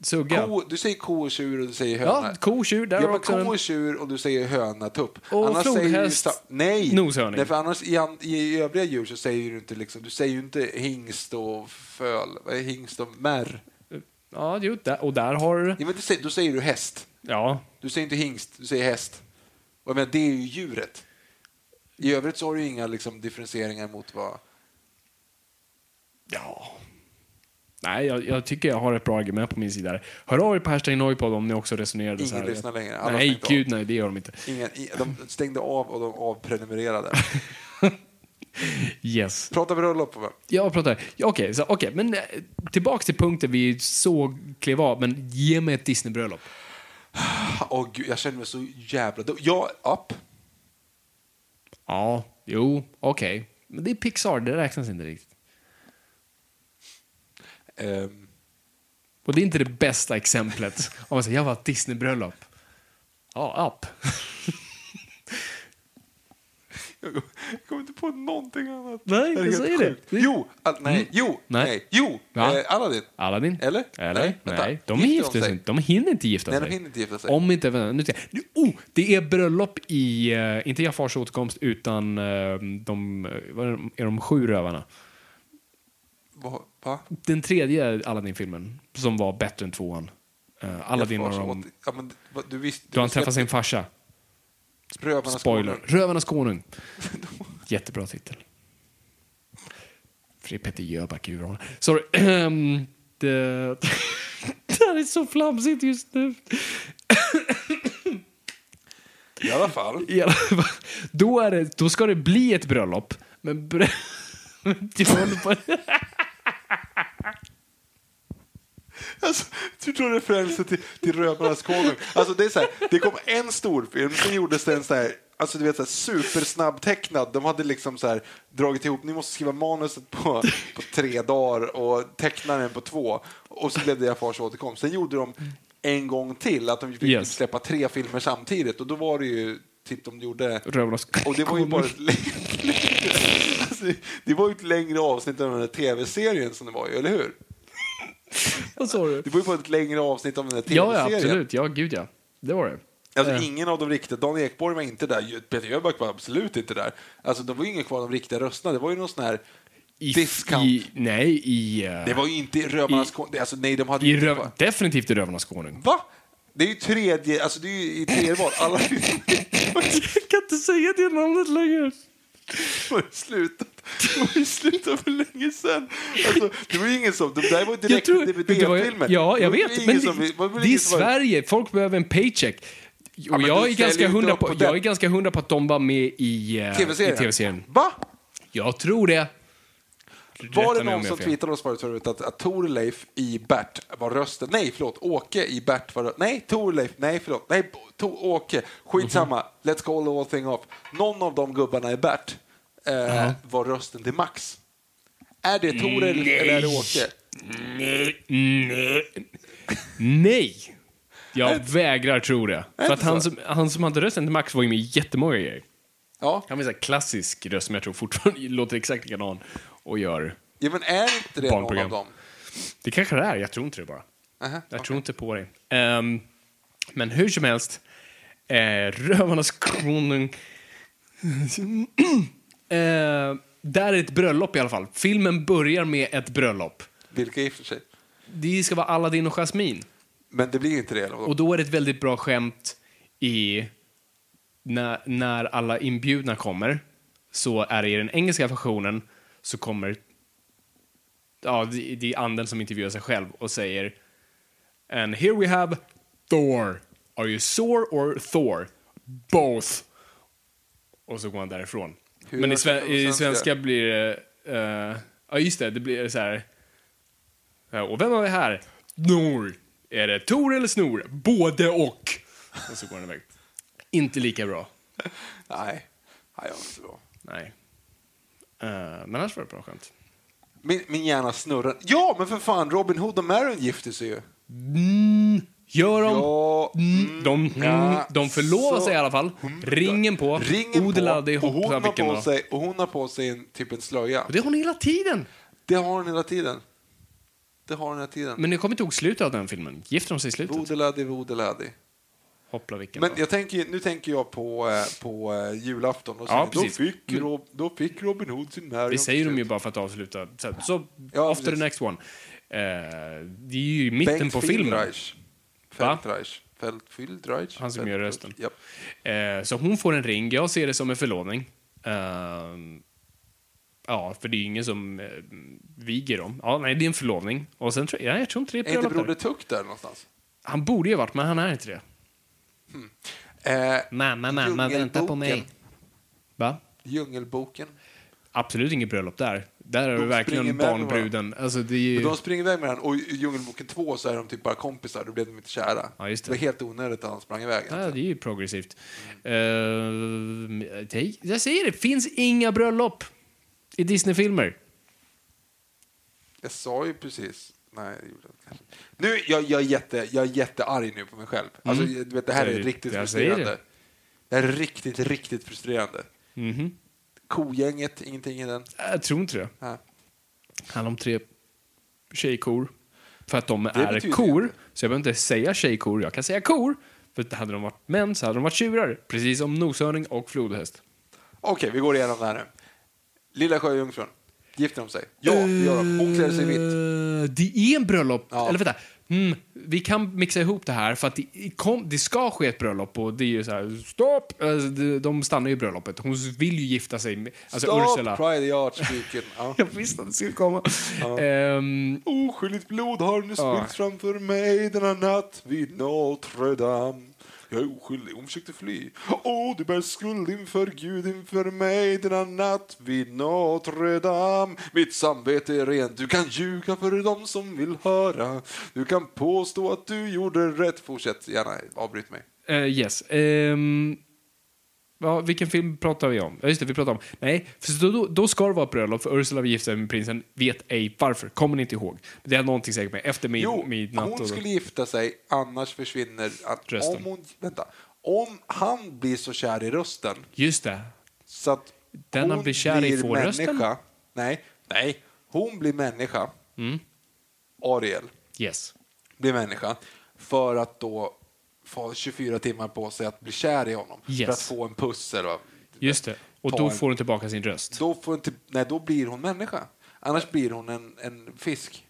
Speaker 2: Sugga.
Speaker 1: Ko, du säger ko och tjur och du säger höna.
Speaker 2: Ja, ko, tjur, där
Speaker 1: Ja,
Speaker 2: har
Speaker 1: men
Speaker 2: också
Speaker 1: ko
Speaker 2: en...
Speaker 1: och tjur och du säger höna, tupp.
Speaker 2: Och
Speaker 1: säger du ju
Speaker 2: flodhäst,
Speaker 1: sa- nej.
Speaker 2: noshörning.
Speaker 1: Nej, för annars i, an, i övriga djur så säger du inte liksom, du säger ju inte hingst och föl, vad är hingst och märr.
Speaker 2: Ja, jo, där, och där har...
Speaker 1: Ja, men du säger, då säger du häst.
Speaker 2: Ja,
Speaker 1: Du säger inte hingst, du säger häst. Och jag menar, det är ju djuret. I övrigt så har du ju inga liksom, differentieringar mot vad...
Speaker 2: Ja. Nej, jag, jag tycker jag har ett bra argument på min sida. här. Hör av er på hashtag Noipod om ni också resonerade
Speaker 1: Ingen
Speaker 2: så här.
Speaker 1: lyssnar längre. Alla har
Speaker 2: nej,
Speaker 1: stängt av.
Speaker 2: gud nej, det gör de inte.
Speaker 1: Inga, i- de stängde av och de avprenumererade.
Speaker 2: Yes.
Speaker 1: Prata med bröllop på mig.
Speaker 2: Jag pratar... ja, Okej, så okej, men eh, tillbaks till punkten vi så klev av, men ge mig ett Disney-bröllop.
Speaker 1: Ah, Åh gud, jag känner mig så jävla dum. Jag, upp.
Speaker 2: Ja, jo, okej. Men det är Pixar, det räknas inte riktigt.
Speaker 1: Ehm,
Speaker 2: Och det är inte det bästa exemplet. Om man säger jag var ett Disney-bröllop. Ja, upp.
Speaker 1: Jag kom- jag kommer inte på någonting annat.
Speaker 2: Nej,
Speaker 1: Det är
Speaker 2: jag
Speaker 1: helt
Speaker 2: säger
Speaker 1: sjukt.
Speaker 2: det. Mm.
Speaker 1: Jo, all, nej, jo,
Speaker 2: Nej.
Speaker 1: nej, jo,
Speaker 2: Va?
Speaker 1: eh, Aladdin.
Speaker 2: Aladdin.
Speaker 1: Eller?
Speaker 2: Eller?
Speaker 1: Nej, vänta.
Speaker 2: Nej. De
Speaker 1: Gifter de
Speaker 2: gifter sig
Speaker 1: sig?
Speaker 2: inte. De hinner inte gifta
Speaker 1: Nej,
Speaker 2: sig.
Speaker 1: de hinner inte gifta sig.
Speaker 2: Om inte... vänta, Nu, ska jag- nu, oh, det är bröllop i, eh, inte Jafars återkomst, utan eh, de, eh, vad är de- är de sju rövarna?
Speaker 1: Va? Va?
Speaker 2: Den tredje Aladdin-filmen, som var bättre än tvåan. Uh, Aladdin och
Speaker 1: Jag får
Speaker 2: de,
Speaker 1: så åt- ja, men, vad- du visste,
Speaker 2: då han träffar sin farsa.
Speaker 1: Rövarnas
Speaker 2: Spoiler.
Speaker 1: konung.
Speaker 2: Rövarnas konung. Jättebra titel. För det är Petter Jöback i huvudrollen. Sorry. Ehm, det... det här är så flamsigt just nu.
Speaker 1: I alla fall.
Speaker 2: I alla fall, då, är det, då ska det bli ett bröllop. Men brö... men jag håller på-
Speaker 1: Alltså, du drar referenser till, till Rövarnas konung. Alltså, det, är så här, det kom en stor film, sen gjordes det en så här, alltså, du vet, så här, supersnabbtecknad. De hade liksom så här, dragit ihop, ni måste skriva manuset på, på tre dagar och teckna den på två. Och så blev det Jafars återkomst. Sen gjorde de en gång till, att de fick
Speaker 2: Yes.
Speaker 1: släppa tre filmer samtidigt. Och då var det ju, typ de gjorde...
Speaker 2: Rövarnas
Speaker 1: Och det var ju
Speaker 2: konung.
Speaker 1: bara ett längre, alltså, det var ju ett längre avsnitt av den här tv-serien som det var ju, eller hur?
Speaker 2: Vad sa du?
Speaker 1: Det var ju på ett längre avsnitt av den här
Speaker 2: Ja, ja,
Speaker 1: tv-serien.
Speaker 2: absolut. Ja, gud ja. Det var det.
Speaker 1: Alltså,
Speaker 2: Eh.
Speaker 1: Ingen av de riktiga, Dan Ekborg var inte där, Peter Jöback var absolut inte där. Alltså, det var ju ingen kvar av de riktiga rösterna, det var ju någon sån här discount.
Speaker 2: I, nej, i... eh,
Speaker 1: det var ju inte Rövarnas
Speaker 2: i-
Speaker 1: kon- det- alltså, nej, de hade
Speaker 2: i
Speaker 1: ju inte
Speaker 2: röv,
Speaker 1: kvar-
Speaker 2: definitivt i Rövarnas konung.
Speaker 1: Va? Det är ju tredje, alltså det är ju i tredje val. Alla
Speaker 2: Jag kan inte säga det namnet längre.
Speaker 1: Det var ju slutat. Det var ju slutat för länge sedan. Alltså, det var ju ingen som... Det där var ju direkt
Speaker 2: tror- det var-
Speaker 1: DVD-filmer.
Speaker 2: Ja, jag
Speaker 1: Det var ju
Speaker 2: vet.
Speaker 1: ingen
Speaker 2: Men
Speaker 1: som-
Speaker 2: det,
Speaker 1: var väl
Speaker 2: det är
Speaker 1: ingen som var-
Speaker 2: Sverige. Folk behöver en paycheck. Och
Speaker 1: men du
Speaker 2: jag, är
Speaker 1: ställer ju
Speaker 2: ganska
Speaker 1: inte
Speaker 2: hundra
Speaker 1: upp
Speaker 2: på,
Speaker 1: på
Speaker 2: jag
Speaker 1: den.
Speaker 2: är ganska hundra på att de var med i eh, i
Speaker 1: TV-serien.
Speaker 2: tv-serien.
Speaker 1: Va?
Speaker 2: jag tror det.
Speaker 1: Var
Speaker 2: Rätta
Speaker 1: det
Speaker 2: mig
Speaker 1: någon
Speaker 2: om jag
Speaker 1: som
Speaker 2: har fel.
Speaker 1: twittrade oss förut, förut att, att Torleif i Bert var rösten? Nej, förlåt. Åke i Bert var rösten. Nej, Torleif. Nej, förlåt. Nej, Bo- to, Åke. Skitsamma. Let's call all thing off. Någon av de gubbarna i Bert eh, var rösten till Max. Är det Tor eller, eller är det Åke?
Speaker 2: Nej. Nej. Nej. Jag vägrar tro det. För
Speaker 1: inte
Speaker 2: att han
Speaker 1: så?
Speaker 2: som, han som hade rösten till Max var ju med i jättemånga grejer.
Speaker 1: Ja.
Speaker 2: Han var en klassisk röst som jag tror fortfarande låter exakt likadan och gör...
Speaker 1: ja, men är inte det någon
Speaker 2: Barnprogram.
Speaker 1: av dem?
Speaker 2: Det kanske det är, jag tror inte det bara.
Speaker 1: Aha,
Speaker 2: Jag tror inte på dig. Ehm, men hur som helst, eh, Rövarnas konung... Eh, där är ett bröllop i alla fall. Filmen börjar med ett bröllop.
Speaker 1: Vilka gifter sig?
Speaker 2: Det ska vara Aladdin och Jasmine.
Speaker 1: Men det blir inte det. Eller?
Speaker 2: Och då är det ett väldigt bra skämt i när, när alla inbjudna kommer så är det i den engelska versionen så kommer ja, det, det är anden som intervjuar sig själv och säger And here we have Thor. Are you sore or Thor? Both. Och så går han därifrån.
Speaker 1: Hur
Speaker 2: Men i,
Speaker 1: görs det
Speaker 2: sve,
Speaker 1: på
Speaker 2: i
Speaker 1: svenska?
Speaker 2: svenska blir det... eh, ja, just det. Det blir så här... Ja, Och vem har vi här? Nor. Är det Tor eller Snor? Både och. Och så går den iväg. Inte lika bra.
Speaker 1: Nej, Nej jag var inte bra.
Speaker 2: Nej. Eh, men annars var det bra skämt.
Speaker 1: Min, min hjärna snurrar. Ja, men för fan, Robin Hood och Marion gifte sig ju.
Speaker 2: Mm, gör de?
Speaker 1: Ja,
Speaker 2: Mm, de, mm,
Speaker 1: ja,
Speaker 2: de förlovar
Speaker 1: så-
Speaker 2: sig i alla fall. Ringen på.
Speaker 1: Ringen
Speaker 2: Odelade
Speaker 1: på, och hon,
Speaker 2: ihop
Speaker 1: har
Speaker 2: vilken
Speaker 1: på
Speaker 2: dag.
Speaker 1: sig, och hon har på sig en, typ en slöja.
Speaker 2: Och det har hon hela tiden.
Speaker 1: Det har hon hela tiden. Det har hon hela tiden.
Speaker 2: Men jag kommer inte ihåg slutet av den filmen. Gifter de sig i slutet?
Speaker 1: Vodeladi, vodeladi.
Speaker 2: Hoppla vilken
Speaker 1: Men
Speaker 2: dag.
Speaker 1: jag tänker, nu tänker jag på, eh, på eh, julafton. Och
Speaker 2: Ja,
Speaker 1: säger, då,
Speaker 2: precis.
Speaker 1: fick
Speaker 2: Men-
Speaker 1: Rob, då fick Robin Hood sin Marion.
Speaker 2: Det säger
Speaker 1: till
Speaker 2: de ju
Speaker 1: slut.
Speaker 2: bara för att avsluta. Så, så
Speaker 1: Ja,
Speaker 2: after the
Speaker 1: precis.
Speaker 2: next one. Eh, det är ju i mitten
Speaker 1: Bengt
Speaker 2: på filmen.
Speaker 1: Feldreich.
Speaker 2: Va?
Speaker 1: Feldreich. Feld- Feldreich.
Speaker 2: Han som gör
Speaker 1: Feldreich.
Speaker 2: rösten.
Speaker 1: Japp.
Speaker 2: Eh, så hon får en ring. Jag ser det som en förlovning. Ehm, ja, för det är ju ingen som eh, viger dem. Ja, nej, det är en förlovning. Och sen tror jag, jag tror inte det är ett
Speaker 1: Är inte
Speaker 2: bröllop där.
Speaker 1: Broder Tuck där någonstans?
Speaker 2: Han borde ju ha varit, men han är inte det.
Speaker 1: Eh,
Speaker 2: Mamma, mamma, vänta på mig.
Speaker 1: Djungelboken.
Speaker 2: Va?
Speaker 1: Djungelboken.
Speaker 2: Absolut inget bröllop där. Där är det
Speaker 1: De
Speaker 2: verkligen
Speaker 1: springer med
Speaker 2: barnbruden. Alltså, det är ju...
Speaker 1: Men de springer iväg med den och i Djungelboken 2 så är de typ bara kompisar, då blev de inte kära.
Speaker 2: Ja, just det.
Speaker 1: var helt onödigt att han sprang iväg.
Speaker 2: Ja, det är ju progressivt. Ehm, det- jag säger det, finns inga bröllop i Disney-filmer.
Speaker 1: Jag sa ju precis Nej, det gjorde jag kanske inte. Nu, jag, jag, är jätte, jag är jättearg nu på mig själv. Alltså, du vet, det här
Speaker 2: Det
Speaker 1: är
Speaker 2: är-
Speaker 1: riktigt
Speaker 2: Mm. jag säger
Speaker 1: frustrerande. Det.
Speaker 2: det.
Speaker 1: här är riktigt, riktigt frustrerande.
Speaker 2: Mhm.
Speaker 1: Kogänget, ingenting i den.
Speaker 2: Jag tror inte det.
Speaker 1: Nej.
Speaker 2: handlar om tre tjejkor. För att de är
Speaker 1: betyder
Speaker 2: kor.
Speaker 1: inte.
Speaker 2: Så jag behöver inte säga tjejkor, jag kan säga kor. För att hade de varit män så hade de varit tjurar. Precis som noshörning och flodhäst.
Speaker 1: Okej, vi går igenom det här nu. Lilla Sjöjungfrun, gifter de sig? Ja, det gör de. Hon klär sig vitt.
Speaker 2: Eh, Det är en bröllop.
Speaker 1: Ja.
Speaker 2: Eller vänta. Mm, vi kan mixa ihop det här för att det, kom, det ska ske ett bröllop och det är ju så här, stopp! Eh, de- De stannar ju i bröllopet. Hon vill ju gifta sig med, alltså
Speaker 1: Stop,
Speaker 2: Ursula.
Speaker 1: Pride the Archdeacon. Ja.
Speaker 2: Jag visste att det skulle komma. Ehm,
Speaker 1: Oskyldigt blod har nu
Speaker 2: Ja.
Speaker 1: spillts framför mig denna natt vid Notre Dame. Jag är oskyldig, hon försökte fly. Åh, du bär skuld inför Gud inför mig denna natt vid Notre Dame. Mitt samvete är rent, du kan ljuga för dem som vill höra. Du kan påstå att du gjorde rätt. Fortsätt gärna, avbryt mig.
Speaker 2: Eh, yes. Ehm, ja, vilken film pratar vi om? Ja, just det, vi pratar om... Nej, för så då, då ska det vara ett bröllop för Ursula vill gifta sig med prinsen. Vet ej varför. Kommer ni inte ihåg. Det är någonting säkert med efter min,
Speaker 1: Jo,
Speaker 2: midnatt.
Speaker 1: hon
Speaker 2: och-
Speaker 1: skulle gifta sig, annars försvinner... Att,
Speaker 2: Rösten.
Speaker 1: om hon, vänta. Om han blir så kär i rösten
Speaker 2: Just det.
Speaker 1: Så att
Speaker 2: Den
Speaker 1: hon
Speaker 2: han blir kär i får rösten?
Speaker 1: människa. Nej, nej. Hon blir människa.
Speaker 2: Mm.
Speaker 1: Ariel
Speaker 2: Yes.
Speaker 1: blir människa. För att då få 24 timmar på sig att bli kär i honom.
Speaker 2: Yes.
Speaker 1: För att få en puss eller vad-
Speaker 2: Just det. Och
Speaker 1: Ta
Speaker 2: då
Speaker 1: en-
Speaker 2: får hon tillbaka sin röst.
Speaker 1: Då, får hon typ, nej, då blir hon människa. Annars blir hon en, en fisk.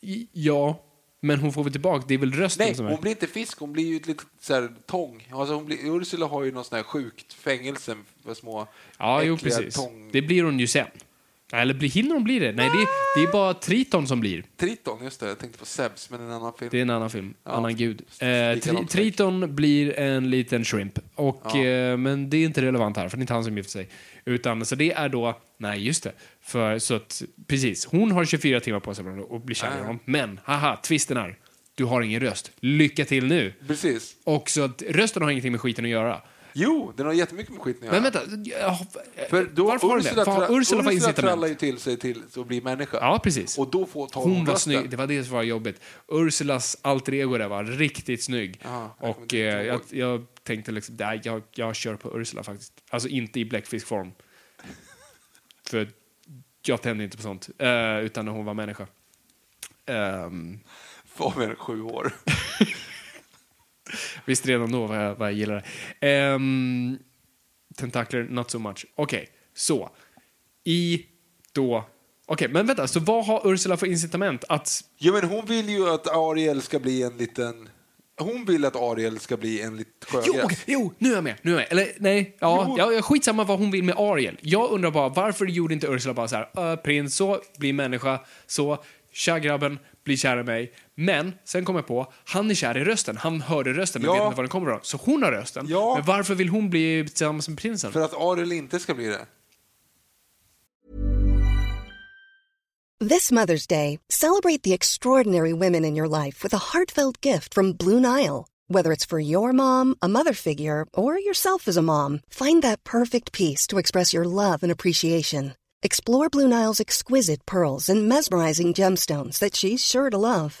Speaker 2: I- Ja, men hon får väl tillbaka... Det är väl rösten
Speaker 1: Nej,
Speaker 2: som
Speaker 1: hon
Speaker 2: är...
Speaker 1: blir inte fisk, hon blir ju ett litet så här, tång. Alltså, hon blir, Ursula har ju något sånt här sjukt fängelse för små
Speaker 2: Ja, jo,
Speaker 1: äckliga
Speaker 2: precis.
Speaker 1: tång...
Speaker 2: Det blir hon ju sen. Eller blir- hinner hon bli det? Nej, det, det är bara Triton som blir.
Speaker 1: Triton, just det. Jag tänkte på Sebs, men en annan film.
Speaker 2: Det är en annan film.
Speaker 1: Ja.
Speaker 2: Annan gud. Eh,
Speaker 1: Likadant
Speaker 2: tri-
Speaker 1: säkert.
Speaker 2: Triton blir en liten shrimp. Och, eh, men det är inte relevant här, för det är inte han som gifter sig. Utan, så det är då... Nej, just det. För, så att, precis. Hon har 24 timmar på sig att bli kär i honom. Men, haha, twisten är. Du har ingen röst. Lycka till nu!
Speaker 1: Precis.
Speaker 2: Och så att rösten har ingenting med skiten att göra.
Speaker 1: Jo, den har jättemycket med skiten att
Speaker 2: Men
Speaker 1: göra.
Speaker 2: vänta, ja,
Speaker 1: För då
Speaker 2: varför har den
Speaker 1: Ursula,
Speaker 2: det? För
Speaker 1: tra-
Speaker 2: Ursula var
Speaker 1: trallar ju
Speaker 2: incitament.
Speaker 1: till sig till att bli människa.
Speaker 2: Ja, precis.
Speaker 1: Och då får tar
Speaker 2: Hon var
Speaker 1: rösten.
Speaker 2: snygg, det var det som var jobbigt. Ursulas alter ego där var riktigt snygg.
Speaker 1: Ja, jag kommer
Speaker 2: och
Speaker 1: inte
Speaker 2: eh,
Speaker 1: ihåg.
Speaker 2: jag, jag tänkte liksom, nej, jag, jag kör på Ursula faktiskt. Alltså inte i bläckfiskform. För jag tände inte på sånt. Eh, utan när hon var människa. Ehm,
Speaker 1: Var mer än sju år.
Speaker 2: visst redan då vad jag, vad jag gillade. Um, tentakler, not so much. Okej, så. I då... Okej, men vänta, så vad har Ursula för incitament att
Speaker 1: ja, men hon vill ju att Ariel ska bli en liten... Hon vill att Ariel ska bli en liten
Speaker 2: Jo,
Speaker 1: sjögräs.
Speaker 2: okej, jo, nu är jag med. Nu är jag med. Eller nej, ja,
Speaker 1: Jo.
Speaker 2: ja, ja, skitsamma vad hon vill med Ariel. Jag undrar bara varför gjorde inte Ursula bara så här, "Ö, prins, så, bli människa, så, tja grabben, bli kär i mig. Men sen kom jag på, han är kär i rösten. Han hörde rösten men
Speaker 1: Ja.
Speaker 2: vet inte var den kommer ifrån. Så hon har rösten.
Speaker 1: Ja.
Speaker 2: Men varför vill hon bli tillsammans med prinsen?
Speaker 1: För att Ariel inte ska bli det.
Speaker 3: This Mother's Day, celebrate the extraordinary women in your life with a heartfelt gift from Blue Nile. Whether it's for your mom, a mother figure, or yourself as a mom, find that perfect piece to express your love and appreciation. Explore Blue Nile's exquisite pearls and mesmerizing gemstones that she's sure to love.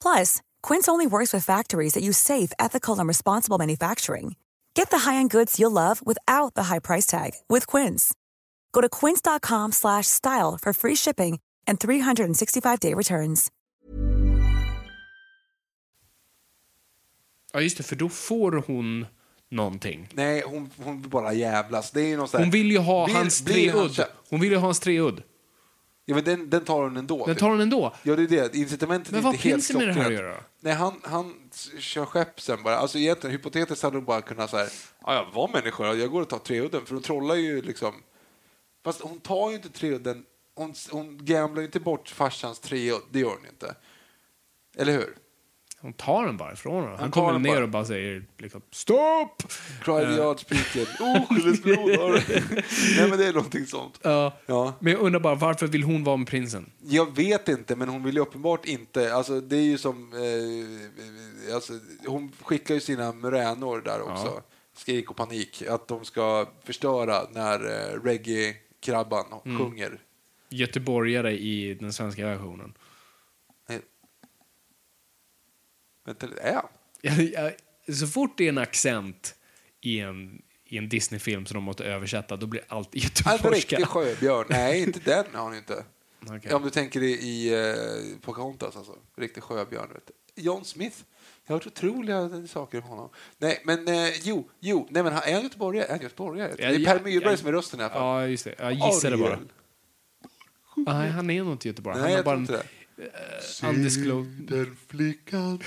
Speaker 4: Plus, Quince only works with factories that use safe, ethical, and responsible manufacturing. Get the high-end goods you'll love without the high price tag with Quince. Go to quince.com/style slash style for free shipping and 365-day returns.
Speaker 2: Ja, just det, för då får hon någonting.
Speaker 1: Nej, hon, hon vill bara jävlas. Det är ju någon sån här,
Speaker 2: Hon vill ju ha
Speaker 1: Blir-
Speaker 2: hans
Speaker 1: blir han
Speaker 2: treudd.
Speaker 1: kär-
Speaker 2: Hon vill ju ha hans treudd.
Speaker 1: Ja, men den, den tar hon ändå.
Speaker 2: Den
Speaker 1: typ.
Speaker 2: tar hon ändå.
Speaker 1: Ja, det är det. Incitamentet
Speaker 2: Men
Speaker 1: är
Speaker 2: vad
Speaker 1: inte helt
Speaker 2: finns det med det här att
Speaker 1: klockrent.
Speaker 2: göra?
Speaker 1: Nej, han, han s- kör skepp sen bara. Alltså egentligen, hypotetiskt hade hon bara kunnat säga ja, jag var människa, jag går och tar treudden, för hon trollar ju liksom. Fast hon tar ju inte treudden, hon, s- hon gamblar ju inte bort farsans treudd, det gör hon inte. Eller hur?
Speaker 2: Hon tar den bara ifrån honom. Han
Speaker 1: tar
Speaker 2: kommer
Speaker 1: den
Speaker 2: ner
Speaker 1: bara.
Speaker 2: och bara säger liksom stopp!
Speaker 1: Cry the
Speaker 2: Eh.
Speaker 1: yard speaking, oskyldigt blod har du." Nej, men det är någonting sånt.
Speaker 2: Ja.
Speaker 1: Ja.
Speaker 2: Men jag undrar bara, varför vill hon vara med prinsen?
Speaker 1: Jag vet inte, men hon vill ju uppenbart inte... Alltså, det är ju som... Eh, alltså, hon skickar ju sina muränor där också, skrik och panik, att de ska förstöra när eh, reggae-krabban sjunger.
Speaker 2: Göteborgare i den svenska versionen.
Speaker 1: Nej. Vänta lite, är han?
Speaker 2: Jag- jag- Så fort det är en accent i en, i en Disney-film som de måste översätta, då blir allt
Speaker 1: Han är en
Speaker 2: göteborgska.
Speaker 1: riktig sjöbjörn. Nej, inte den har han inte.
Speaker 2: Okej.
Speaker 1: Om du tänker i, i eh, Pocahontas, alltså. Riktig sjöbjörn. Vet du. John Smith. Jag har hört otroliga saker om honom. Nej, men eh, jo, jo. Nej, men han- är han göteborgare? Är han göteborgare?
Speaker 2: Ja,
Speaker 1: det är
Speaker 2: ja,
Speaker 1: Per Myrberg
Speaker 2: ja.
Speaker 1: som är rösten i alla fall.
Speaker 2: Ja, just det. Jag gissade bara.
Speaker 1: Ariel.
Speaker 2: Nej, han är nog inte göteborgare. Han
Speaker 1: Nej,
Speaker 2: är
Speaker 1: jag
Speaker 2: bara
Speaker 1: tror
Speaker 2: en eh,
Speaker 1: inte det.
Speaker 2: undisclosed...
Speaker 5: Den flickan,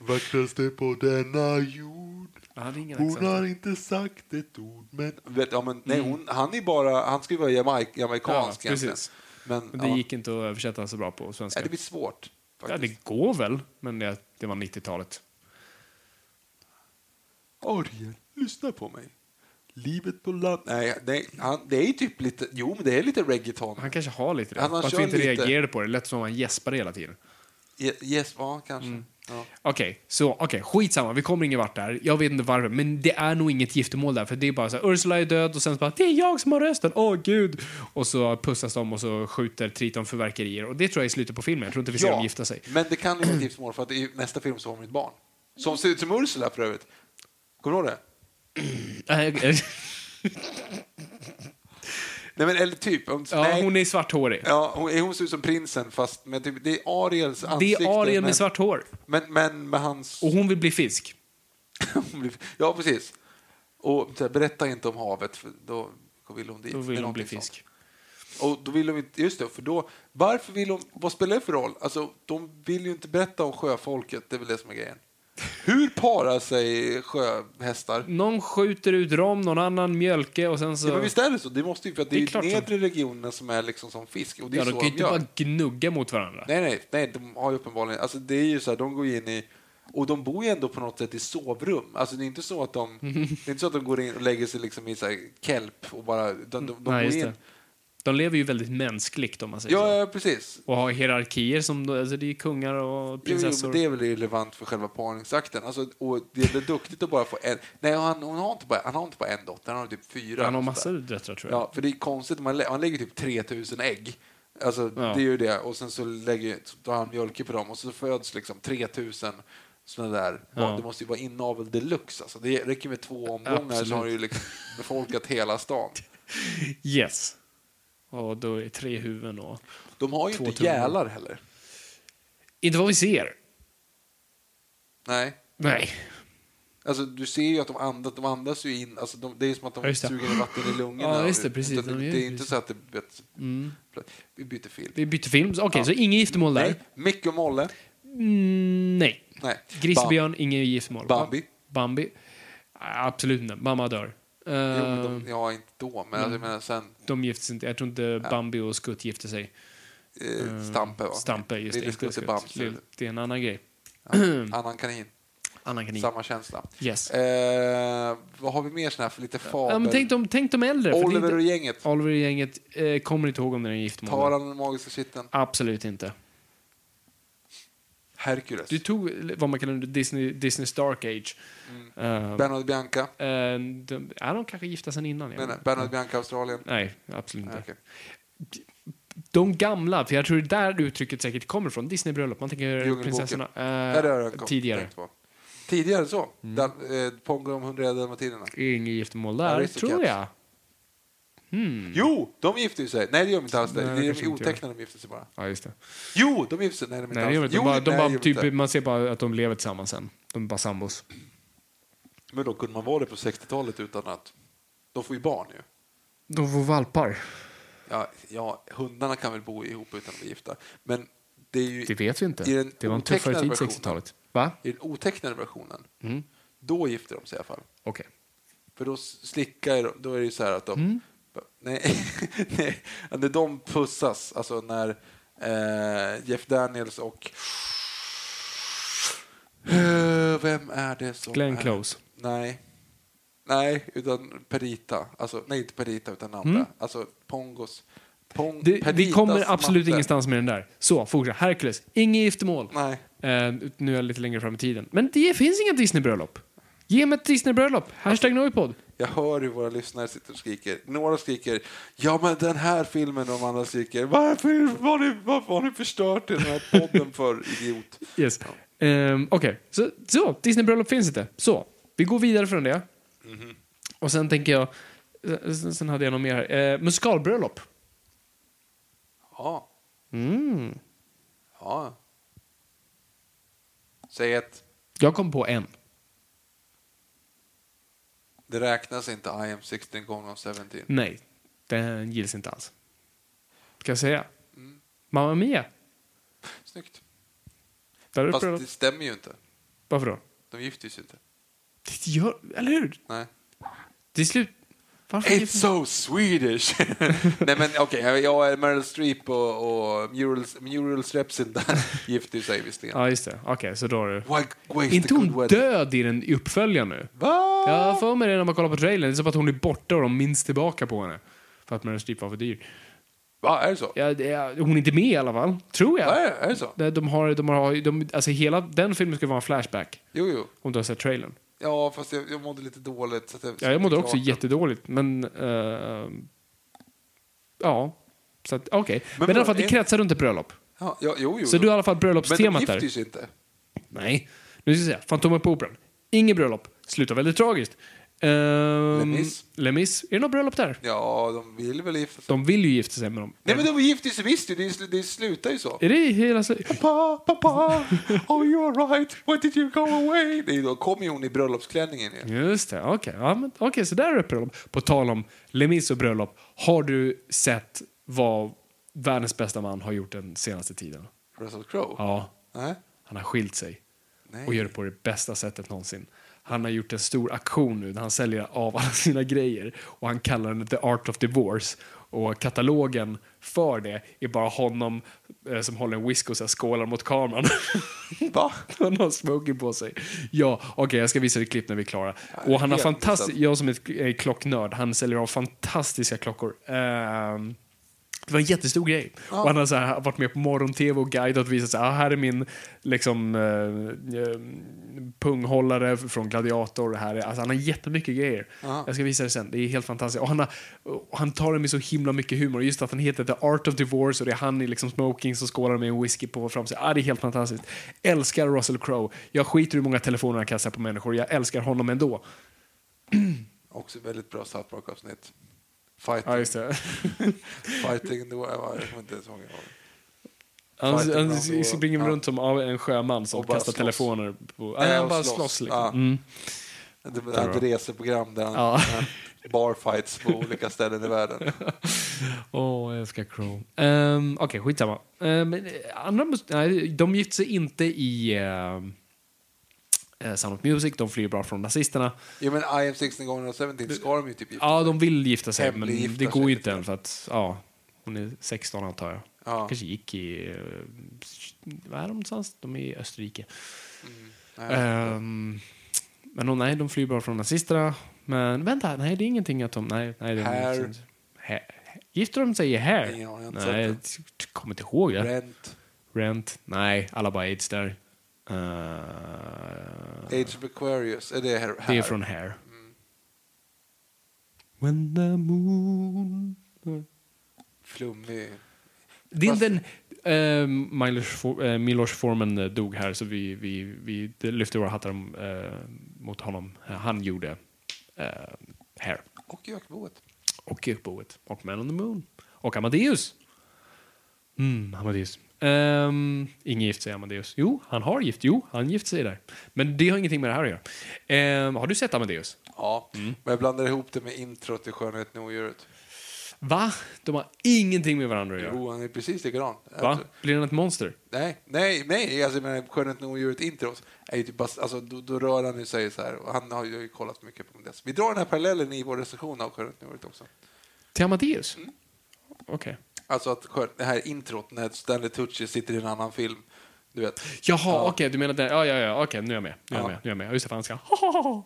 Speaker 5: vackraste på denna jord.
Speaker 2: Han liksom hade ingen
Speaker 5: Hon
Speaker 2: accent.
Speaker 5: har inte sagt ett ord, men
Speaker 1: Vet, ja, men, nej, hon, han är ju bara... Han ska ju vara jamaik, jamaikansk
Speaker 2: Mm. Ja, precis.
Speaker 1: egentligen. Men,
Speaker 2: Men det
Speaker 1: ja.
Speaker 2: gick inte att översätta så bra på
Speaker 1: Ja,
Speaker 2: svenska.
Speaker 1: det blir svårt.
Speaker 2: Ja,
Speaker 1: Faktiskt.
Speaker 2: det går väl, men det, det var 90-talet.
Speaker 1: Ariel, lyssna på mig. Livet på land... Nej, nej han, det är ju typ lite... Jo, men det är lite reggaeton.
Speaker 2: Han kanske har lite det.
Speaker 1: Han- han
Speaker 2: Fast
Speaker 1: kör
Speaker 2: vi inte
Speaker 1: lite.
Speaker 2: reagerade på det. Det lät som att han gäspade hela tiden.
Speaker 1: Ye- Yes, ja, kanske.
Speaker 2: Mm.
Speaker 1: Ja.
Speaker 2: Okej, så okej, skitsamma. Vi kommer ingen vart där. Jag vet inte varför, men det är nog inget giftermål där. För det är bara så här, Ursula är död och sen så bara, det är jag som har rösten, åh gud! Och så pussas de och så skjuter Triton fyrverkerier. Och det tror jag är slutet på filmen. Jag tror inte vi ser dem gifta sig.
Speaker 1: Men det kan ju vara ett giftermål för att i nästa film så har hon ett barn. Som ser ut som Ursula för övrigt. Kommer du ihåg det?
Speaker 2: Äh,
Speaker 1: Nej, men eller typ. Om,
Speaker 2: ja,
Speaker 1: nej,
Speaker 2: hon är svarthårig.
Speaker 1: ja, hon, hon ser ut som prinsen fast med typ, det är Ariels
Speaker 2: det
Speaker 1: ansikte.
Speaker 2: är Ariel
Speaker 1: men,
Speaker 2: med svart Oh. hår.
Speaker 1: Men, men med hans...
Speaker 2: Och hon vill bli fisk.
Speaker 1: ja, precis. Och så här, berätta inte om havet för då vill hon dit.
Speaker 2: Då
Speaker 1: Det
Speaker 2: vill
Speaker 1: är
Speaker 2: hon bli
Speaker 1: någonting
Speaker 2: fisk.
Speaker 1: sånt. Och då vill de inte, just det, för då, varför vill de, vad spelar det för roll? Alltså, de vill ju inte berätta om sjöfolket, det är väl det som är grejen. Hur parar sig sjöhästar?
Speaker 2: Någon skjuter ut rom, någon annan mjölke och sen så...
Speaker 1: Ja, men visst är det så? Det måste ju för att det,
Speaker 2: Alltså- Det är
Speaker 1: är
Speaker 2: klart
Speaker 1: ju
Speaker 2: som-
Speaker 1: nedre regionerna som är liksom som fisk och det är
Speaker 2: ja, de
Speaker 1: så
Speaker 2: kan
Speaker 1: de
Speaker 2: ju inte
Speaker 1: gör.
Speaker 2: bara gnugga mot varandra.
Speaker 1: Nej, nej, nej, de har ju uppenbarligen, alltså det är ju så här, de går in i och de bor ju ändå på något sätt i sovrum. Alltså det är inte så att de,
Speaker 2: Mm.
Speaker 1: det är inte så att de går in och lägger sig liksom i så här kelp och bara, de, de, de
Speaker 2: Nej,
Speaker 1: går
Speaker 2: just
Speaker 1: in.
Speaker 2: det. De lever ju väldigt mänskligt om man säger så.
Speaker 1: Ja, ja, precis.
Speaker 2: Och har hierarkier som, alltså det är kungar och
Speaker 1: Jo, jo,
Speaker 2: prinsessor.
Speaker 1: men det är väl relevant för själva parningsakten. Alltså, och det är väl duktigt att bara få en. Nej, han, hon har inte bara, han har inte bara en dotter, han har typ fyra.
Speaker 2: Han har
Speaker 1: Och
Speaker 2: massor
Speaker 1: sådär.
Speaker 2: döttrar tror jag.
Speaker 1: Ja, för det är konstigt, man, lä- man lägger typ 3000 ägg. Alltså, det är ju det. Och sen så lägger, så tar han mjölke på dem och så föds liksom 3000 sådana där. barn. Det måste ju vara inavel deluxe. Alltså, det räcker med två omgångar
Speaker 2: Absolut.
Speaker 1: så har du ju liksom befolkat hela stan.
Speaker 2: Yes. Och då är tre huvuden och...
Speaker 1: De har ju
Speaker 2: Två
Speaker 1: inte
Speaker 2: tummar.
Speaker 1: gälar heller.
Speaker 2: Inte vad vi ser.
Speaker 1: Nej.
Speaker 2: Nej.
Speaker 1: Alltså, du ser ju att de andas, de andas ju in, alltså, de, det är som att
Speaker 2: Ja,
Speaker 1: de
Speaker 2: just det.
Speaker 1: suger in vatten i lungorna.
Speaker 2: Ja, just det,
Speaker 1: Och-
Speaker 2: precis.
Speaker 1: Det,
Speaker 2: De
Speaker 1: det
Speaker 2: gör
Speaker 1: är
Speaker 2: ju
Speaker 1: inte
Speaker 2: precis. Mm.
Speaker 1: så att det... Vet, Vi byter film.
Speaker 2: Vi bytte film. Okej, så inget giftermål där?
Speaker 1: Nej, Micke och Molle.
Speaker 2: Mm, nej.
Speaker 1: Nej.
Speaker 2: Gris och
Speaker 1: Bam-
Speaker 2: björn, inget giftermål.
Speaker 1: Bambi.
Speaker 2: Bambi. Ah, Absolut inte. Mamma dör. Eh,
Speaker 1: Jo, men de, ja, inte då, men alltså,
Speaker 2: mm.
Speaker 1: jag menar sen...
Speaker 2: de gifte sig inte. Jag tror inte Bambi och Skutt gifte sig.
Speaker 1: Eh, Stampe, va?
Speaker 2: Ehm, Stampe, just det.
Speaker 1: Lille
Speaker 2: Inte
Speaker 1: Skutte
Speaker 2: Skutt.
Speaker 1: Bamse.
Speaker 2: Lill- Det är en annan grej.
Speaker 1: Annan kanin.
Speaker 2: Annan kanin.
Speaker 1: Samma känsla.
Speaker 2: Yes.
Speaker 1: Eh, vad har vi mer sån här för lite fabel?
Speaker 2: Ja, men tänk, de, tänk de äldre. för det är
Speaker 1: Oliver
Speaker 2: inte-
Speaker 1: och gänget.
Speaker 2: Oliver och gänget. Eh, kommer inte ihåg om den är giftermål.
Speaker 1: Tar han den magiska kitteln?
Speaker 2: Absolut inte.
Speaker 1: Hercules.
Speaker 2: Du tog vad man kallar Disney, Disney Dark Age.
Speaker 1: Mm.
Speaker 2: Eh,
Speaker 1: Bernard Bianca.
Speaker 2: eh, de, är de kanske gifta sen innan? jag
Speaker 1: Men,
Speaker 2: vet inte.
Speaker 1: Bernard Bianca, Australien.
Speaker 2: Nej, absolut inte.
Speaker 1: Nej, Ah, okej.
Speaker 2: De gamla, för jag tror det är där uttrycket säkert kommer från. Disneybröllop. Man tänker
Speaker 1: Djungelboken.
Speaker 2: prinsessorna. eh,
Speaker 1: Ja, det har jag kom-
Speaker 2: tidigare.
Speaker 1: tänkt på. Tidigare så? Mm. Eh, Pongo om 101 dalmatinerna.
Speaker 2: Inget giftermål
Speaker 1: Ja,
Speaker 2: där,
Speaker 1: Aristocats.
Speaker 2: tror jag.
Speaker 1: Jo, de gifter ju sig. Nej, det gör de inte alls.
Speaker 2: Mm. Nej,
Speaker 1: det.
Speaker 2: det
Speaker 1: Det är
Speaker 2: kanske
Speaker 1: de
Speaker 2: de inte gör.
Speaker 1: otecknade de gifter sig bara.
Speaker 2: Ja, just det.
Speaker 1: Jo, de gifter sig. Nej, de inte
Speaker 2: Nej, det gör de
Speaker 1: alls.
Speaker 2: inte. De bara, de
Speaker 1: nej,
Speaker 2: bara,
Speaker 1: det gör
Speaker 2: typ,
Speaker 1: inte.
Speaker 2: man ser bara att de lever tillsammans sen. De är bara sambos.
Speaker 1: Men då kunde man vara det på 60-talet utan att... De får ju barn ju.
Speaker 2: De får valpar.
Speaker 1: Ja, ja, hundarna kan väl bo ihop utan att bli gifta. Men det är ju...
Speaker 2: Det vet vi inte.
Speaker 1: I den
Speaker 2: Det var en tuffare
Speaker 1: otecknade
Speaker 2: tid, Mm.
Speaker 1: versionen.
Speaker 2: 60-talet. Va?
Speaker 1: I den otecknade versionen, då gifter de sig i alla fall.
Speaker 2: Okej.
Speaker 1: För då slickar de, då är det ju så här att de...
Speaker 2: Mm.
Speaker 1: Nej, nej, när de pussas, alltså när eh, Jeff Daniels och... Eh, Vem är det som
Speaker 2: Glenn
Speaker 1: är...
Speaker 2: Close.
Speaker 1: Nej. Nej, utan Perita. Alltså, nej, inte Perita, utan den andra. Alltså Pongos... Pong,
Speaker 2: Mm. Det, vi
Speaker 1: Peritas
Speaker 2: kommer absolut
Speaker 1: matte.
Speaker 2: ingenstans med den där. Så, fortsätt. Hercules. Inget giftermål.
Speaker 1: Nej.
Speaker 2: Eh, nu är jag lite längre fram i tiden. Men det finns inga Disney-bröllop. Ge mig ett Disney-bröllop. Hashtag Noipod.
Speaker 1: Jag hör hur våra lyssnare sitter och skriker. Några skriker ja men den här filmen och de andra skriker varför har ni, varför har ni förstört den här podden för idiot?
Speaker 2: Yes. Ehm, Okej, så, så Disney-bröllop finns inte. Så, vi går vidare från det.
Speaker 1: Mhm.
Speaker 2: Och sen tänker jag, sen, sen hade jag något mer här. Eh, musikalbröllop.
Speaker 1: Ja,
Speaker 2: Mm.
Speaker 1: ja. Säg att
Speaker 2: Jag kom på en.
Speaker 1: det räknas inte I am 16 gånger om 17.
Speaker 2: Nej, den gills inte alls. Ska jag säga?
Speaker 1: Mm.
Speaker 2: Mamma Mia.
Speaker 1: Snyggt.
Speaker 2: Där är det
Speaker 1: Fast
Speaker 2: bröllop.
Speaker 1: det stämmer ju inte.
Speaker 2: Varför då?
Speaker 1: De gifter sig inte.
Speaker 2: Det gör, eller hur?
Speaker 1: Nej.
Speaker 2: Till slut... Varför
Speaker 1: It's
Speaker 2: gifter-
Speaker 1: so Swedish! Nej men okej, jag är Meryl Streep och, och Murals, Murals Repsin där gifter sig visserligen.
Speaker 2: Ja, just det. Okej, så då har du...
Speaker 1: Why waste
Speaker 2: Är inte
Speaker 1: a good
Speaker 2: hon
Speaker 1: wedding?
Speaker 2: död i den i uppföljaren nu?
Speaker 1: Va?
Speaker 2: Jag har för mig det när man kollar på trailern. Det är som att hon är borta och de minns tillbaka på henne. För att Meryl Streep var för dyr.
Speaker 1: Va, är det så?
Speaker 2: Ja, det är, hon är inte med i alla fall, tror
Speaker 1: Ja,
Speaker 2: jag.
Speaker 1: är, är det så?
Speaker 2: Nej. De har, de har, de, alltså hela den filmen ska vara en flashback,
Speaker 1: Jo, jo.
Speaker 2: om du har sett trailern.
Speaker 1: Ja, fast jag, jag mådde lite dåligt. Så att jag,
Speaker 2: Ja, jag mådde
Speaker 1: klart
Speaker 2: också
Speaker 1: den.
Speaker 2: jättedåligt, men... eh, ja. Så att, okej. Men, i
Speaker 1: vadå,
Speaker 2: alla fall, det
Speaker 1: är-
Speaker 2: kretsar runt ett bröllop.
Speaker 1: Ja, ja, jo, jo,
Speaker 2: Så
Speaker 1: jo.
Speaker 2: du har i alla fall
Speaker 1: Men de
Speaker 2: bröllopstemat
Speaker 1: gifter
Speaker 2: där.
Speaker 1: sig inte.
Speaker 2: Nej. Nu ska jag säga, Fantomen på Operan. Inget bröllop. Slutar väldigt tragiskt. Um,
Speaker 1: Miss.
Speaker 2: Lemis. Är det något bröllop där?
Speaker 1: Ja, de vill väl gifta sig.
Speaker 2: De vill ju gifta sig med dem.
Speaker 1: Nej, men de gifter sig visst ju. Det, är sl- det slutar ju så.
Speaker 2: Är det hela... så-
Speaker 1: Pappa, pappa, are you alright? Why did you go away? Det är, ju då kommer ju hon i bröllopsklänningen ju.
Speaker 2: Just det, okej. Ja, men- okej, så där är det bröllop. På tal om Lemis och bröllop. Har du sett vad världens bästa man har gjort den senaste tiden?
Speaker 1: Russell Crowe.
Speaker 2: Ja,
Speaker 1: Nej.
Speaker 2: han har skilt sig.
Speaker 1: Nej.
Speaker 2: Och gör det på det bästa sättet någonsin. Han har gjort en stor aktion nu där han säljer av alla sina grejer och han kallar den The Art of Divorce. Och katalogen för det är bara honom eh, som håller en whisky och så här skålar mot kameran.
Speaker 1: Va?
Speaker 2: Han har smoking på sig. Ja, okej, jag ska visa dig klipp när vi är klara. och han har
Speaker 1: helt
Speaker 2: fantastiskt,
Speaker 1: missat.
Speaker 2: jag som är ett- är klocknörd, han säljer av fantastiska klockor. Ehm, det var en jättestor grej. Och han har så här, varit med på morgon-tv och guidat och visat så här, ah, här är min liksom, eh, eh, punghållare från Gladiator. Det Här. är- Alltså, han har jättemycket grejer. Jag ska visa det sen. Det är helt fantastiskt. Och han, har, och han tar det med så himla mycket humor. Just att han heter The Art of Divorce och det är han i liksom smoking som skålar med en whisky på fram sig. Ah, det är helt fantastiskt. Älskar Russell Crowe. Jag skiter i hur många telefoner han kastar på människor. Jag älskar honom ändå.
Speaker 1: Också väldigt bra South Park-avsnitt. Fighting.
Speaker 2: Ja, just det.
Speaker 1: Fighting. Det var, jag kommer inte ens ihåg.
Speaker 2: Han,
Speaker 1: Fighting
Speaker 2: han
Speaker 1: round och-
Speaker 2: springer
Speaker 1: ja.
Speaker 2: runt som av en sjöman som
Speaker 1: Och bara
Speaker 2: kastar
Speaker 1: slåss.
Speaker 2: telefoner. På,
Speaker 1: Nej,
Speaker 2: nej, han
Speaker 1: och
Speaker 2: bara slåss,
Speaker 1: slåss.
Speaker 2: liksom.
Speaker 1: Ja.
Speaker 2: Mm.
Speaker 1: Det var ett reseprogram där han
Speaker 2: Ja.
Speaker 1: han barfights på olika ställen i världen.
Speaker 2: Åh, jag älskar Crow. Um, Okej, skitsamma. Ehm, men, eh, andra mus- nej, de gifte sig inte i ehm, eh, Sound of Music. De flyr bara från nazisterna.
Speaker 1: Ja, men I am 16 gånger och 17 ska de ju typ gifta
Speaker 2: Ja, de vill gifta sig, men
Speaker 1: Hemliggifta
Speaker 2: det går
Speaker 1: sig
Speaker 2: ju
Speaker 1: lite
Speaker 2: inte än för att ja, hon är 16 antar jag.
Speaker 1: Ja.
Speaker 2: Kanske gick i... eh, Vad är de någonstans? De är i Österrike.
Speaker 1: Mm. Nej,
Speaker 2: Ehm, men oh, nej, de flyr bara från nazisterna. Men vänta, nej det är ingenting att de... Nej, nej, de
Speaker 1: Hair.
Speaker 2: gifter sig- Hä- Gifter de sig i hair?
Speaker 1: Ingen aning, jag har inte
Speaker 2: nej, jag
Speaker 1: sett
Speaker 2: t- kommer inte ihåg. Jag.
Speaker 1: Rent,
Speaker 2: Rent? Nej, alla bara aids där. Eh,
Speaker 1: Age of Aquarius, är det här?
Speaker 2: det är från Hair.
Speaker 1: Mm.
Speaker 2: When the moon...
Speaker 1: Flummig.
Speaker 2: Det är
Speaker 1: Fast-
Speaker 2: inte en... eh, Milos, For- eh, Milos Forman eh, dog här, så vi, vi, vi lyfte våra hattar eh, mot honom. Han gjorde eh, Hair.
Speaker 1: Och Jökboet.
Speaker 2: och Kirkboet och Man on the Moon och Amadeus. Mm, Amadeus. Um, ingen gift sig Amadeus. Jo, han har gift. Jo, han gift sig där. Men det har ingenting med det här att göra. Ehm, har du sett Amadeus?
Speaker 1: Ja,
Speaker 2: Mm.
Speaker 1: men jag blandar ihop det med introt till Skönheten och odjuret.
Speaker 2: Va? De har ingenting med varandra att göra.
Speaker 1: Jo, han är precis likadan.
Speaker 2: Va?
Speaker 1: Alltså,
Speaker 2: Blir han ett monster?
Speaker 1: Nej, nej, nej. Alltså, jag menar, Skönheten och odjuret introt är ju typ bara, alltså, då, då rör han ju sig så här. Och han har ju kollat mycket på det. Vi drar den här parallellen i vår recension av Skönheten och odjuret också.
Speaker 2: Till Amadeus?
Speaker 1: Mm.
Speaker 2: Okej.
Speaker 1: Alltså att skön- det här introt när Stanley Tucci sitter i en annan film. Du vet.
Speaker 2: Jaha, okej, du menar den. Ja, ja, ja, okej, nu är jag med. Nu är jag
Speaker 1: Ja.
Speaker 2: med. Nu är jag med. Just det, för han ska...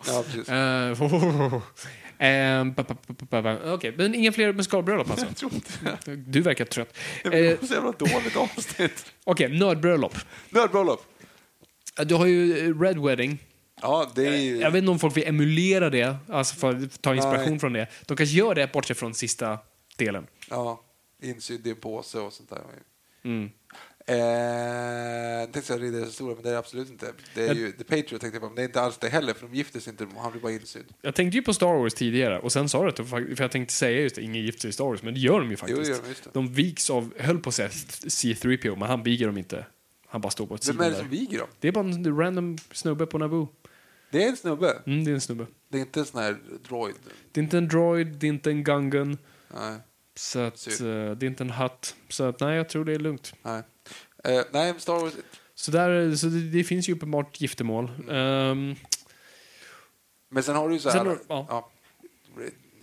Speaker 1: Ja, precis.
Speaker 2: Eh, pa, pa, pa, pa, pa, pa. Okej, men inga fler musikalbröllop alltså?
Speaker 1: tror inte det.
Speaker 2: Du verkar trött. Eh,
Speaker 1: Det blir så jävla dåligt avsnitt.
Speaker 2: Okej, nördbröllop.
Speaker 1: Nördbröllop.
Speaker 2: Eh, Du har ju eh, Red Wedding.
Speaker 1: Ja, det är ju...
Speaker 2: Jag vet inte om folk vill emulera det, alltså för att ta inspiration
Speaker 1: Nej.
Speaker 2: från det. De kanske gör det bortsett från sista delen.
Speaker 1: Ja, insydd i en påse och sånt där.
Speaker 2: Mm.
Speaker 1: Eh, jag tänkte säga Riddares historia, men det är det absolut inte. Det är ju The Patriot tänkte jag på, men det är inte alls det heller, för de gifter sig inte, han blir bara insydd.
Speaker 2: Jag tänkte ju på Star Wars tidigare och sen sa du att, de fak- för jag tänkte säga just det, ingen gifter sig i Star Wars, men det gör de ju faktiskt.
Speaker 1: Jo, det gör de, just det.
Speaker 2: De viks av, höll på att säga C3PO, men han viger dem inte. Han bara står på ett
Speaker 1: Vem är
Speaker 2: sidor
Speaker 1: det
Speaker 2: där.
Speaker 1: som viger dem?
Speaker 2: Det är bara en random snubbe på Naboo.
Speaker 1: Det är en snubbe.
Speaker 2: Mm, det är en snubbe.
Speaker 1: Det är inte en sån här droid.
Speaker 2: Det är inte en droid, det är inte en gungan,
Speaker 1: Nej.
Speaker 2: så att,
Speaker 1: Synd.
Speaker 2: eh, det är inte en hatt. Så att, nej, jag tror det är lugnt.
Speaker 1: Nej, eh, nej men Star Wars...
Speaker 2: Så, där, så det, det finns ju uppenbart giftermål. Ehm,
Speaker 1: Men sen har du ju så
Speaker 2: Sen
Speaker 1: här...
Speaker 2: har du- ja.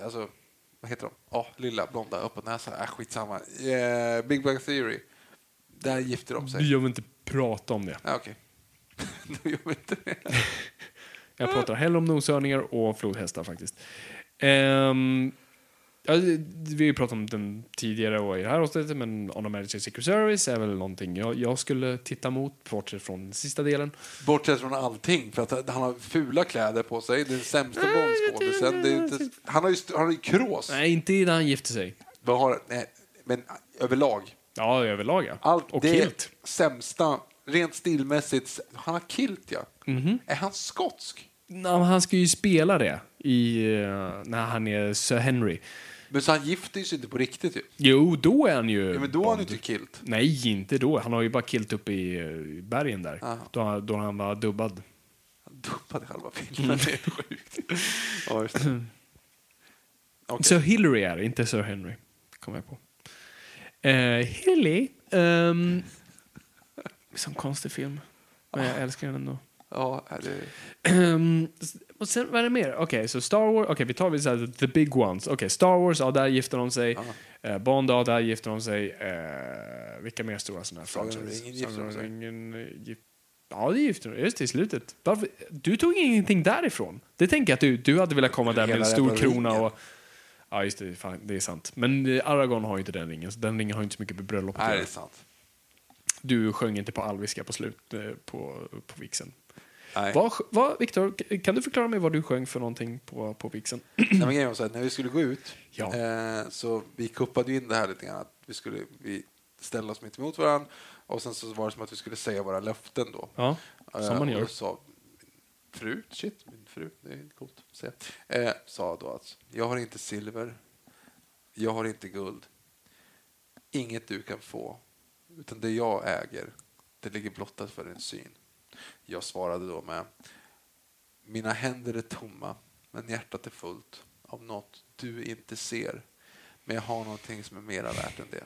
Speaker 1: Alltså, vad heter de? Ja, lilla, blonda, öppen näsa. Äh, skitsamma. Eh, Big Bang Theory. Där gifter de sig.
Speaker 2: jag vill inte prata om det.
Speaker 1: Ja, Okej. Nu gör vi inte det.
Speaker 2: Jag pratar hellre om noshörningar och flodhästar faktiskt. Ehm, ja, det- vi har ju pratat om den tidigare och i det här avsnittet, men On a Magic Secret Service är väl någonting jag, jag skulle titta mot, bortsett från den sista delen.
Speaker 1: Bortsett från allting, för att han har fula kläder på sig. Den sämsta Bondskådisen. Det är inte- Han har ju st- han har ju krås.
Speaker 2: Nej, inte när han gifter sig.
Speaker 1: Vad har- nej, Men överlag.
Speaker 2: Ja, överlag ja.
Speaker 1: Allt
Speaker 2: Och
Speaker 1: det
Speaker 2: kilt.
Speaker 1: sämsta, rent stilmässigt. Han har kilt, ja.
Speaker 2: Mhm.
Speaker 1: Är han skotsk?
Speaker 2: Nej, men han ska ju spela det i, eh, när han är Sir Henry.
Speaker 1: Men så han gifter ju sig inte på riktigt ju.
Speaker 2: Jo, då är han ju...
Speaker 1: Ja, men då har han ju typ-
Speaker 2: Bond.
Speaker 1: inte kilt.
Speaker 2: Nej, inte då. Han har ju bara kilt upp i eh, bergen där.
Speaker 1: Ja.
Speaker 2: Då, han- då han var dubbad.
Speaker 1: Han dumpade halva filmen. Det är sjukt. Mm. Ja, just det. Okej.
Speaker 2: Sir Hillary är det, inte Sir Henry. Kom jag på. Eh, Hilly. Um, som konstig film. Men
Speaker 1: Ah.
Speaker 2: jag älskar den ändå.
Speaker 1: Ja, är det...
Speaker 2: Ehm, och sen, vad är det mer? Okej, så Star Wars, okej vi tar vi så här, the big ones. Okej, Star Wars, ja där gifter de sig. Eh, Bond, ja där gifter de sig. Eh, vilka mer stora sådana här
Speaker 1: Sagan om ringen gifter
Speaker 2: Sagan om
Speaker 1: de sig.
Speaker 2: ringen, eh, gif- Ja, det gifter de Just det, i slutet. Varför? Du tog ingenting därifrån. Det tänker jag att du, du hade velat komma där med en
Speaker 1: Hela
Speaker 2: stor
Speaker 1: jävla
Speaker 2: krona
Speaker 1: ringen.
Speaker 2: och... Ja, just det, fan, det är sant. Men eh, Aragorn har ju inte den ringen, så den ringen har ju inte så mycket med bröllopet att
Speaker 1: Nej, det
Speaker 2: göra.
Speaker 1: är sant.
Speaker 2: Du sjöng inte på alviska på slut, eh, på, på vixen.
Speaker 1: Nej.
Speaker 2: Vad, vad, Viktor, k- kan du förklara mig vad du sjöng för någonting på, på vixen?
Speaker 1: Nej, men grejen var så här, när vi skulle gå ut
Speaker 2: Ja.
Speaker 1: eh, så vi kuppade ju in det här lite grann. Att vi, skulle, vi ställde oss mitt emot varandra och sen så var det som att vi skulle säga våra löften då.
Speaker 2: Ja, som man
Speaker 1: Eh, och
Speaker 2: gör.
Speaker 1: då sa fru, shit, min fru, det är coolt att säga, eh, sa då att jag har inte silver, jag har inte guld, inget du kan få, utan det jag äger, det ligger blottat för din syn. Jag svarade då med mina händer är tomma, men hjärtat är fullt av något du inte ser. Men jag har någonting som är mera värt än det.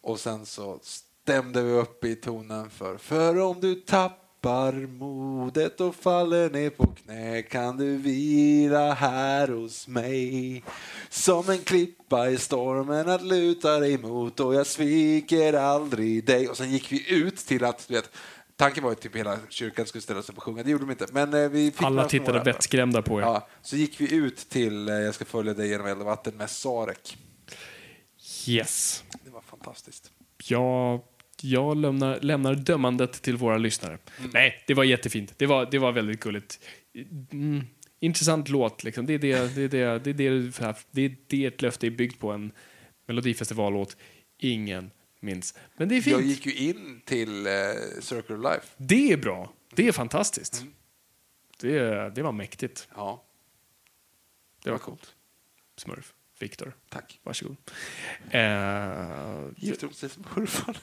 Speaker 1: Och sen så stämde vi upp i tonen för För om du tappar modet och faller ner på knä kan du vila här hos mig Som en klippa i stormen att luta dig mot och jag sviker aldrig dig Och sen gick vi ut till att, du vet, tanken var ju typ hela kyrkan skulle ställa sig upp och sjunga, det gjorde de inte. Men eh, vi fick
Speaker 2: Alla
Speaker 1: några små
Speaker 2: tittade
Speaker 1: rappar.
Speaker 2: vettskrämda på er.
Speaker 1: Ja, så gick vi ut till eh, Jag ska följa dig genom eld och vatten med Sarek.
Speaker 2: Yes.
Speaker 1: Det var fantastiskt.
Speaker 2: Jag, jag lämnar, lämnar dömandet till våra lyssnare.
Speaker 1: Mm.
Speaker 2: Nej, det var jättefint. Det var, det var väldigt gulligt. Mm, intressant låt, liksom. Det är det, det, är det, det, är det, du får här- det, är det ert löfte är byggt på, en melodifestivallåt ingen minns. Men det är fint.
Speaker 1: Jag gick ju in till eh, Circle of Life.
Speaker 2: Det är bra. Det är fantastiskt.
Speaker 1: Mm.
Speaker 2: Det, det var mäktigt.
Speaker 1: Ja,
Speaker 2: Det var coolt. Smurf. Viktor.
Speaker 1: Tack.
Speaker 2: Varsågod. Eh,
Speaker 1: Gifter de sig som smurfar?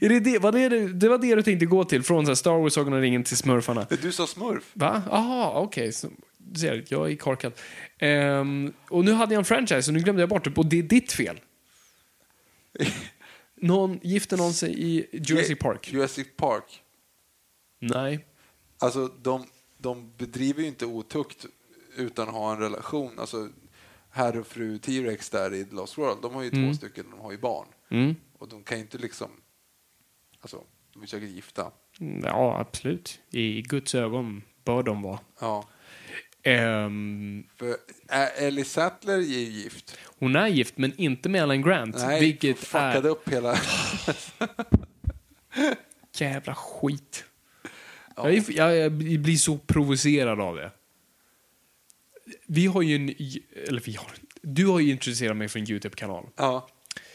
Speaker 2: är det, det, var det, du- det var det du tänkte gå till, från så här Star Wars, Sagan om ringen till Smurfarna.
Speaker 1: Du sa smurf.
Speaker 2: Va? Jaha, okej. Så- Du ser, jag är korkad. Ehm, och nu hade jag en franchise och nu glömde jag bort det. Och det är ditt fel. Någon gifte någon sig i Jurassic Park?
Speaker 1: Jurassic Park.
Speaker 2: Nej.
Speaker 1: Alltså, de, de bedriver ju inte otukt utan att ha en relation. Alltså, herr och fru T-Rex där i The Lost World, de har ju
Speaker 2: Mm.
Speaker 1: två stycken, de har ju barn. Och de kan ju inte liksom... Alltså, de är säkert gifta.
Speaker 2: Mm, Ja, absolut. I Guds ögon bör de vara.
Speaker 1: Ja.
Speaker 2: Ehm,
Speaker 1: För Ä- Ellie Sattler är ju gift.
Speaker 2: hon är gift, men inte med Alan Grant.
Speaker 1: Nej,
Speaker 2: Alltså, vilket
Speaker 1: fuckade
Speaker 2: är
Speaker 1: upp hela...
Speaker 2: jävla skit. Jag, är- jag, jag blir så provocerad av det. Vi har ju en... Eller vi har... Du har ju introducerat mig för en YouTube-kanal.
Speaker 1: Ja.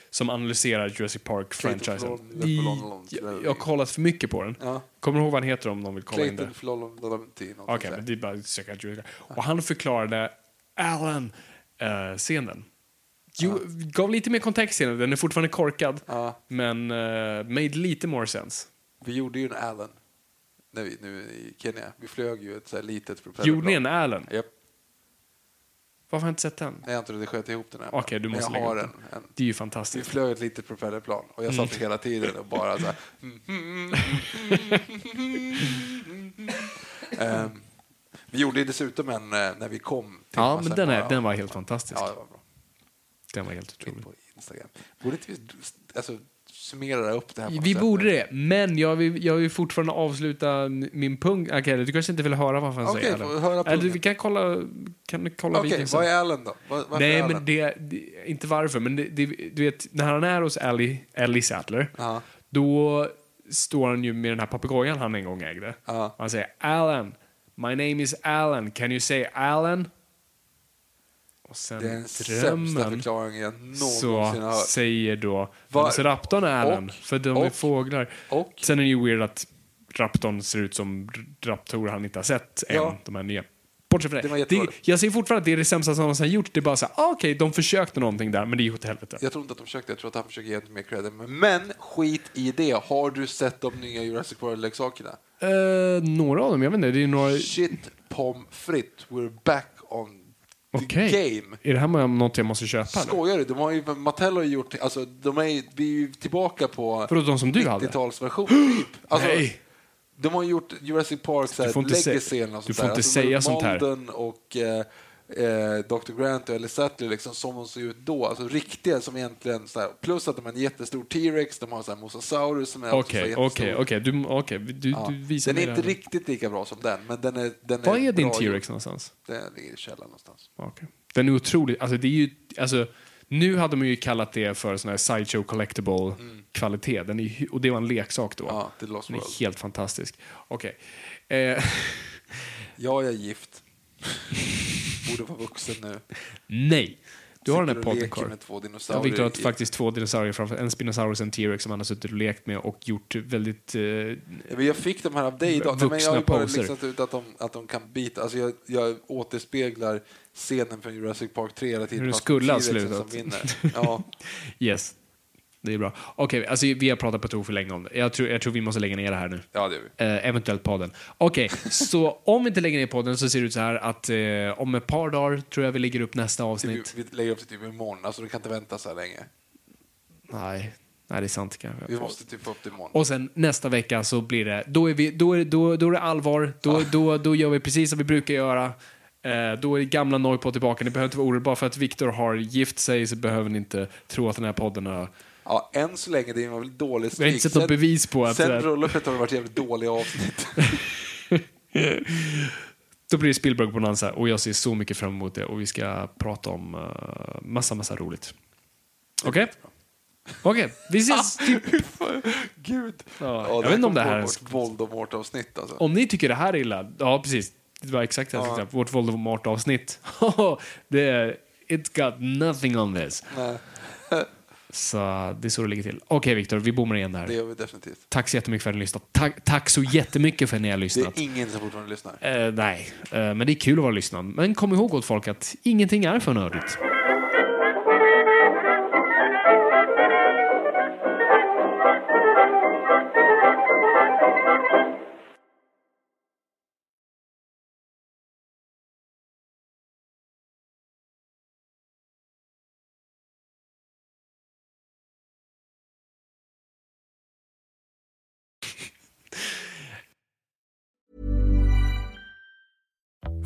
Speaker 2: som analyserar Jurassic Park-franchisen.
Speaker 1: Clayton
Speaker 2: I-
Speaker 1: Florlon-
Speaker 2: Jag, jag har kollat för mycket på den.
Speaker 1: Ja.
Speaker 2: Kommer du ihåg vad han heter om någon vill kolla in det?
Speaker 1: Clayton Flolomdolomti.
Speaker 2: Okej, men det är bara att söka Jurassic Och han förklarade Alan-scenen. Gav lite mer kontext till den, den är fortfarande korkad.
Speaker 1: Ja.
Speaker 2: Men eh, made lite more sense.
Speaker 1: Vi gjorde ju en Allen när vi, nu i Kenya. Vi flög ju ett så här litet propellerplan.
Speaker 2: Gjorde ni en Alan?
Speaker 1: Japp.
Speaker 2: Varför har jag inte sett den?
Speaker 1: Nej, jag tror det sköt ihop den här.
Speaker 2: Okej, du måste
Speaker 1: Men jag har
Speaker 2: lägga upp
Speaker 1: en,
Speaker 2: den. Mm.
Speaker 1: en.
Speaker 2: Det är ju
Speaker 1: Vi
Speaker 2: fantastiskt.
Speaker 1: flög ett litet propellerplan och jag satt hela tiden och bara så här. mm, mm, Ehm, vi gjorde ju dessutom en eh, när vi kom. till
Speaker 2: Ja,
Speaker 1: massa-
Speaker 2: men den, är, den var helt fantastisk.
Speaker 1: Ja, det var bra.
Speaker 2: Den var helt
Speaker 1: In
Speaker 2: otrolig.
Speaker 1: på Instagram. Borde inte vi alltså, summera upp det här på något
Speaker 2: Vi
Speaker 1: sätt?
Speaker 2: borde det, men jag vill, jag vill fortfarande avsluta min punkt. Okej, du kanske inte vill höra vad han
Speaker 1: Okej,
Speaker 2: säger?
Speaker 1: får
Speaker 2: eller?
Speaker 1: höra
Speaker 2: Eller
Speaker 1: punkten.
Speaker 2: vi kan kolla, kan vi kolla
Speaker 1: Okej,
Speaker 2: videon sen.
Speaker 1: vad är Allen då? Var, varför är
Speaker 2: Nej,
Speaker 1: Allen?
Speaker 2: men det, det, inte varför, men det, det, du vet, när han är hos Ellie, Ellie Sattler,
Speaker 1: Ja.
Speaker 2: då står han ju med den här papegojan han en gång ägde. Han säger Alan, my name is Alan, can you say Alan? Och sen
Speaker 1: Det är den sämsta
Speaker 2: drömmen
Speaker 1: förklaringen jag någonsin har
Speaker 2: så
Speaker 1: hört.
Speaker 2: säger då
Speaker 1: Var-
Speaker 2: raptorn är
Speaker 1: och-
Speaker 2: den, för de är
Speaker 1: och-
Speaker 2: fåglar.
Speaker 1: och-
Speaker 2: Sen är det ju weird att raptorn ser ut som raptorer han inte har sett än,
Speaker 1: Ja.
Speaker 2: de här nya. Bortsett
Speaker 1: Det
Speaker 2: från
Speaker 1: var
Speaker 2: det. det
Speaker 1: jättebra.
Speaker 2: jag säger fortfarande att det är det sämsta som någonsin har gjort. Det är bara så här, ah, okej, de försökte någonting där, men det gick åt helvete.
Speaker 1: Jag tror inte att de försökte, jag tror att han försöker ge lite mer cred. Men skit i det. Har du sett de nya Jurassic World-leksakerna?
Speaker 2: Eh, några av dem, jag vet inte, det är några...
Speaker 1: Shit pom fritt, we're back on the
Speaker 2: Okej.
Speaker 1: game.
Speaker 2: Är det här med något jag måste köpa? eller?
Speaker 1: Skojar du? De har ju, Mattel har ju gjort, alltså de är, ju- vi är ju tillbaka på
Speaker 2: Vadå, de som du hade?
Speaker 1: 90-talsversion typ. Alltså,
Speaker 2: Nej.
Speaker 1: De har ju gjort Jurassic Park så
Speaker 2: Du
Speaker 1: här,
Speaker 2: får inte sä-
Speaker 1: legacy eller något
Speaker 2: du
Speaker 1: sånt
Speaker 2: får
Speaker 1: där.
Speaker 2: inte
Speaker 1: alltså,
Speaker 2: säga
Speaker 1: med
Speaker 2: sånt här.
Speaker 1: Malden och eh, eh, Dr. Grant och Ellie Sattler liksom som de såg ut då. Alltså riktiga som egentligen så här, plus att de har en jättestor T-Rex, de har så här mosasaurus som är också så här
Speaker 2: Okej,
Speaker 1: jättestor.
Speaker 2: okej, okej. Du, okej, du,
Speaker 1: Ja.
Speaker 2: du visar
Speaker 1: Den är
Speaker 2: mig
Speaker 1: inte
Speaker 2: det här.
Speaker 1: riktigt lika bra som den, men den är... Den
Speaker 2: Vad är din
Speaker 1: bra
Speaker 2: T-Rex
Speaker 1: gjord.
Speaker 2: någonstans?
Speaker 1: Den ligger i källaren någonstans.
Speaker 2: Okej. Den är otrolig. Alltså, det är ju, alltså, nu hade man ju kallat det för sån här sideshow collectible kvalitet. Den är, ju hy- och det var en leksak då.
Speaker 1: Ja, The Lost
Speaker 2: den är
Speaker 1: World.
Speaker 2: helt fantastisk. Okej. Eh,
Speaker 1: Ja, jag är gift. Borde vara vuxen nu.
Speaker 2: nej. Du har
Speaker 1: Sitter
Speaker 2: den här
Speaker 1: och
Speaker 2: podden
Speaker 1: leker
Speaker 2: kvar.
Speaker 1: med två
Speaker 2: Ja,
Speaker 1: dinosaurier.
Speaker 2: Victor har
Speaker 1: i-
Speaker 2: faktiskt två dinosaurier framför En Spinosaurus och en T-Rex som han har suttit och lekt med och gjort väldigt... Eh,
Speaker 1: Ja, men jag fick de här av dig idag. Nej, men jag
Speaker 2: Vuxna
Speaker 1: har ju bara
Speaker 2: poser.
Speaker 1: listat ut att de, att de kan bita. Alltså jag, jag återspeglar scenen från Jurassic Park 3 hela tiden.
Speaker 2: Hur det
Speaker 1: fast
Speaker 2: skulle ha
Speaker 1: T-Rexen
Speaker 2: slutat.
Speaker 1: Som vinner. Ja,
Speaker 2: yes. Det är bra. Okej, alltså, vi har pratat på tok för länge om det. Jag tror, jag tror vi måste lägga ner det här nu.
Speaker 1: ja, det gör vi.
Speaker 2: Eh, eventuellt podden. Okej, så om vi inte lägger ner podden så ser det ut så här att eh, om ett par dagar tror jag vi lägger upp nästa
Speaker 1: Typ,
Speaker 2: avsnitt.
Speaker 1: vi lägger upp det typ imorgon. Alltså du kan inte vänta så här länge.
Speaker 2: Nej, nej det är sant kanske.
Speaker 1: Vi måste typ få upp det imorgon.
Speaker 2: Och sen nästa vecka så blir det, då är, vi, då är, då, då är det allvar,
Speaker 1: Ah.
Speaker 2: då, då, då gör vi precis som vi brukar göra. Eh, då är gamla Norrpå tillbaka, ni behöver inte vara oroliga, bara för att Viktor har gift sig så behöver ni inte tro att den här podden har...
Speaker 1: Ja, än så länge, det var väl dålig
Speaker 2: Vi har inte sett något bevis på att-
Speaker 1: Sen bröllopet har det varit jävligt dåliga avsnitt.
Speaker 2: Då blir det Spielberg-bonanza och jag ser så mycket fram emot det och vi ska prata om eh, massa, massa roligt. Okej? Okej, vi ses! typ-
Speaker 1: Gud.
Speaker 2: Ja, jag vet inte om det här ens-
Speaker 1: är... Voldemort-avsnitt alltså.
Speaker 2: Om ni tycker det här är illa, ja precis. Det var exakt det jag tänkte säga. Vårt Voldemort-avsnitt. det är, it got nothing on this. Så det är så det ligger till. Okej Viktor, vi bommar igen där.
Speaker 1: Det gör vi definitivt.
Speaker 2: Tack så jättemycket för att ni har lyssnat. Tack, tack så jättemycket för att ni har
Speaker 1: Det är
Speaker 2: lyssnat.
Speaker 1: ingen som fortfarande lyssnar.
Speaker 2: Eh, nej, Eh, men det är kul att vara lyssnad. Men kom ihåg åt folk att ingenting är för nördigt.